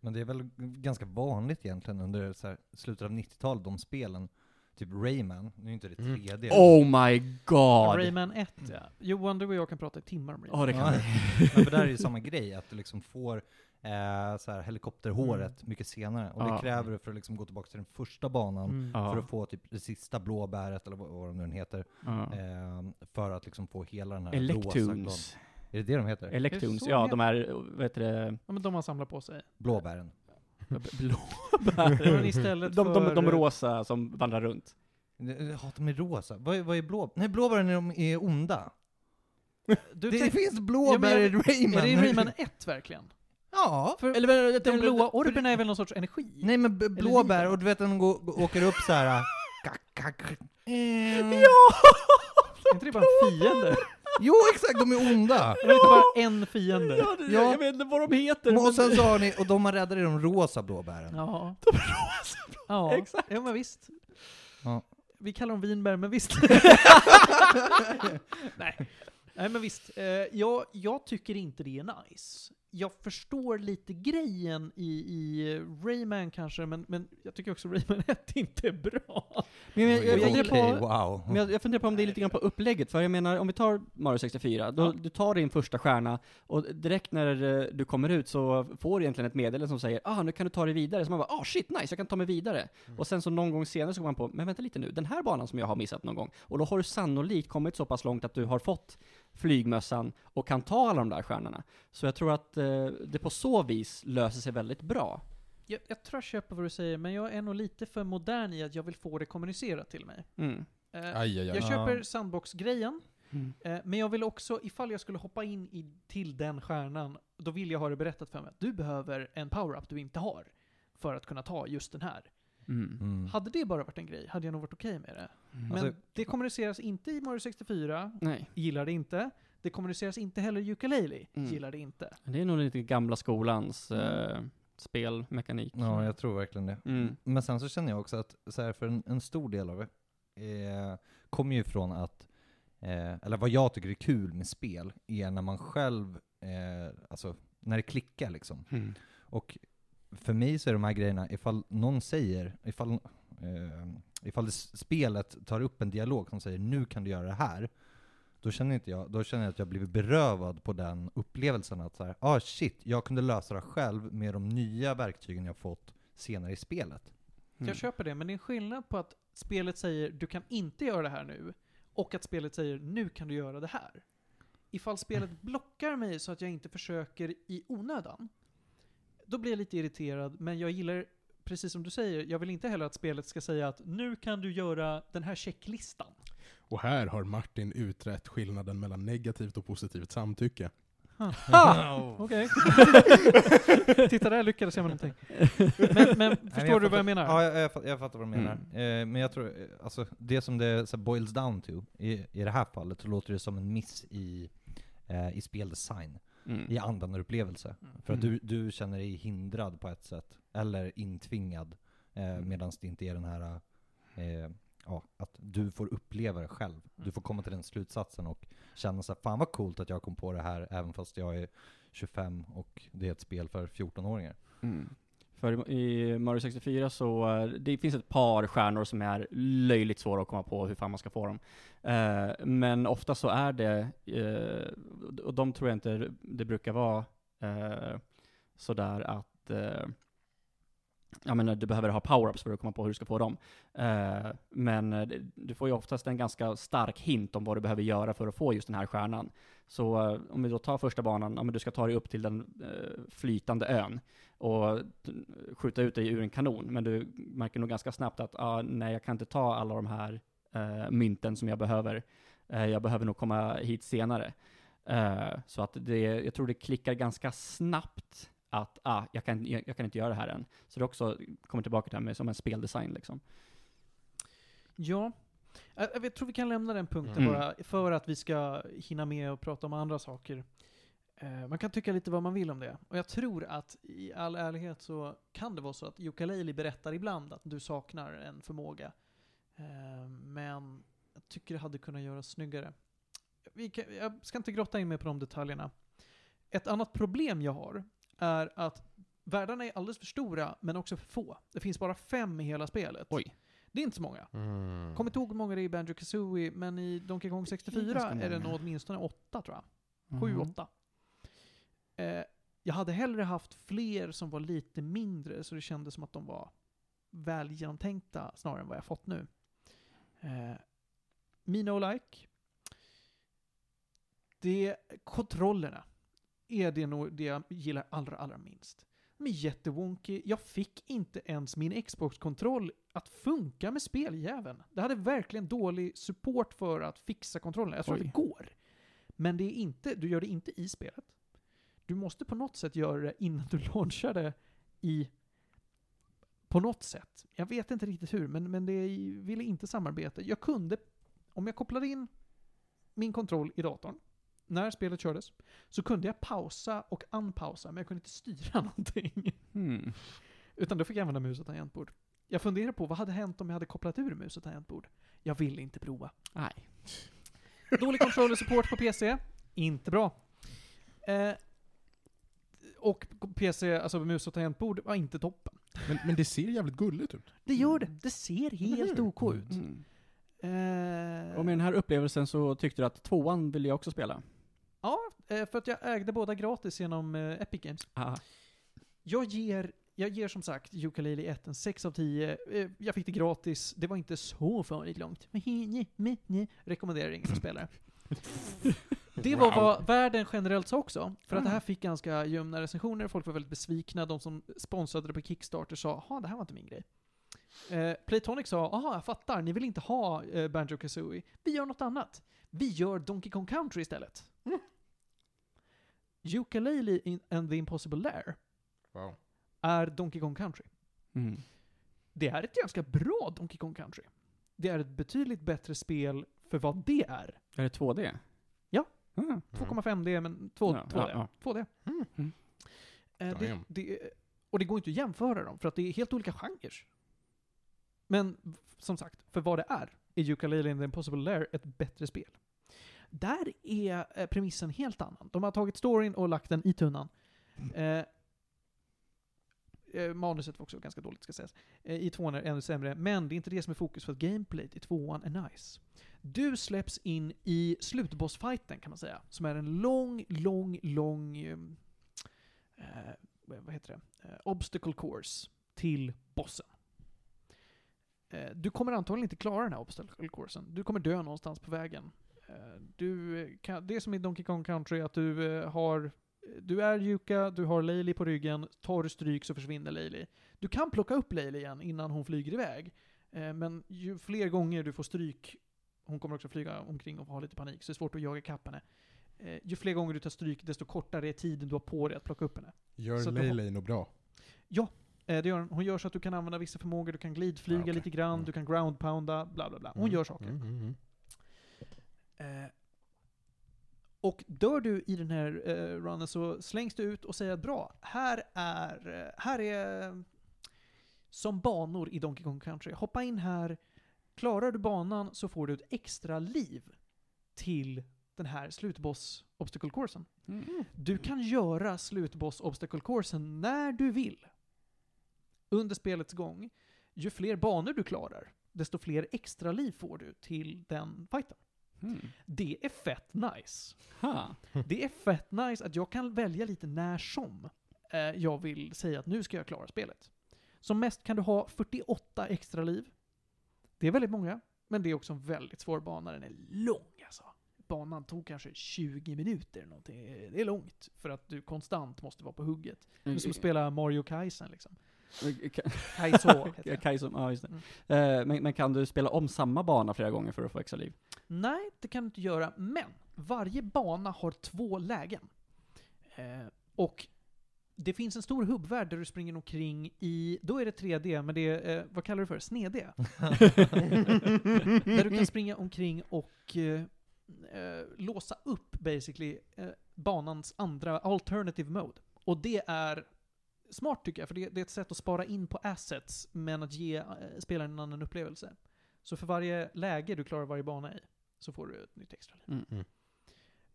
Speaker 1: Men det är väl ganska vanligt egentligen under så här, slutet av 90-talet, de spelen. Typ Rayman, nu är inte det
Speaker 4: Mm.
Speaker 1: 3D.
Speaker 2: Oh my god!
Speaker 3: Rayman 1 ja. Johan, du och jag kan prata i timmar om Rayman.
Speaker 2: Ja, det kan
Speaker 1: Ja.
Speaker 2: vi.
Speaker 1: Men för där är det ju samma grej, att du liksom får eh, så här,
Speaker 3: Mm.
Speaker 1: helikopterhåret mycket senare. Och det
Speaker 2: Ja.
Speaker 1: kräver du för att liksom gå tillbaka till den första banan.
Speaker 3: Mm.
Speaker 2: Ja.
Speaker 1: För att få typ det sista blåbäret, eller vad, vad de nu än heter.
Speaker 2: Ja.
Speaker 1: Eh, för att liksom få hela den här rosa glad-
Speaker 2: Electunes.
Speaker 1: Är det det de heter?
Speaker 2: Electunes,
Speaker 3: Det är så
Speaker 2: ja
Speaker 3: jävla-
Speaker 2: de här, vad heter det,
Speaker 3: Ja, men de har samlat på sig.
Speaker 1: Blåbären.
Speaker 3: Men
Speaker 2: blåbär.
Speaker 3: istället
Speaker 2: De, de,
Speaker 3: för...
Speaker 2: de rosa som vandrar runt.
Speaker 1: Ja, de är rosa. Vad är, vad är blå? Nej, blåbären är de är onda.
Speaker 3: Du
Speaker 1: det
Speaker 3: tänk-
Speaker 1: finns
Speaker 3: Ja, men
Speaker 1: blåbär
Speaker 3: jag-
Speaker 1: i Rayman.
Speaker 3: Är det i Rayman 1 verkligen?
Speaker 1: Ja.
Speaker 2: Eller, eller,
Speaker 3: De blåa orberna är väl någon sorts energi?
Speaker 1: Nej men b- blåbär,
Speaker 3: lila.
Speaker 1: och du vet när de går, går- åker upp så här. kack, kack. Ehm.
Speaker 3: Mm. Är inte det bara en fiende?
Speaker 1: Jo exakt, de är onda!
Speaker 3: Det var inte bara en fiende.
Speaker 2: Ja, det,
Speaker 1: Ja.
Speaker 2: Jag vet inte vad de heter. men-
Speaker 1: Och sen så har ni, och de man räddar är de rosa blåbären.
Speaker 3: Ja. Ja,
Speaker 2: Exakt.
Speaker 3: Ja, men visst.
Speaker 1: Ja.
Speaker 3: Vi kallar dem vinbär, men visst. Nej. Nej, men visst. Eh, jag, jag tycker inte det är nice. jag förstår lite grejen i, i Rayman kanske, men, men jag tycker också Rayman 1 inte är bra.
Speaker 2: Men jag, jag,
Speaker 1: Oj,
Speaker 2: funderar
Speaker 1: okej,
Speaker 2: på,
Speaker 1: wow.
Speaker 2: men jag, jag funderar på om det är lite grann på upplägget, för jag menar om vi tar Mario 64, då, du tar din första stjärna och direkt när eh, du kommer ut så får du egentligen ett meddelande som säger ah nu kan du ta dig vidare, så man bara ah shit nice, jag kan ta mig vidare. Och sen så någon gång senare så kommer man på, men vänta lite nu, den här banan som jag har missat någon gång, och då har du sannolikt kommit så pass långt att du har fått flygmössan och kan ta alla de där stjärnorna. Så jag tror att eh, det på så vis löser sig väldigt bra.
Speaker 3: Jag, jag tror jag köper vad du säger, men jag är nog lite för modern i att jag vill få det kommunicerat till mig.
Speaker 2: Mm.
Speaker 3: Eh,
Speaker 4: Aj, aj, aj.
Speaker 3: jag
Speaker 1: Ja.
Speaker 3: köper sandbox-grejen,
Speaker 2: Mm.
Speaker 3: eh, men jag vill också, ifall jag skulle hoppa in i, till den stjärnan, då vill jag ha det berättat för mig att du behöver en power-up du inte har för att kunna ta just den här.
Speaker 1: Mm.
Speaker 3: Hade det bara varit en grej hade jag nog varit okej med det. Men
Speaker 1: Alltså-
Speaker 3: det kommuniceras inte i Mario 64,
Speaker 2: Nej.
Speaker 3: gillar det inte. Det kommuniceras inte heller i Ukulele,
Speaker 2: Mm.
Speaker 3: gillar det inte.
Speaker 2: Det är nog lite gamla skolans eh, spelmekanik.
Speaker 1: Ja, jag tror verkligen det.
Speaker 2: Mm.
Speaker 1: Men sen så känner jag också att så här, för en, en stor del av det eh, kommer ju från att, eh, eller vad jag tycker är kul med spel, är när man själv, eh, alltså när det klickar liksom.
Speaker 3: Hmm.
Speaker 1: Och för mig så är de här grejerna, ifall någon säger, ifall, eh, ifall det, s- spelet tar upp en dialog som säger nu kan du göra det här, då känner, inte jag, då känner jag att jag blivit berövad på den upplevelsen att så här, ah shit, jag kunde lösa det själv med de nya verktygen jag fått senare i spelet.
Speaker 3: Jag köper det, men det är en skillnad på att spelet säger du kan inte göra det här nu, och att spelet säger nu kan du göra det här. Ifall spelet blockar mig så att jag inte försöker i onödan, då blir jag lite irriterad, men jag gillar, precis som du säger, jag vill inte heller att spelet ska säga att nu kan du göra den här checklistan.
Speaker 4: Och här har Martin utrett skillnaden mellan negativt och positivt samtycke.
Speaker 3: Okej. Titta där lyckades jag med någonting. Men, men
Speaker 1: Nej,
Speaker 3: förstår du vad jag menar? Mm.
Speaker 1: Ja, jag, jag, fatt- jag fattar vad du menar. Eh, men jag tror, eh, alltså det som det så här, boils down to, i, i det här fallet, så låter det som en miss i, eh, i speldesign,
Speaker 2: Mm.
Speaker 1: i användarupplevelse. För att du, du känner dig hindrad på ett sätt, eller intvingad, eh, medan det inte är den här, eh, ja, att du får uppleva det själv. Du får komma till den slutsatsen och känna så här, fan vad coolt att jag kom på det här, även fast jag är 25 och det är ett spel för 14-åringar.
Speaker 2: För i Mario 64 så, eh, det finns ett par stjärnor som är löjligt svåra att komma på hur fan man ska få dem. Eh, men ofta så är det, eh, och de tror jag inte det brukar vara eh, sådär att, eh, jag menar du behöver ha power-ups för att komma på hur du ska få dem. Eh, men eh, det- du får ju oftast en ganska stark hint om vad du behöver göra för att få just den här stjärnan. Så eh, om vi då tar första banan, ja men du ska ta dig upp till den eh, flytande ön och t- skjuta ut dig ur en kanon. Men du märker nog ganska snabbt att ah, nej, jag kan inte ta alla de här eh, mynten som jag behöver. Eh, jag behöver nog komma hit senare. Eh, så att det, jag tror det klickar ganska snabbt att ah, jag, kan, jag, jag kan inte göra det här än. Så det också kommer tillbaka till det här med som en speldesign liksom.
Speaker 3: Ja. Eh, Jag tror vi kan lämna den punkten
Speaker 2: Mm.
Speaker 3: bara, för att vi ska hinna med och prata om andra saker. Eh, Man kan tycka lite vad man vill om det. Och jag tror att i all ärlighet så kan det vara så att Ukulele berättar ibland att du saknar en förmåga. Eh, Men jag tycker det hade kunnat göras snyggare. Vi kan, jag ska inte grotta in mig på de detaljerna. Ett annat problem jag har är att världarna är alldeles för stora, men också för få. Det finns bara fem i hela spelet.
Speaker 2: Oj.
Speaker 3: Det är inte så många. Kommer inte ihåg hur många det är i Banjo Kazooie, men i Donkey Kong 64
Speaker 2: Ganska
Speaker 3: är det
Speaker 2: många. Mm.
Speaker 3: nog åtminstone åtta tror jag. Sju, åtta. Eh, jag hade hellre haft fler som var lite mindre, så det kändes som att de var väl genomtänkta snarare än vad jag fått nu. Eh, Mina och Like. Det, kontrollerna är det nog det jag gillar allra, allra minst. De är jättewonky. Jag fick inte ens min Xbox-kontroll att funka med speljäveln. Det hade verkligen dålig support för att fixa kontrollen. Jag tror att
Speaker 2: Oj.
Speaker 3: det går. Men det är inte, du gör det inte i spelet. Du måste på något sätt göra det innan du launchar det i... På något sätt. Jag vet inte riktigt hur, men, men det ville inte samarbeta. Jag kunde, om jag kopplade in min kontroll i datorn, när spelet kördes, så kunde jag pausa och unpausa, men jag kunde inte styra någonting.
Speaker 2: Mm.
Speaker 3: Utan då fick jag använda mus och tangentbord. Jag funderar på vad hade hänt om jag hade kopplat ur mus och tangentbord. Jag vill inte prova.
Speaker 2: Nej.
Speaker 3: Dålig controller support på PC. Inte bra. Eh, och PC, alltså mus och tangentbord, var inte toppen. Mm.
Speaker 4: Men, men det ser jävligt gulligt ut.
Speaker 3: Det gör det. Det ser helt
Speaker 4: Mm.
Speaker 3: OK ut.
Speaker 2: Mm.
Speaker 3: Eh,
Speaker 2: Och med den här upplevelsen så tyckte du att tvåan ville jag också spela.
Speaker 3: Ja, eh, för att jag ägde båda gratis genom eh, Epic Games.
Speaker 2: Ah.
Speaker 3: Jag ger, jag ger som sagt Ukulele 1 en 6 av 10. Eh, Jag fick det gratis. Det var inte så farligt långt. Rekommenderar ingen att spela det. Det var vad världen generellt sa också. För att det här fick ganska ljumna recensioner. Folk var väldigt besvikna. De som sponsrade det på Kickstarter sa ”Jaha, det här var inte min grej”. Eh, Playtonic sa ”Jaha, jag fattar. Ni vill inte ha eh, Banjo Kazooie. Vi gör något annat. Vi gör Donkey Kong Country istället.” Ukulele in- and the Impossible Lair
Speaker 4: Wow.
Speaker 3: är Donkey Kong Country.
Speaker 2: Mm.
Speaker 3: Det är ett ganska bra Donkey Kong Country. Det är ett betydligt bättre spel för vad det är.
Speaker 2: Är det 2D?
Speaker 3: Ja.
Speaker 2: Ah.
Speaker 3: 2,5D men 2,
Speaker 2: Ja,
Speaker 3: 2D.
Speaker 2: ja,
Speaker 3: 2D.
Speaker 4: Mm.
Speaker 2: Mm.
Speaker 3: Eh, det,
Speaker 4: Damn.
Speaker 3: det, och det går inte att jämföra dem, för att det är helt olika genrer. Men v- som sagt, för vad det är, är Ukulele and the Impossible Lair ett bättre spel. Där är eh, premissen helt annan. De har tagit storyn och lagt den i tunnan. Eh, eh, manuset var också ganska dåligt ska sägas. Eh, I tvåan är det ännu sämre, men det är inte det som är fokus för att gameplayt i tvåan är nice. Du släpps in i slutbossfighten kan man säga, som är en lång, lång, lång... eh, Eh, vad heter det? Eh, obstacle course till bossen. Eh, du kommer antagligen inte klara den här obstacle coursen. Du kommer dö någonstans på vägen. Eh, du eh, kan, det är som i Donkey Kong Country, att du eh, har du är Yuka, du har Layli på ryggen, tar du stryk så försvinner Layli. Du kan plocka upp Layli igen innan hon flyger iväg. Eh, Men ju fler gånger du får stryk, hon kommer också flyga omkring och ha lite panik, så det är svårt att jaga ikapp henne. Eh, Ju fler gånger du tar stryk, desto kortare är tiden du har på dig att plocka upp henne. Så
Speaker 4: Mm. Gör
Speaker 3: att de-
Speaker 4: Leylay något bra?
Speaker 3: Eh, Det gör hon. hon gör så att du kan använda vissa förmågor, du kan glidflyga
Speaker 4: Ja, okej.
Speaker 3: lite grann,
Speaker 4: Mm.
Speaker 3: du kan groundpounda, bla bla bla. Hon
Speaker 4: Mm.
Speaker 3: gör saker.
Speaker 4: Mm, mm, mm.
Speaker 3: Eh, och dör du i den här eh, runnen så slängs du ut och säger att bra, här är, eh, här är eh, som banor i Donkey Kong Country. Hoppa in här, klarar du banan så får du ett extra liv till den här slutboss obstacle coursen.
Speaker 2: Mm.
Speaker 3: Du kan göra slutboss obstacle coursen när du vill. Under spelets gång. Ju fler banor du klarar, desto fler extra liv får du till den fighten.
Speaker 2: Mm.
Speaker 3: Det är fett nice.
Speaker 2: Ha.
Speaker 3: Det är fett nice att jag kan välja lite när som eh, jag vill säga att nu ska jag klara spelet. Som mest kan du ha 48 extra liv. Det är väldigt många, men det är också en väldigt svår bana. Den är lång alltså. Banan tog kanske 20 minuter eller någonting. Eh, Det är långt, för att du konstant måste vara på hugget.
Speaker 2: Mm.
Speaker 3: Du som spelar Mario Kaisen liksom.
Speaker 2: Ka-
Speaker 3: Kaiso heter det. Mm.
Speaker 2: Kaizo, ja just det. Eh, men, men kan du spela om samma bana flera gånger för att få extra liv?
Speaker 3: Nej, det kan du inte göra. Men varje bana har två lägen. Eh, och det finns en stor hubbvärld där du springer omkring i, då är det 3D, men det är, eh, vad kallar du för? Sned-D? där du kan springa omkring och eh, eh, låsa upp basically eh, banans andra alternative mode. Och det är smart tycker jag, för det, det är ett sätt att spara in på assets, men att ge eh, spelaren en annan upplevelse. Så för varje läge du klarar varje bana i, så får du ett nytt extra liv.
Speaker 2: Mm.
Speaker 4: Mm.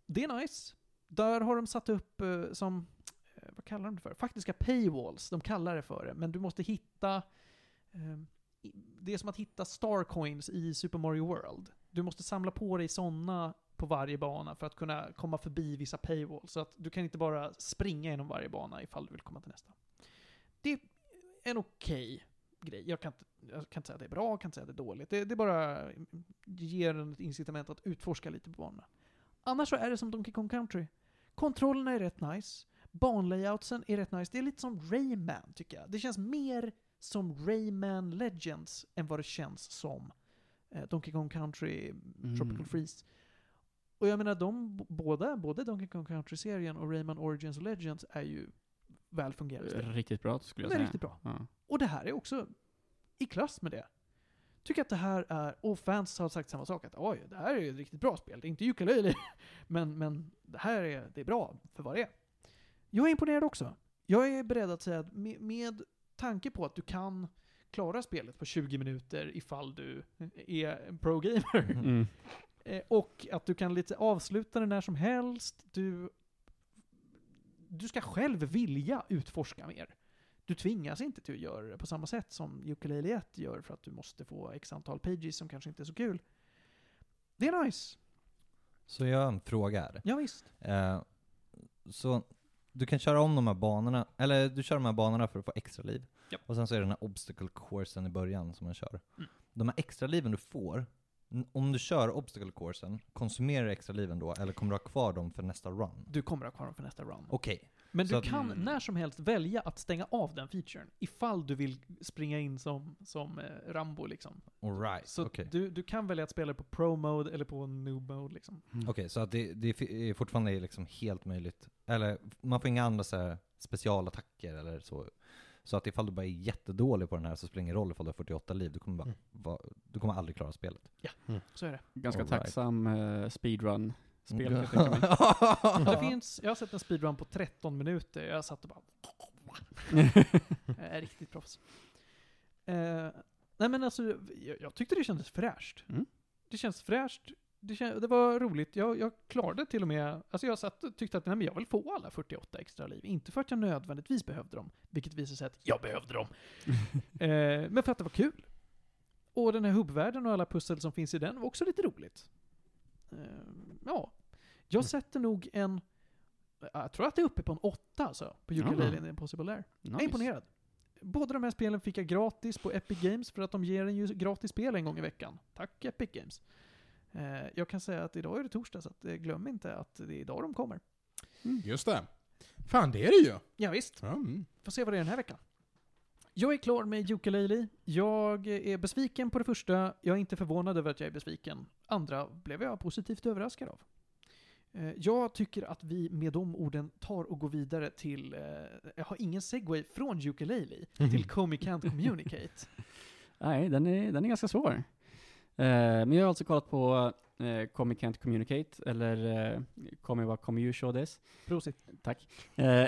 Speaker 3: Det är nice. Där har de satt upp eh, som, eh, vad kallar de det för? Faktiska paywalls, de kallar det för det. Men du måste hitta, eh, i- det är som att hitta starcoins i Super Mario World. Du måste samla på dig sådana på varje bana för att kunna komma förbi vissa paywalls. Så att du kan inte bara springa genom varje bana ifall du vill komma till nästa. Det är en okej grej. Jag kan, inte, jag kan inte säga att det är bra, jag kan inte säga att det är dåligt. Det, det bara ger en ett incitament att utforska lite på banorna. Annars så är det som Donkey Kong Country. Kontrollerna är rätt nice. Banlayoutsen är rätt nice. Det är lite som Rayman tycker jag. Det känns mer som Rayman Legends än vad det känns som eh, Donkey Kong Country Tropical
Speaker 2: Mm.
Speaker 3: Freeze. Och jag menar de b- båda, både Donkey Kong Country-serien och Rayman Origins och Legends är ju välfungerande spel.
Speaker 2: Riktigt bra skulle jag
Speaker 3: De är
Speaker 2: säga.
Speaker 3: riktigt bra.
Speaker 2: Ja.
Speaker 3: Och det här är också i klass med det. Tycker att det här är, och fans har sagt samma sak, att oj, det här är ju ett riktigt bra spel. Det är inte ukulele, men, men det här är, det är bra för vad det är. Jag är imponerad också. Jag är beredd att säga att med, med tanke på att du kan klara spelet på 20 minuter ifall du är en pro-gamer,
Speaker 2: Mm.
Speaker 3: Eh, Och att du kan lite avsluta det när som helst. Du, du ska själv vilja utforska mer. Du tvingas inte till att göra det på samma sätt som Ukulele 1 gör för att du måste få x antal pages som kanske inte är så kul. Det är nice.
Speaker 1: Så jag har en fråga här.
Speaker 3: Ja, visst.
Speaker 1: Eh, så du kan köra om de här banorna, eller du kör de här banorna för att få extra liv.
Speaker 3: Japp.
Speaker 1: Och sen så är det den här obstacle coursen i början som man kör.
Speaker 3: Mm.
Speaker 1: De här extra liven du får, n- om du kör obstacle coursen, konsumerar du extra liven då, eller kommer du ha kvar dem för nästa run?
Speaker 3: Du kommer ha kvar dem för nästa run.
Speaker 1: Okej,
Speaker 3: Men
Speaker 1: Så
Speaker 3: du
Speaker 1: att-
Speaker 3: kan
Speaker 1: mm.
Speaker 3: när som helst välja att stänga av den featuren ifall du vill springa in som, som eh, Rambo liksom.
Speaker 1: alright.
Speaker 3: Så
Speaker 1: Okej,
Speaker 3: att du, du kan välja att spela på pro-mode eller på noob-mode liksom.
Speaker 2: Mm.
Speaker 1: Okej, så att det, det är fi- är fortfarande liksom helt möjligt, eller man får inga andra så här specialattacker eller så. Så att ifall du bara är jättedålig på den här så spelar det ingen roll ifall du har 48 liv, du kommer, bara,
Speaker 4: Mm.
Speaker 1: va, du kommer aldrig klara spelet.
Speaker 3: Så är det.
Speaker 2: Ganska
Speaker 1: All right.
Speaker 2: tacksam eh, speedrun. Spel,
Speaker 1: Mm.
Speaker 2: jag tänker mig.
Speaker 3: Det finns, jag har sett en speedrun på 13 minuter, jag satt och bara... Jag är riktigt proffs. Eh, nej men alltså, jag, jag tyckte det kändes fräscht.
Speaker 2: Mm.
Speaker 3: Det känns fräscht, det, kän, det var roligt, jag, jag klarade till och med... Alltså jag satt och tyckte att nej men jag vill få alla 48 extra liv. Inte för att jag nödvändigtvis behövde dem, vilket visade sig att jag behövde dem. eh, men för att det var kul. Och den här hubbvärlden och alla pussel som finns i den var också lite roligt. Eh, ja. Jag
Speaker 4: Mm.
Speaker 3: sätter nog en... Jag tror att det är uppe på en åtta alltså, på Ukulele
Speaker 2: Ja.
Speaker 3: Impossible Air. Jag
Speaker 2: Nice.
Speaker 3: är imponerad. Båda de här spelen fick jag gratis på Epic Games för att de ger en ju gratis spel en gång i veckan. Tack Epic Games. Eh, jag kan säga att idag är det torsdag så att, eh, glöm inte att det är idag de kommer.
Speaker 4: Just det. Fan, det är det ju!
Speaker 3: Ja, visst.
Speaker 4: Ja, mm.
Speaker 3: Får se vad det är den här veckan. Jag är klar med Ukulele. Jag är besviken på det första. Jag är inte förvånad över att jag är besviken. Andra blev jag positivt överraskad av. Eh, Jag tycker att vi med de orden tar och går vidare till, eh, jag har ingen segway från Ukulele till Comey Can't Communicate.
Speaker 2: Nej, den är, den är ganska svår. Eh, men jag har alltså kollat på eh, Comic Can't Communicate, eller eh, Comi What Comi You Show This.
Speaker 3: Prosit.
Speaker 2: Tack. Eh,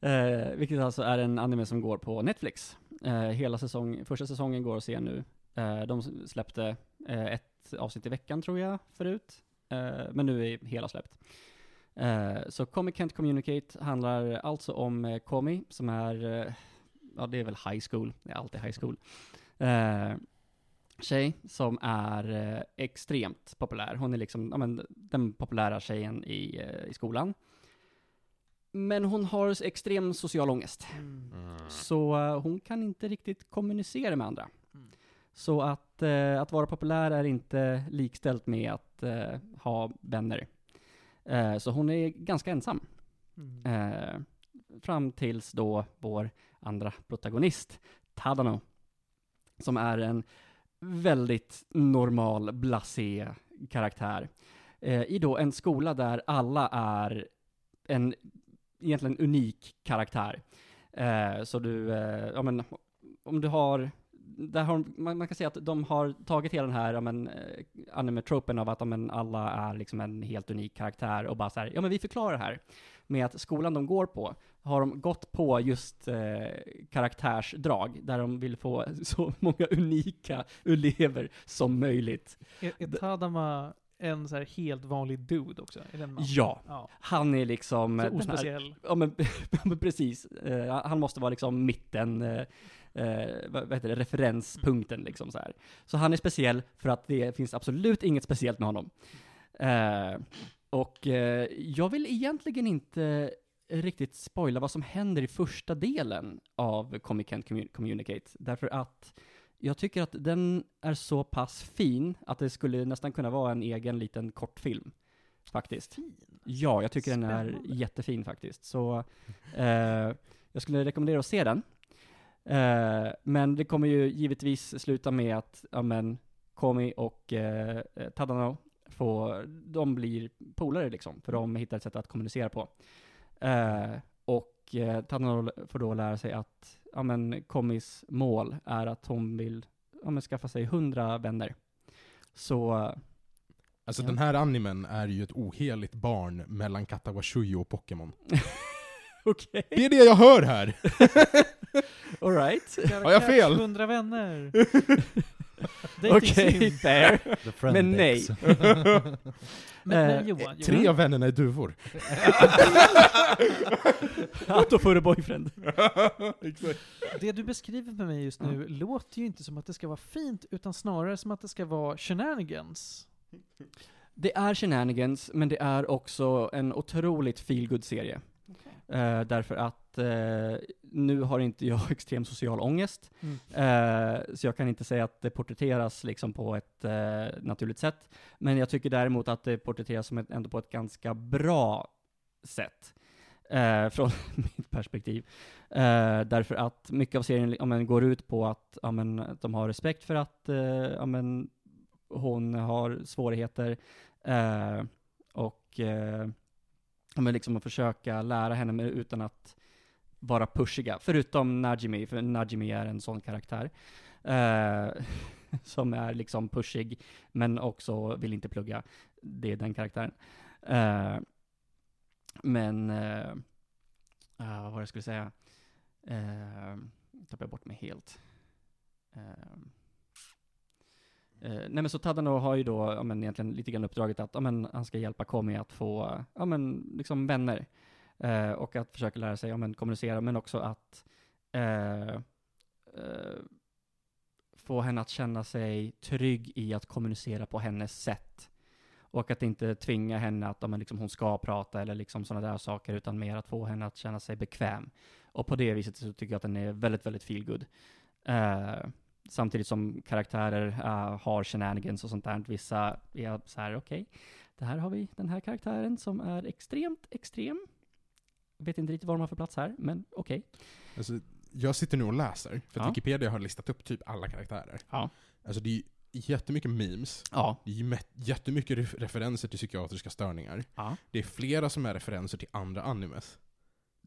Speaker 2: eh, vilket alltså är en anime som går på Netflix. Eh, hela säsong, första säsongen går att se nu. Eh, de släppte eh, ett avsnitt i veckan tror jag förut. Eh, men nu är hela släppt. Eh, så Comic Can't Communicate handlar alltså om eh, Komi som är, eh, ja det är väl high school, det är alltid high school. Eh, tjej som är eh, extremt populär. Hon är liksom ja, men, den populära tjejen i, eh, i skolan. Men hon har extrem social ångest.
Speaker 3: Mm.
Speaker 4: Mm.
Speaker 2: Så eh, hon kan inte riktigt kommunicera med andra.
Speaker 3: Mm.
Speaker 2: Så att, eh, att vara populär är inte likställt med att eh, ha vänner. Eh, så hon är ganska ensam.
Speaker 3: Mm.
Speaker 2: Eh, fram tills då vår andra protagonist, Tadano, som är en väldigt normal, blasé karaktär. Eh, I då en skola där alla är en egentligen unik karaktär. Eh, så du, eh, ja men, om du har där har, de- man, man kan säga att de har tagit hela den här ja, men, eh, anime-tropen av att ja, men, alla är liksom en helt unik karaktär och bara så här, ja men vi förklarar det här med att skolan de går på har de gått på just eh, karaktärsdrag där de vill få så många unika elever som möjligt.
Speaker 3: Är, är Tadama en så här helt vanlig dude också? Är den man?
Speaker 2: Ja,
Speaker 3: ja.
Speaker 2: han är liksom... eh,
Speaker 3: Så
Speaker 2: den här-
Speaker 3: ospeciell.
Speaker 2: Ja men, ja, men precis. Eh, han måste vara liksom mitten, eh, eh, vad vad heter det, referenspunkten liksom så här. Så han är speciell för att det finns absolut inget speciellt med honom. Eh, och eh, jag vill egentligen inte riktigt spoila vad som händer i första delen av Comic Can't Commun- Communicate. Därför att jag tycker att den är så pass fin att det skulle nästan kunna vara en egen liten kortfilm. Faktiskt.
Speaker 3: Fin.
Speaker 2: Ja, jag tycker den
Speaker 3: Spännande.
Speaker 2: är jättefin faktiskt. Så eh, jag skulle rekommendera att se den. Eh, men det kommer ju givetvis sluta med att, ja men, Komi och eh, Tadano får, de blir polare liksom, för de hittar ett sätt att kommunicera på. Eh, och eh, Tadano får då lära sig att, ja men, Komis mål är att hon vill, ja men, skaffa sig hundra vänner. Så,
Speaker 4: Alltså
Speaker 2: Ja.
Speaker 4: den här animen är ju ett oheligt barn mellan Katawashuyo och Pokémon.
Speaker 2: okej.
Speaker 4: Det är det jag hör här!
Speaker 2: All right.
Speaker 4: Har jag fel?
Speaker 3: 100 vänner. Dating
Speaker 2: Okej,
Speaker 3: sim.
Speaker 2: fair.
Speaker 1: The friend
Speaker 2: Men nej.
Speaker 1: picks.
Speaker 3: Men, men
Speaker 2: Eh,
Speaker 3: Johan, Johan.
Speaker 4: Tre av vännerna är duvor.
Speaker 2: Atto före boyfriend.
Speaker 4: Exakt.
Speaker 3: Det du beskriver för mig just nu låter ju inte som att det ska vara fint, utan snarare som att det ska vara shenanigans.
Speaker 2: Det är shenanigans, men det är också en otroligt feelgood serie Eh, Därför att eh, nu har inte jag extrem social ångest,
Speaker 3: Mm.
Speaker 2: eh, så jag kan inte säga att det porträtteras liksom på ett eh, naturligt sätt. Men jag tycker däremot att det porträtteras som ett, ändå på ett ganska bra sätt. Eh, från mitt perspektiv. Eh, därför att mycket av serien ja, men, går ut på att ja, men, att de har respekt för att eh, ja, men, hon har svårigheter eh, och eh, ja, men, liksom att försöka lära henne men utan att vara pushiga. Förutom Najimi, för Najimi är en sån karaktär. Eh, som är liksom pushig, men också vill inte plugga. Det är den karaktären. Eh, men, eh, ah, vad var det jag skulle säga? Eh, tappade jag bort mig helt. Eh, Eh, nej men så Tadano har ju då, ja, men egentligen lite grann uppdraget att, ja, men han ska hjälpa Komi att få, ja men liksom vänner. Eh, och att försöka lära sig, ja men kommunicera, men också att eh, eh, få henne att känna sig trygg i att kommunicera på hennes sätt. Och att inte tvinga henne att, ja men liksom hon ska prata eller liksom sådana där saker, utan mer att få henne att känna sig bekväm. Och på det viset så tycker jag att den är väldigt, väldigt feelgood. Eh, samtidigt som karaktärer eh, har shenanigans och sånt där. Vissa är så här, okej, det här har vi den här karaktären som är extremt extrem. Vet inte riktigt var de har för plats här, men okej.
Speaker 4: Alltså, jag sitter nu och läser, för att
Speaker 2: Ja.
Speaker 4: Wikipedia har listat upp typ alla karaktärer.
Speaker 2: Ja.
Speaker 4: Alltså det är ju jättemycket memes,
Speaker 2: Ja.
Speaker 4: det är ju mä- jättemycket ref- referenser till psykiatriska störningar.
Speaker 2: ja.
Speaker 4: Det är flera som är referenser till andra animes.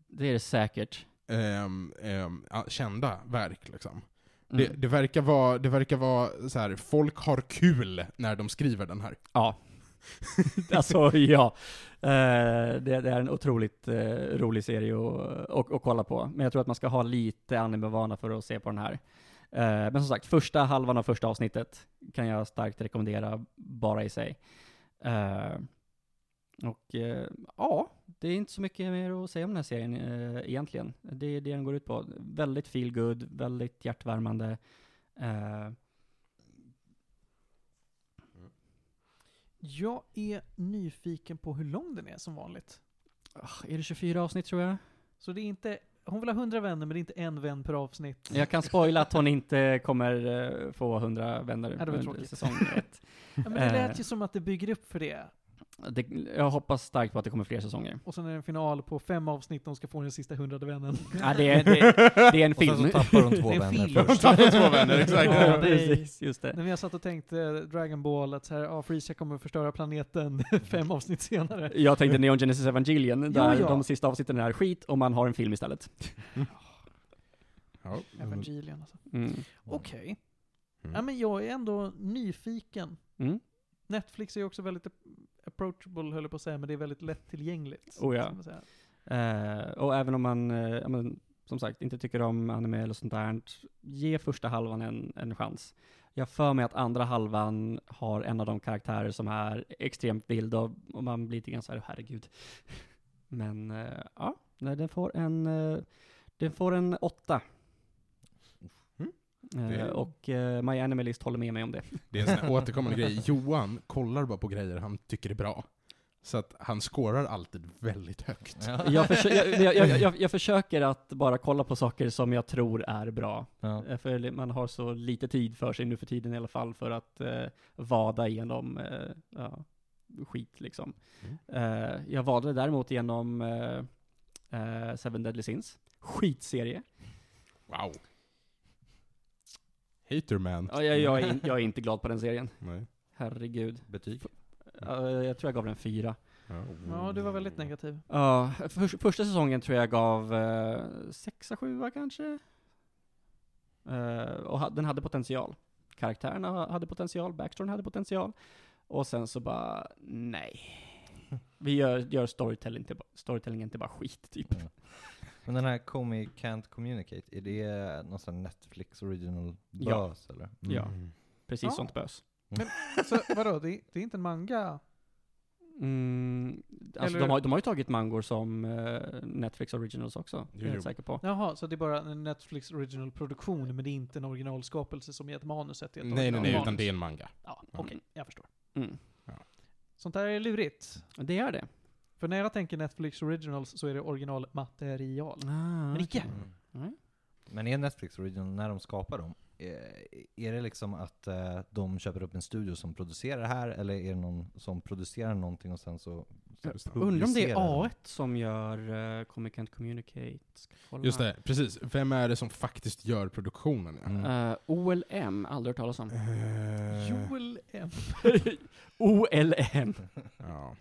Speaker 2: Det är det säkert.
Speaker 4: Ehm, ehm, ja, kända verk liksom.
Speaker 2: Mm.
Speaker 4: Det, det verkar vara, det verkar vara så här, folk har kul när de skriver den här.
Speaker 2: Ja. alltså, ja. Eh, det, det är en otroligt eh, rolig serie att eh, och, och kolla på. Men jag tror att man ska ha lite animevana för att se på den här. Eh, men som sagt, första halvan av första avsnittet kan jag starkt rekommendera bara i sig. Eh, och eh, ja, det är inte så mycket mer att säga om den här serien eh, egentligen. Det är det den går ut på. Väldigt feel good, väldigt hjärtvärmande. Eh,
Speaker 3: Jag är nyfiken på hur lång den är som vanligt.
Speaker 2: ah, är det 24 avsnitt tror jag?
Speaker 3: Så det är inte, hon vill ha 100 vänner men det är inte en vän per avsnitt.
Speaker 2: Jag kan spoila att hon inte kommer eh, få 100 vänner
Speaker 3: Ja, det var
Speaker 2: under
Speaker 3: tråkigt.
Speaker 2: säsong 1.
Speaker 3: Ja, men det lät ju som att det bygger upp för det.
Speaker 2: Jag hoppas starkt på att det kommer fler säsonger.
Speaker 3: Och sen är det en final på fem avsnitt och hon ska få den sista hundrade vännen.
Speaker 2: Ja, det, är, det, det är en
Speaker 1: Och sen
Speaker 2: film.
Speaker 1: så tappar de två
Speaker 3: Det är en
Speaker 1: vänner
Speaker 3: film.
Speaker 1: först.
Speaker 4: Tappar två vänner,
Speaker 2: ja,
Speaker 4: exakt.
Speaker 2: precis, just det.
Speaker 3: När jag satt och tänkte eh, Dragon Ball att så här, ah, Freeza kommer att förstöra planeten fem avsnitt senare.
Speaker 2: Jag tänkte Neon Genesis Evangelion, där
Speaker 3: ja.
Speaker 2: de sista avsnitten är skit och man har en film istället.
Speaker 4: Ja, mm,
Speaker 3: Evangelion alltså.
Speaker 2: Mm.
Speaker 3: Okej.
Speaker 4: Mm.
Speaker 3: Ja, men jag är ändå nyfiken.
Speaker 2: Mm.
Speaker 3: Netflix är ju också väldigt approachable höll jag på att säga, men det är väldigt lättillgängligt.
Speaker 2: Oh ja.
Speaker 3: ska man säga.
Speaker 2: Eh, och även om man, eh, ja, men, som sagt, inte tycker om anime eller sånt där, ge första halvan en, en chans. Jag för mig att andra halvan har en av de karaktärer som är extremt vild och, och man blir lite grann såhär, herregud. Men eh, ja, nej, den får en, eh, den får en åtta.
Speaker 4: Mm.
Speaker 2: Eh,
Speaker 4: Det-
Speaker 2: och eh, My Animalist håller med mig om det.
Speaker 4: Det är en sån här återkommande grej. Johan kollar bara på grejer han tycker är bra. Så att han scorar alltid väldigt högt.
Speaker 1: Ja.
Speaker 2: Jag, försö- jag, jag, jag, jag, jag försöker att bara kolla på saker som jag tror är bra.
Speaker 1: Ja.
Speaker 2: Eh, För man har så lite tid för sig nu för tiden i alla fall för att eh, vada igenom eh, ja, skit liksom.
Speaker 4: Mm.
Speaker 2: Eh, jag vadade däremot igenom eh, eh, Seven Deadly Sins. Skitserie.
Speaker 4: Wow. Hater man.
Speaker 2: Ja, jag, jag, är in, jag är inte glad på den serien.
Speaker 4: Nej.
Speaker 2: Herregud.
Speaker 1: Betyg.
Speaker 2: Eh, jag tror jag gav den fyra.
Speaker 4: Ja.
Speaker 3: Ja, du var väldigt
Speaker 4: Mm.
Speaker 3: negativ.
Speaker 2: Ja, för, första säsongen tror jag gav eh, sexa, sjua kanske. Eh, och ha, den hade potential. Karaktärerna ha- hade potential, backstoryn hade potential. Och sen så bara, nej. Vi gör, gör storytelling till, ba- storytellingen till bara skit typ.
Speaker 1: Ja. Men den här Komi Can't Communicate, är det någon sån här Netflix original
Speaker 2: Ja.
Speaker 1: bös eller?
Speaker 4: Mm.
Speaker 1: Mm.
Speaker 2: Ja. Precis
Speaker 3: Ja.
Speaker 2: sånt bös.
Speaker 3: Så vadå, det, det är inte en manga?
Speaker 2: Mm, alltså
Speaker 3: Eller-
Speaker 2: de har, de har ju tagit mangor som eh, Netflix originals också, det är jag
Speaker 4: Jo, jo.
Speaker 2: helt säker på.
Speaker 3: Jaha, så det är bara en Netflix original produktion, men det är inte en originalskapelse som är ett manus? Ett
Speaker 4: Nej, nej, nej,
Speaker 3: originalmanus.
Speaker 4: utan det är en manga.
Speaker 3: Ja, okej, jag förstår.
Speaker 2: Mm.
Speaker 3: Sånt där är lurigt.
Speaker 2: Det är det.
Speaker 3: För när jag tänker Netflix originals så är det originalmaterial.
Speaker 2: Ah,
Speaker 3: Men icke.
Speaker 2: Mm.
Speaker 1: Men är Netflix original när de skapar dem? eh, Är det liksom att eh, de köper upp en studio som producerar det här, eller är det någon som producerar någonting och sen så... så
Speaker 2: Undrar om det är
Speaker 1: publicerar den?
Speaker 2: A1 som gör eh, Comic and Communicate. Ska kolla.
Speaker 4: Just det, precis. Vem är det som faktiskt gör produktionen? Ja?
Speaker 1: Mm.
Speaker 2: Eh, OLM, aldrig hört talas om.
Speaker 4: Eh,
Speaker 3: Joel M.
Speaker 2: OLM.
Speaker 4: Ja.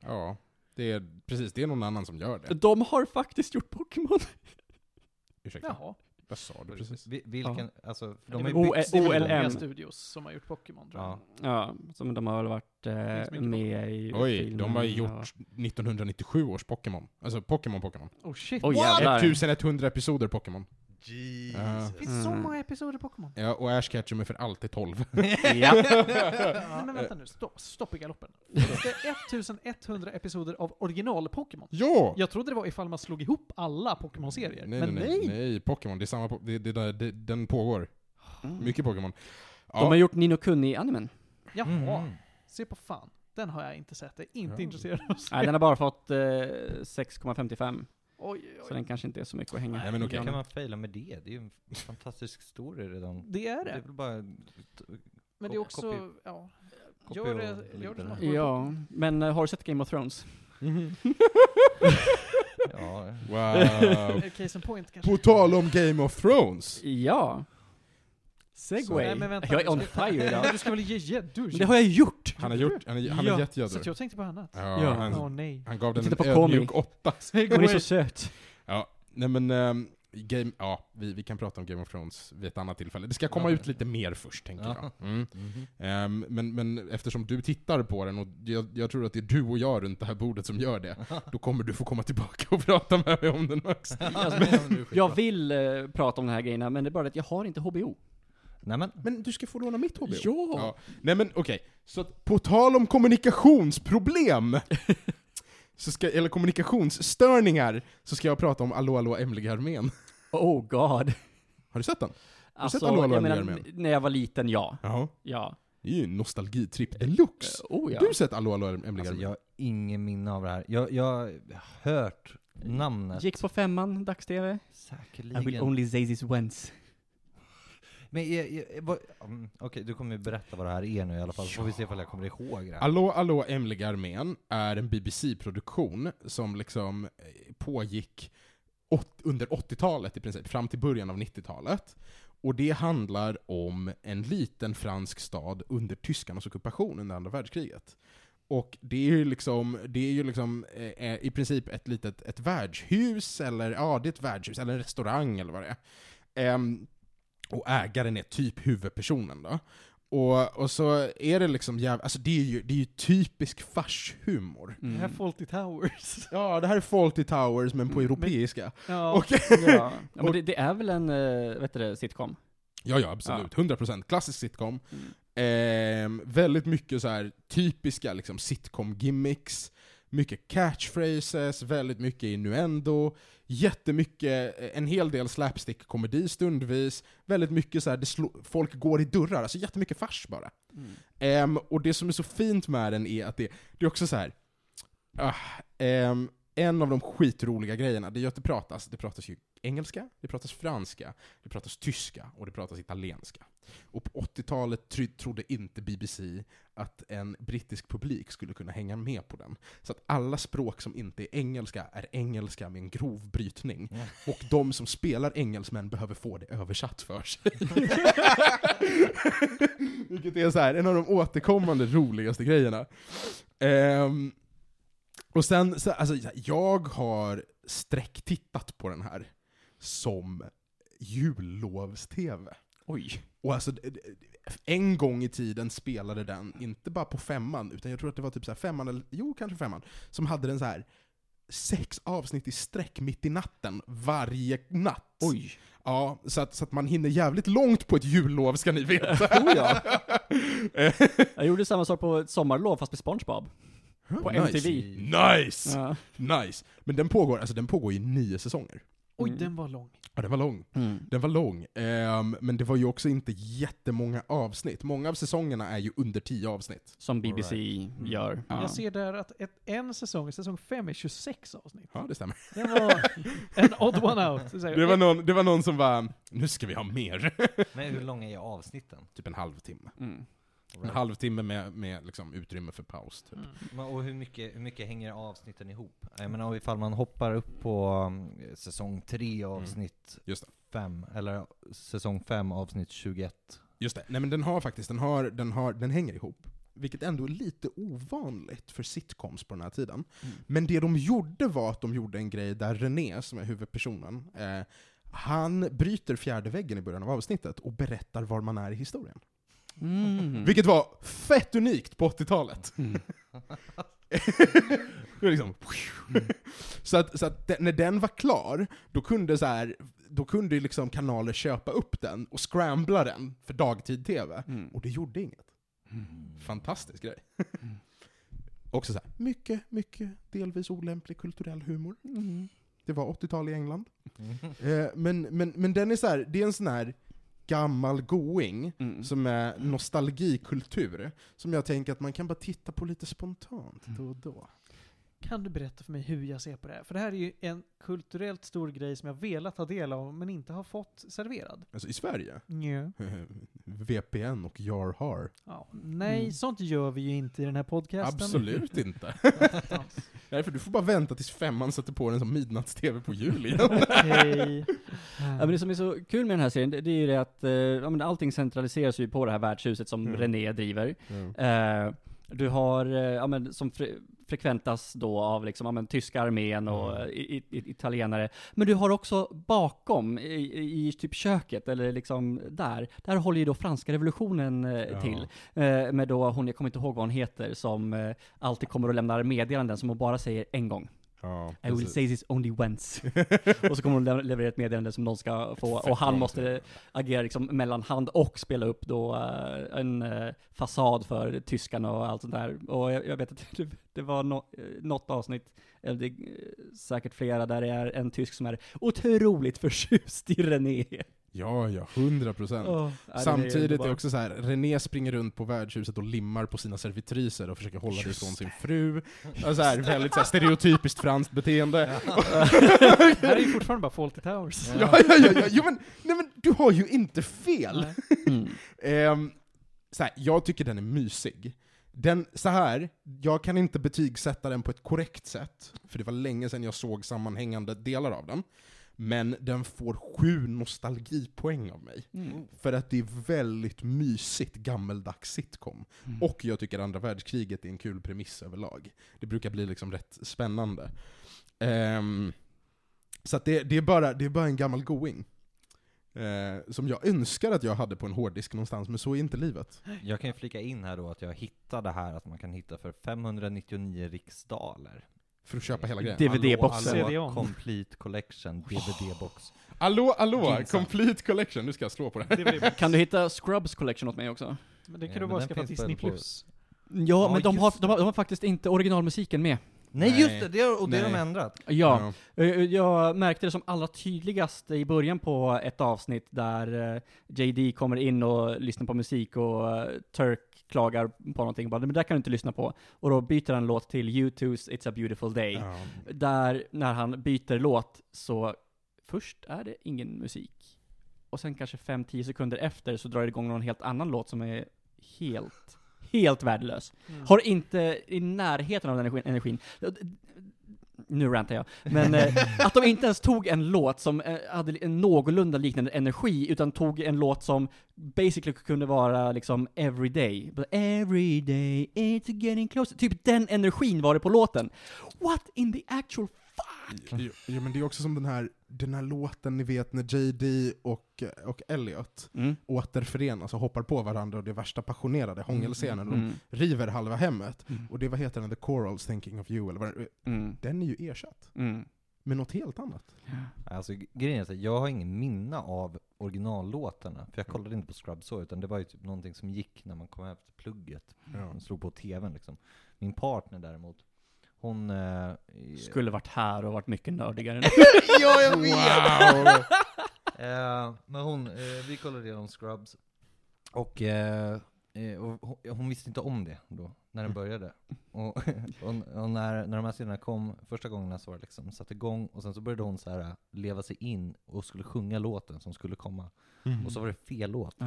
Speaker 4: ja. Det är, precis, det är någon annan som gör det.
Speaker 2: De har faktiskt gjort Pokémon.
Speaker 4: Ursäkta,
Speaker 3: Jaha.
Speaker 4: vad sa du precis?
Speaker 1: Vi- Vilken, alltså, för de
Speaker 3: Det
Speaker 1: har
Speaker 3: är
Speaker 1: ju
Speaker 2: väl
Speaker 1: byggt
Speaker 2: O-
Speaker 1: studion.
Speaker 3: Det är väl många
Speaker 2: OLM.
Speaker 3: studios som har gjort Pokémon tror jag.
Speaker 1: Ja.
Speaker 2: Ja, som de har väl varit eh,
Speaker 3: Finns mycket
Speaker 2: med i
Speaker 4: Oj,
Speaker 2: filmen
Speaker 4: de har ju
Speaker 2: och-
Speaker 4: gjort 1997 års Pokémon. Alltså Pokémon Pokémon.
Speaker 3: Oh shit.
Speaker 2: Oj,
Speaker 3: What?
Speaker 2: jävlar.
Speaker 4: 1100 episoder Pokémon.
Speaker 1: Jesus.
Speaker 3: Det finns så
Speaker 2: Mm.
Speaker 3: många episoder Pokémon.
Speaker 4: Ja, och Ash Ketchum är för alltid 12.
Speaker 2: Ja.
Speaker 3: Nej men vänta nu, stopp, stopp i galoppen. Finns det 1100 episoder av original-Pokémon?
Speaker 4: ja!
Speaker 3: Jag trodde det var ifall man slog ihop alla Pokémon-serier. Men nej!
Speaker 4: nej. nej Pokémon, det är samma, po- det, det, där- det, den pågår. Mycket Pokémon.
Speaker 2: Mm. De har
Speaker 4: Ja,
Speaker 2: gjort Nino Kuni-animen.
Speaker 3: Jaha,
Speaker 1: Mm.
Speaker 3: se på fan. Den har jag inte sett, jag är inte
Speaker 4: Ja.
Speaker 3: intresserad av att se.
Speaker 2: Nej, den har bara fått eh, 6,55.
Speaker 3: Oj, oj,
Speaker 2: Så
Speaker 3: oj.
Speaker 2: den kanske inte är så mycket att hänga
Speaker 4: Nej, men
Speaker 2: i
Speaker 1: Hur
Speaker 4: okej.
Speaker 2: granen.
Speaker 1: kan man faila med det? Det är ju en fantastisk story redan.
Speaker 3: Det är
Speaker 1: Det är
Speaker 3: det.
Speaker 1: väl bara...
Speaker 3: Men det är
Speaker 1: Kop-
Speaker 3: också,
Speaker 1: copy-
Speaker 3: ja.
Speaker 1: copy
Speaker 3: Gör
Speaker 1: och
Speaker 3: det, gör det
Speaker 1: liknande.
Speaker 3: som att-
Speaker 2: Ja, men eh, har du sett Game of Thrones?
Speaker 1: Ja,
Speaker 4: wow.
Speaker 3: Eh, Case in point kanske.
Speaker 4: På tal om Game of Thrones!
Speaker 2: Ja.
Speaker 4: Så-
Speaker 2: Segway.
Speaker 4: Nej,
Speaker 3: men vänta,
Speaker 2: jag är
Speaker 3: du
Speaker 2: on
Speaker 3: ska-
Speaker 2: fire idag.
Speaker 3: Du ska väl ge gäddor?
Speaker 2: Men det har jag gjort!
Speaker 4: Han har gjort, han, är- han
Speaker 3: Ja,
Speaker 4: har gett
Speaker 3: Så att
Speaker 4: gäddor.
Speaker 3: jag tänkte på annat.
Speaker 4: Ja,
Speaker 2: Ja.
Speaker 3: Åh
Speaker 4: han,
Speaker 3: nej.
Speaker 4: han gav den
Speaker 2: Titta
Speaker 4: en
Speaker 2: på Komi.
Speaker 4: ödmjuk åtta.
Speaker 2: Hon är så söt.
Speaker 4: Ja, nej men ehm, Game, ja, vi, vi kan prata om Game of Thrones vid ett annat tillfälle. Det ska komma
Speaker 1: Ja.
Speaker 4: ut lite mer först, tänker
Speaker 1: Ja.
Speaker 4: jag. Mm. Ehm, men, men eftersom du tittar på den, och jag, jag tror att det är du och jag runt det här bordet som gör det, då kommer du få komma tillbaka och prata med mig om den Max.
Speaker 2: Jag vill eh, prata om de här grejerna, men det är bara att jag har inte HBO.
Speaker 1: Nej men,
Speaker 4: Men du ska få låna mitt hobby.
Speaker 2: Ja.
Speaker 4: Ja. Nej men okej, så att på tal om kommunikationsproblem, så ska, eller kommunikationsstörningar, så ska jag prata om Allo Allo Emily-armén.
Speaker 2: Oh god.
Speaker 4: Har du sett den?
Speaker 2: Alltså,
Speaker 4: sett Allo Allo
Speaker 2: jag menar,
Speaker 4: Emily-armén?
Speaker 2: n- när jag var liten, ja.
Speaker 4: Ja.
Speaker 2: Ja.
Speaker 4: Det är ju en nostalgitripp deluxe.
Speaker 2: Eh, oh, ja.
Speaker 4: Du har sett Allo Allo Emily
Speaker 1: alltså,
Speaker 4: Garmin?
Speaker 1: jag har ingen minne av det här. Jag, jag har hört namnet.
Speaker 2: Gick på femman, dags-tv. I will
Speaker 1: Säkerligen.
Speaker 2: only say this once.
Speaker 1: Men jag, jag, vad- mm, okej, du kommer ju berätta vad det här är nu i alla fall, så får vi se ifall jag kommer ihåg det. här.
Speaker 4: Allo Allo Emily Armén är en BBC-produktion som liksom eh, pågick åt, under 80-talet i princip, fram till början av 90-talet. Och det handlar om en liten fransk stad under tyskarnas ockupation under andra världskriget. Och det är ju liksom, det är ju liksom eh, i princip ett litet ett värdshus, eller ja, det är ett värdshus, eller en restaurang eller vad det är. Ehm, och ägaren är typ huvudpersonen då. Och, och så är det liksom jävla, alltså det är ju, det är ju typisk farshumor.
Speaker 3: Det här
Speaker 2: Mm.
Speaker 3: är Fawlty Towers.
Speaker 4: Ja, det här är Fawlty Towers men på
Speaker 2: Mm,
Speaker 4: europeiska.
Speaker 3: Ja.
Speaker 4: Och,
Speaker 2: Ja, ja men det, det är väl en, eh, vet du det, sitcom?
Speaker 4: ja, ja absolut. 100% klassisk sitcom.
Speaker 2: Mm.
Speaker 4: Ehm, väldigt mycket så här typiska liksom, sitcom-gimmicks, mycket catchphrases, väldigt mycket innuendo, jättemycket, eh, en hel del slapstick-komedi stundvis, väldigt mycket så här, det slå, folk går i dörrar, alltså jättemycket fars bara. Ehm, och det som är så fint med den är att det, det är också så här. ah, ehm, en av de skitroliga grejerna, det är ju att det pratas, det pratas ju engelska, det pratas franska, det pratas tyska och det pratas italienska. Och på 80-talet try- trodde inte BBC att en brittisk publik skulle kunna hänga med på den. Så att alla språk som inte är engelska är engelska med en grov brytning.
Speaker 1: Mm.
Speaker 4: Och de som spelar engelsmän behöver få det översatt för sig. Vilket är så här, en av de återkommande roligaste grejerna. Ehm, och sen, så, alltså, jag har sträcktittat på den här som jullovs-tv.
Speaker 2: Oj.
Speaker 4: Och alltså, d- d- en gång i tiden spelade den, inte bara på femman, utan jag tror att det var typ så här femman, eller jo kanske femman, som hade den så här sex avsnitt i sträck mitt i natten varje natt.
Speaker 2: Oj.
Speaker 4: Ja, så att, så att man hinner jävligt långt på ett jullov ska ni veta.
Speaker 2: Oh, ja. Jag gjorde samma sak på ett sommarlov fast med SpongeBob. På
Speaker 4: Nice.
Speaker 2: MTV.
Speaker 4: Nice!
Speaker 2: Ja.
Speaker 4: Nice! Men den pågår, alltså den pågår i nio säsonger.
Speaker 3: Oj,
Speaker 2: Mm.
Speaker 3: den var lång.
Speaker 4: Ja, den var lång. Den var lång. Ehm, men det var ju också inte jättemånga avsnitt. Många av säsongerna är ju under tio avsnitt.
Speaker 2: Som BBC gör. Ja.
Speaker 3: Jag ser där att ett, en säsong, säsong 5, är 26 avsnitt.
Speaker 4: Ja, det stämmer.
Speaker 3: Den var en odd one out. Så säger
Speaker 4: Det
Speaker 3: jag, "Eh,
Speaker 4: var någon, det var någon som var nu ska vi ha mer.
Speaker 1: Men hur långa är avsnitten?
Speaker 4: typ en halvtimme.
Speaker 2: Mm.
Speaker 4: En halvtimme med, med liksom utrymme för paus. Typ.
Speaker 3: Mm.
Speaker 1: Men, och hur mycket, hur mycket hänger avsnitten ihop? Jag menar ifall man hoppar upp på um, säsong 3 avsnitt
Speaker 4: Mm. Just det.
Speaker 1: 5, eller säsong 5 avsnitt 21.
Speaker 4: Just det. Nej men den har faktiskt, den, har, den, har, den hänger ihop. Vilket ändå är lite ovanligt för sitcoms på den här tiden. Men det de gjorde var att de gjorde en grej där René, som är huvudpersonen, eh, han bryter fjärde väggen i början av avsnittet och berättar var man är i historien.
Speaker 2: Mm.
Speaker 4: Vilket var fett unikt på 80-talet.
Speaker 2: Mm.
Speaker 4: det var liksom... så att, så att de- när den var klar, då kunde, så här, då kunde ju liksom kanaler köpa upp den och scrambla den för dagtid-tv.
Speaker 2: Mm.
Speaker 4: Och det gjorde inget. Mm. Fantastisk grej. Också så här, mycket, mycket delvis olämplig kulturell humor.
Speaker 3: mm."
Speaker 2: Mm.
Speaker 4: Det var 80-tal i England.
Speaker 1: Mm.
Speaker 4: Eh, men, men, men den är så här, det är en sån här gammal going
Speaker 2: Mm.
Speaker 4: som är nostalgikultur, som jag tänker att man kan bara titta på lite spontant
Speaker 2: Mm.
Speaker 4: då och då.
Speaker 3: Kan du berätta för mig hur jag ser på det här? För det här är ju en kulturellt stor grej som jag velat ta del av men inte har fått serverad.
Speaker 4: Alltså i Sverige?
Speaker 3: Njö.
Speaker 4: VPN och Jarhar?
Speaker 3: Ja. Nej,
Speaker 2: Mm.
Speaker 3: sånt gör vi ju inte i den här podcasten.
Speaker 4: Absolut inte. Därför du får bara vänta tills femman sätter på den som midnatts-tv på jul igen.
Speaker 3: Okej.
Speaker 2: Ja, men det som är så kul med den här serien, det, det är ju det att eh, ja, men allting centraliseras ju på det här värdshuset som
Speaker 4: Mm.
Speaker 2: René driver. Eh, du har, eh, ja, men, som fre frekventas då av liksom, ja, men, tyska armén och
Speaker 4: Mm.
Speaker 2: eh, i, i, italienare. Men du har också bakom, i, i, i typ köket, eller liksom där, där håller ju då franska revolutionen eh,
Speaker 4: Ja.
Speaker 2: till. Eh, med då hon, jag kommer inte ihåg vad hon heter, som eh, alltid kommer och lämnar meddelanden som hon bara säger en gång.
Speaker 4: Ja,
Speaker 2: I will say this only once. och så kommer hon lever- leverera ett meddelande som någon ska få, och han måste agera liksom mellanhand och spela upp då eh, en eh, fasad för tyskarna och allt sånt där. Och jag, jag vet att det, det var no, eh, något avsnitt, eller det är eh, säkert flera, där det är en tysk som är otroligt förtjust i René.
Speaker 4: ja, ja, hundra procent.
Speaker 2: Åh,
Speaker 4: Samtidigt är det
Speaker 2: underbart.
Speaker 4: också så här, René springer runt på värdshuset och limmar på sina servitriser och försöker hålla det
Speaker 2: Just
Speaker 4: ifrån sin fru. Och så Alltså, här, väldigt så här, stereotypiskt franskt beteende.
Speaker 3: Det här är ju fortfarande bara Fawlty Towers.
Speaker 4: Ja, ja, ja, ja, jo, men, nej, men du har ju inte fel!
Speaker 3: Nej.
Speaker 2: Mm.
Speaker 4: Ehm, så här, jag tycker den är mysig. Den, så här, jag kan inte betygsätta den på ett korrekt sätt, för det var länge sedan jag såg sammanhängande delar av den. Men den får sju nostalgipoäng av mig.
Speaker 2: Mm.
Speaker 4: För att det är väldigt mysigt gammeldags sitcom.
Speaker 2: Mm.
Speaker 4: Och jag tycker andra världskriget är en kul premiss överlag. Det brukar bli liksom rätt spännande. Ehm, så att det, det, är bara, det är bara en gammal going. Eh, som jag önskar att jag hade på en hårddisk någonstans, men så är inte livet.
Speaker 1: Jag kan ju flika in här då att jag hittade här att man kan hitta för 599 riksdaler.
Speaker 4: För att köpa hela grejen.
Speaker 2: Det- DVD-boxen.
Speaker 1: Hallå,
Speaker 3: CD-on.
Speaker 1: hallå, Complete Collection, DVD-box.
Speaker 4: Allå, allå!
Speaker 1: Pinsamt.
Speaker 4: Complete collection, nu ska jag slå på det här.
Speaker 3: Det var det.
Speaker 2: Kan du hitta Scrubs Collection åt mig också?
Speaker 3: Men det
Speaker 1: Ja,
Speaker 3: kan du
Speaker 1: men
Speaker 3: bara
Speaker 1: den
Speaker 3: skaffa
Speaker 1: finns
Speaker 3: Disney+.
Speaker 1: väl på-
Speaker 3: Plus.
Speaker 2: Ja, men
Speaker 1: just
Speaker 2: de har,
Speaker 1: det.
Speaker 2: de, har, de har faktiskt inte originalmusiken med.
Speaker 1: Nej just det, det har- och det har de
Speaker 4: Nej.
Speaker 1: ändrat.
Speaker 2: Ja, Eh, Jag märkte det som allra tydligast i början på ett avsnitt där eh, JD kommer in och lyssnar på musik och eh, Turk klagar på någonting och bara, men det där kan du inte lyssna på. Och då byter han låt till U2's It's a beautiful day.
Speaker 4: Ja.
Speaker 2: Där, när han byter låt, så först är det ingen musik. Och sen kanske 5-10 sekunder efter så drar det igång någon helt annan låt som är helt, helt värdelös.
Speaker 3: Mm.
Speaker 2: Har inte i närheten av den energin, energin. Nu rantar jag. Men eh, att de inte ens tog en låt som eh, hade en någorlunda liknande energi, utan tog en låt som basically kunde vara liksom everyday. But everyday it's getting closer. Typ den energin var det på låten. What in the actual
Speaker 4: Jo, jo, men det är också som den här, den här låten ni vet när JD och, och Elliot
Speaker 2: mm.
Speaker 4: återförenas och hoppar på varandra och det är värsta passionerade hångelscenen. och De river halva hemmet.
Speaker 2: Mm.
Speaker 4: Och det, vad heter den? The Corals Thinking of You, eller vad den,
Speaker 2: Mm.
Speaker 4: den är ju ersatt.
Speaker 2: Mm.
Speaker 4: med något helt annat.
Speaker 1: Alltså grejen är att jag har ingen minne av originallåtarna, för jag kollade inte på Scrubs så, utan det var ju typ någonting som gick när man kom hem efter plugget.
Speaker 2: Mm.
Speaker 1: De slog på tvn liksom. Min partner däremot, hon... Eh,
Speaker 2: Skulle varit här och varit mycket nördigare.
Speaker 1: ja, jag
Speaker 4: Wow!
Speaker 1: Eh, men hon, eh, vi kollade igenom Scrubs, och, eh, eh, och hon, hon visste inte om det då, när den började. Och, och, och när, när de här scenerna kom, första gångerna så var det liksom, satte igång, och sen så började hon så här leva sig in och skulle sjunga låten som skulle komma. Och så var det fel låt. Och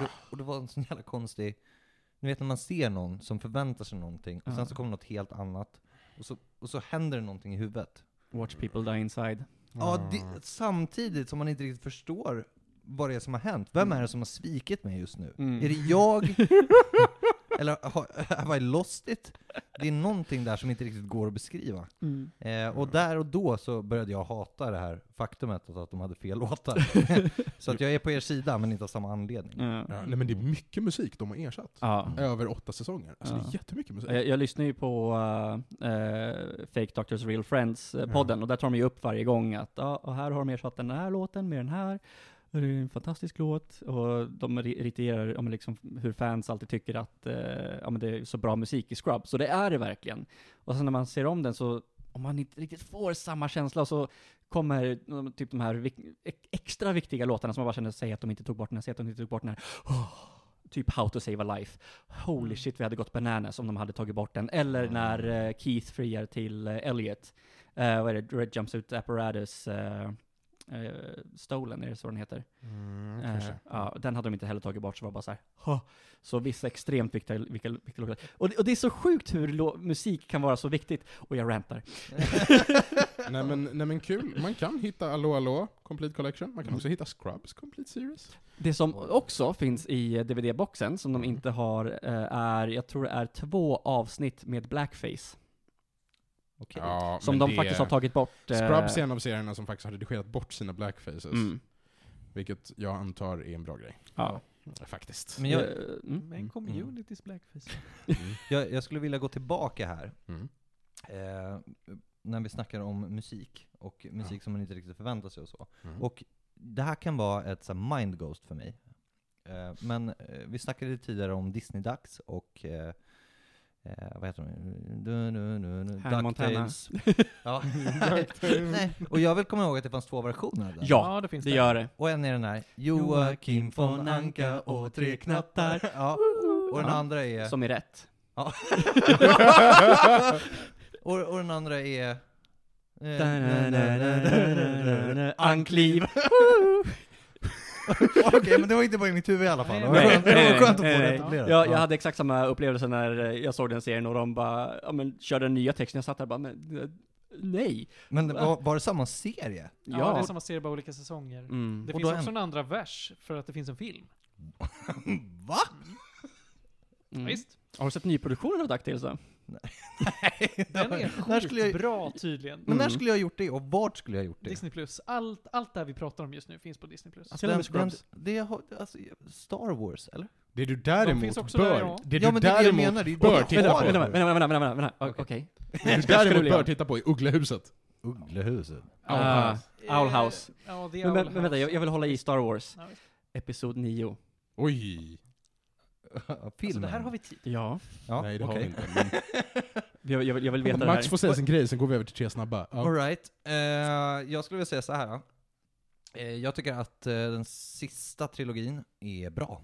Speaker 1: det, och det var en sån jävla konstig, ni vet när man ser någon som förväntar sig någonting, och sen så kommer något helt annat, och så, och så händer det någonting i huvudet.
Speaker 2: Watch people die inside.
Speaker 1: Ja,
Speaker 4: Mm.
Speaker 1: det, samtidigt som man inte riktigt förstår vad det är som har hänt. Vem är det som har svikit mig just nu? Är det jag? Eller har, have I lost it? Det är någonting där som inte riktigt går att beskriva.
Speaker 2: Mm.
Speaker 1: Eh, och där och då så började jag hata det här faktumet att, att de hade fel låtar. så att jag är på er sida, men inte av samma anledning.
Speaker 2: Ja.
Speaker 4: Ja, nej men det är mycket musik de har ersatt.
Speaker 2: Ja.
Speaker 4: Över åtta säsonger. Alltså det
Speaker 2: Ja.
Speaker 4: är jättemycket musik.
Speaker 2: Jag, jag lyssnar ju på eh, eh, Fake Doctors Real eh, Friends-podden, och där tar de ju upp varje gång att ja, och här har de ersatt den här låten med den här, och det är en fantastisk låt, och de ri- irriterar om liksom hur fans alltid tycker att eh, ja, men det är så bra musik i Scrubs, och det är det verkligen. Och sen när man ser om den så, om man inte riktigt får samma känsla, och så kommer eh, typ de här vik- ex- extra viktiga låtarna som man bara känner, säg att de inte tog bort den här, säg att de inte tog bort den här. Åh, typ How to Save a Life. Holy shit, vi hade gått bananas om de hade tagit bort den. Eller när eh, Keith friar till eh, Elliot. Eh, vad är det? Red Jumpsuit Apparatus eh, eh, Stolen, är det så den heter?
Speaker 4: Mm,
Speaker 2: Eh, ja, den hade de inte heller tagit bort, så var det bara så här. "Hå." Så vissa extremt viktiga, viktiga, viktiga låtar. Och det, och det är så sjukt hur lo- musik kan vara så viktigt. Och jag rantar.
Speaker 4: Nej men, nej men kul, man kan hitta Allo Allo Complete Collection, man
Speaker 2: Mm.
Speaker 4: kan också hitta Scrubs Complete Series.
Speaker 2: Det som också finns i eh, DVD-boxen, som de
Speaker 4: Mm.
Speaker 2: inte har, eh, är, jag tror det är två avsnitt med blackface.
Speaker 1: Okej.
Speaker 2: Som de faktiskt har tagit bort. eh,
Speaker 4: Scrubs är en av serierna som faktiskt har redigerat bort sina blackfaces.
Speaker 2: Mm.
Speaker 4: Vilket jag antar är en bra grej.
Speaker 2: Ja.
Speaker 4: Faktiskt.
Speaker 1: Mm. Men jag,
Speaker 2: Eh, mm.
Speaker 3: Men community's blackface.
Speaker 1: jag, jag skulle vilja gå tillbaka här,
Speaker 4: Mm.
Speaker 1: eh, när vi snackar om musik, och musik som man inte riktigt förväntar sig och så.
Speaker 4: Mm.
Speaker 1: Och det här kan vara ett så här, mind ghost för mig. Eh, men eh, vi snackade tidigare om Disney-dags och eh, eh, vad heter de? Du, nu, nu, nu,
Speaker 2: Hannah Montana.
Speaker 1: DuckTales. Ja. Nej. Och jag vill komma ihåg att det fanns två versioner av den.
Speaker 2: Ja,
Speaker 3: det finns
Speaker 2: det gör det.
Speaker 1: Och en är den här Joakim von Anka och tre knattar. Ja. Och den
Speaker 2: Ja.
Speaker 1: andra är...
Speaker 2: Som är rätt.
Speaker 1: Och, och den andra är... eh,
Speaker 2: Ankliv.
Speaker 1: Okej, men det var inte bara i mitt huvud i alla fall. Det var
Speaker 3: Nej,
Speaker 1: skönt- det var
Speaker 2: nej,
Speaker 1: skönt att få
Speaker 2: nej,
Speaker 1: det
Speaker 2: nej.
Speaker 1: etablerat.
Speaker 2: Jag, jag hade exakt samma upplevelse när eh, jag såg den serien och de bara, ja men kör den nya texten. Jag satt där och bara, men eh, nej.
Speaker 1: Men var, var det samma serie?
Speaker 3: Ja, det är samma serie bara olika säsonger.
Speaker 2: Mm.
Speaker 3: Det
Speaker 1: Och
Speaker 3: finns
Speaker 1: då
Speaker 3: också
Speaker 1: en-
Speaker 3: en andra vers för att det finns en film.
Speaker 1: Va?
Speaker 3: Ja,
Speaker 2: Mm.
Speaker 3: Visst?
Speaker 2: Har du sett nyproduktionen av DuckTales då?
Speaker 3: Den är
Speaker 1: När skulle jag-
Speaker 3: sjukt bra tydligen.
Speaker 1: Men när
Speaker 2: Mm.
Speaker 1: skulle jag ha gjort det och vart skulle jag ha gjort det?
Speaker 3: Disney plus. Allt, allt det här vi pratar om just nu finns på Disney plus.
Speaker 2: Alltså, till och med Scrubs.
Speaker 1: det har, alltså, Star Wars, eller?
Speaker 4: Det du däremot
Speaker 3: finns också
Speaker 4: bör,
Speaker 3: där, ja.
Speaker 4: det du
Speaker 1: Ja, men det är det jag
Speaker 4: däremot
Speaker 1: menar, det är ju
Speaker 4: bör
Speaker 1: det.
Speaker 4: titta
Speaker 2: Vänta,
Speaker 4: på,
Speaker 2: vänta, vänta, vänta, vänta, vänta, vänta. O-
Speaker 1: Okej.
Speaker 2: Okej.
Speaker 4: det du
Speaker 2: ska du
Speaker 4: däremot
Speaker 2: vilja.
Speaker 4: bör titta på är Ugglehuset.
Speaker 1: Ugglehuset.
Speaker 2: Ah, Owl House.
Speaker 3: Eh, Ja, det
Speaker 2: Men,
Speaker 3: är Owl
Speaker 2: men,
Speaker 3: House.
Speaker 2: men vänta, jag, jag vill hålla i Star Wars.
Speaker 3: Ja, visst.
Speaker 2: Episod 9.
Speaker 4: Oj!
Speaker 3: Alltså,
Speaker 1: Filmen.
Speaker 3: det här har vi tid.
Speaker 2: Ja.
Speaker 1: ja,
Speaker 4: Nej det har vi
Speaker 1: okej.
Speaker 4: inte. Men
Speaker 2: Jag, jag, vill, jag vill veta det
Speaker 4: Max
Speaker 2: här.
Speaker 4: får säga sin grej, sen går vi över till tre snabba. Ja.
Speaker 1: All right. Eh, jag skulle vilja säga så här. Eh, jag tycker att eh, den sista trilogin är bra.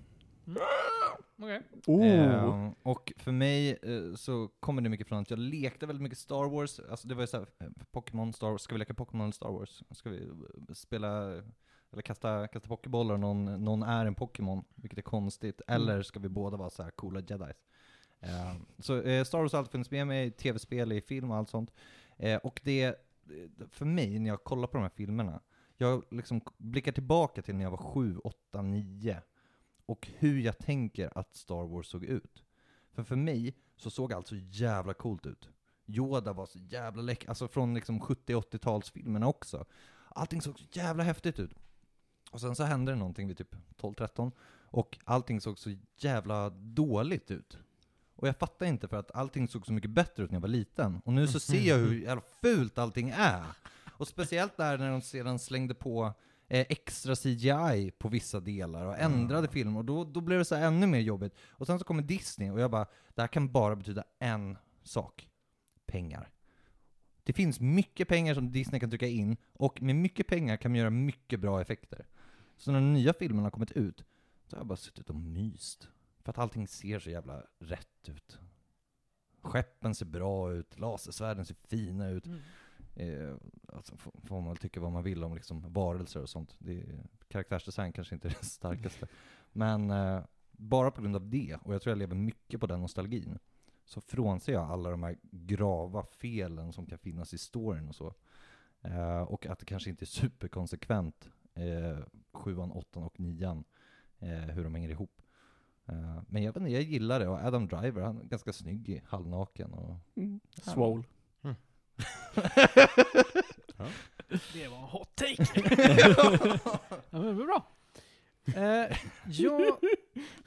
Speaker 3: Okej.
Speaker 2: Oh.
Speaker 1: Ehm, och för mig eh, så kommer det mycket från att jag lekte väldigt mycket Star Wars, alltså det var ju såhär, eh, Pokémon, Star Wars, ska vi leka Pokémon eller Star Wars? Ska vi eh, spela, eh, eller kasta, kasta pokébollar och någon, någon är en Pokémon, vilket är konstigt, eller ska vi båda vara så här coola jedis? Ehm, så eh, Star Wars har alltid funnits med mig, i tv-spel, i film och allt sånt. Eh, och det, eh, för mig, när jag kollar på de här filmerna, jag liksom blickar tillbaka till när jag var 7, 8, 9 och hur jag tänker att Star Wars såg ut. För för mig så såg allt så jävla coolt ut. Yoda var så jävla läcker, alltså från liksom 70-80-talsfilmerna också. Allting såg så jävla häftigt ut. Och sen så hände det någonting vid typ 12-13, och allting såg så jävla dåligt ut. Och jag fattar inte för att allting såg så mycket bättre ut när jag var liten, och nu så ser jag hur jävla fult allting är. Och speciellt där när de sedan slängde på eh, extra CGI på vissa delar och ändrade film, och då, då blev det så här ännu mer jobbigt. Och sen så kommer Disney, och jag bara, det här kan bara betyda en sak. Pengar. Det finns mycket pengar som Disney kan trycka in, och med mycket pengar kan man göra mycket bra effekter. Så när de nya filmerna har kommit ut, så har jag bara suttit och myst. För att allting ser så jävla rätt ut. Skeppen ser bra ut, lasersvärden ser fina ut.
Speaker 3: Mm.
Speaker 1: Eh, alltså, får, får man väl tycka vad man vill om liksom, varelser och sånt. Det, karaktärsdesign kanske inte är det starkaste. Men eh, bara på grund av det, och jag tror jag lever mycket på den nostalgin, så frånser jag alla de här grava felen som kan finnas i storyn och så. Eh, och att det kanske inte är superkonsekvent, eh, sjuan, åttan och nian, eh, hur de hänger ihop. Eh, men jag, vet inte, jag gillar det, och Adam Driver, han är ganska snygg i halvnaken. Och...
Speaker 2: Swole.
Speaker 3: Det var en hot take! ja, men det var bra. Eh, jag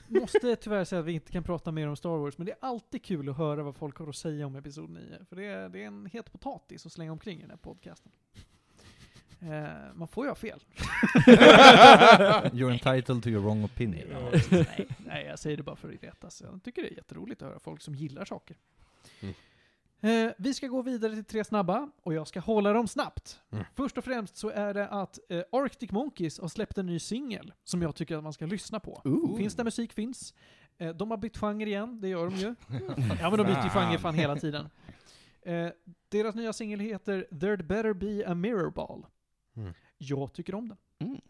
Speaker 3: måste tyvärr säga att vi inte kan prata mer om Star Wars, men det är alltid kul att höra vad folk har att säga om Episod 9. För det är, det är en het potatis att slänga omkring i den här podcasten. Eh, man får ju ha fel.
Speaker 1: You're entitled to your wrong opinion.
Speaker 3: Ja, precis. nej, nej, jag säger det bara för att retas. Jag tycker det är jätteroligt att höra folk som gillar saker.
Speaker 4: Mm.
Speaker 3: Eh, vi ska gå vidare till tre snabba, och jag ska hålla dem snabbt.
Speaker 4: Mm.
Speaker 3: Först och främst så är det att eh, Arctic Monkeys har släppt en ny singel som jag tycker att man ska lyssna på.
Speaker 4: Ooh.
Speaker 3: Finns där musik finns. Eh, de har bytt genre igen, det gör de ju. ja men de byter ju genre fan hela tiden. Eh, deras nya singel heter There'd better be a mirror ball.
Speaker 4: Mm.
Speaker 3: Jag tycker om den.
Speaker 2: Mm.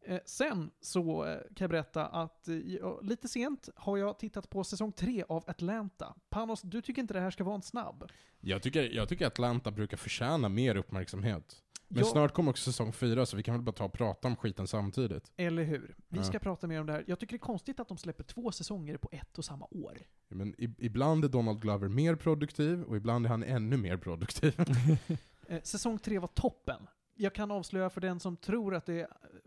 Speaker 3: Eh, sen så eh, kan jag berätta att eh, jag- lite sent har jag tittat på säsong tre av Atlanta. Panos, du tycker inte det här ska vara en snabb?
Speaker 4: Jag tycker, jag tycker Atlanta brukar förtjäna mer uppmärksamhet. Men
Speaker 3: Ja,
Speaker 4: snart kommer också säsong fyra, så vi kan väl bara ta och prata om skiten samtidigt.
Speaker 3: Eller hur? Vi
Speaker 4: Ja.
Speaker 3: ska prata mer om det här. Jag tycker det är konstigt att de släpper två säsonger på ett och samma år.
Speaker 4: Men i, ibland är Donald Glover mer produktiv, och ibland är han ännu mer produktiv.
Speaker 3: Eh, säsong tre var toppen. Jag kan avslöja för den som tror att det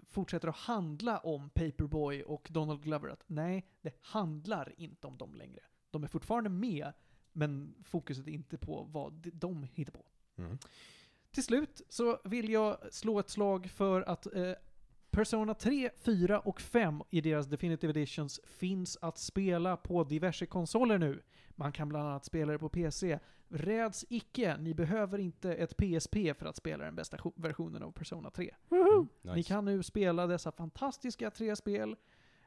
Speaker 3: fortsätter att handla om Paperboy och Donald Glover att nej, det handlar inte om dem längre. De är fortfarande med, men fokuset är inte på vad de hittar på.
Speaker 4: Mm.
Speaker 3: Till slut så vill jag slå ett slag för att eh, Persona 3, 4 och 5 i deras Definitive Editions finns att spela på diverse konsoler nu. Man kan bland annat spela det på PC. Räds icke, ni behöver inte ett PSP för att spela den bästa sjo- versionen av Persona 3.
Speaker 4: Mm.
Speaker 3: Ni kan nu spela dessa fantastiska tre spel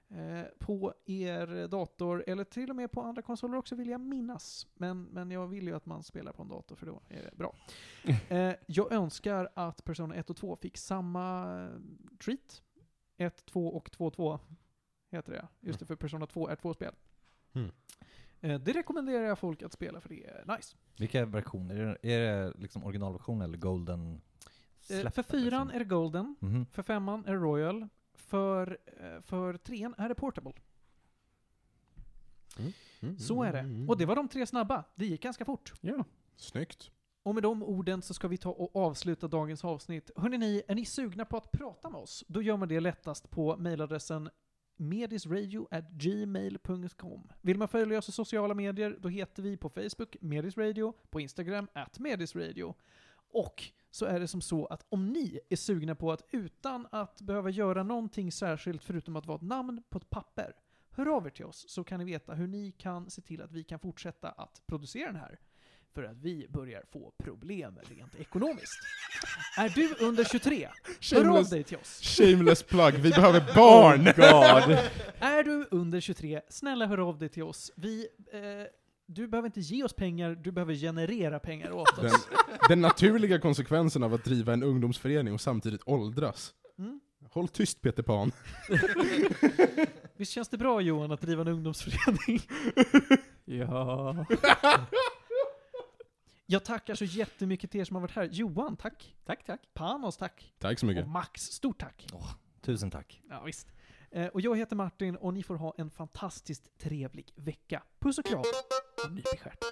Speaker 3: eh, på er dator, eller till och med på andra konsoler också vill jag minnas. Men, men jag vill ju att man spelar på en dator för då är det bra. Eh, jag önskar att Persona 1 och 2 fick samma eh, treat. 1, 2 och 2, 2 heter det. Just det, för Persona 2 är två spel.
Speaker 4: Mm.
Speaker 3: Eh, det rekommenderar jag folk att spela för det är nice.
Speaker 1: Vilka versioner? Är det, är det liksom originalversion eller golden?
Speaker 3: Eh,
Speaker 1: släpp
Speaker 3: för
Speaker 1: liksom?
Speaker 3: fyran är det Golden,
Speaker 1: Mhm.
Speaker 3: för femman är det Royal, för, eh, för trean är det Portable.
Speaker 4: Mm,
Speaker 3: Så är det.
Speaker 4: mm,
Speaker 3: Och det var de tre snabba. Det gick ganska fort.
Speaker 2: Ja.
Speaker 4: Snyggt.
Speaker 3: Och med de orden så ska vi ta och avsluta dagens avsnitt. Hörrni, ni, är ni sugna på att prata med oss? Då gör man det lättast på mejladressen medisradio.gmail.com Vill man följa oss i sociala medier, då heter vi på Facebook medisradio, på Instagram at medisradio. Och så är det som så att om ni är sugna på att utan att behöva göra någonting särskilt förutom att vara ett namn på ett papper, hör av er till oss så kan ni veta hur ni kan se till att vi kan fortsätta att producera den här för att vi börjar få problem rent ekonomiskt. Är du under 23? Hör av
Speaker 4: Shameless,
Speaker 3: dig till oss.
Speaker 4: shameless plug, vi behöver barn!
Speaker 2: God.
Speaker 3: Är du under 23? Snälla hör av dig till oss. Vi, eh, du behöver inte ge oss pengar, du behöver generera pengar åt
Speaker 4: Den,
Speaker 3: oss.
Speaker 4: den naturliga konsekvensen av att driva en ungdomsförening och samtidigt åldras.
Speaker 3: Mm.
Speaker 4: Håll tyst Peter Pan.
Speaker 3: Visst känns det bra Johan att driva en ungdomsförening?
Speaker 2: Ja.
Speaker 3: Jag tackar så jättemycket till er som har varit här. Johan, tack.
Speaker 2: Tack, tack.
Speaker 3: Panos, tack.
Speaker 4: Tack så mycket.
Speaker 3: Och Max, stort tack.
Speaker 1: Tusen tack.
Speaker 3: Ja, visst. Eh, och jag heter Martin och ni får ha en fantastiskt trevlig vecka. Puss och kram och nybeskärt.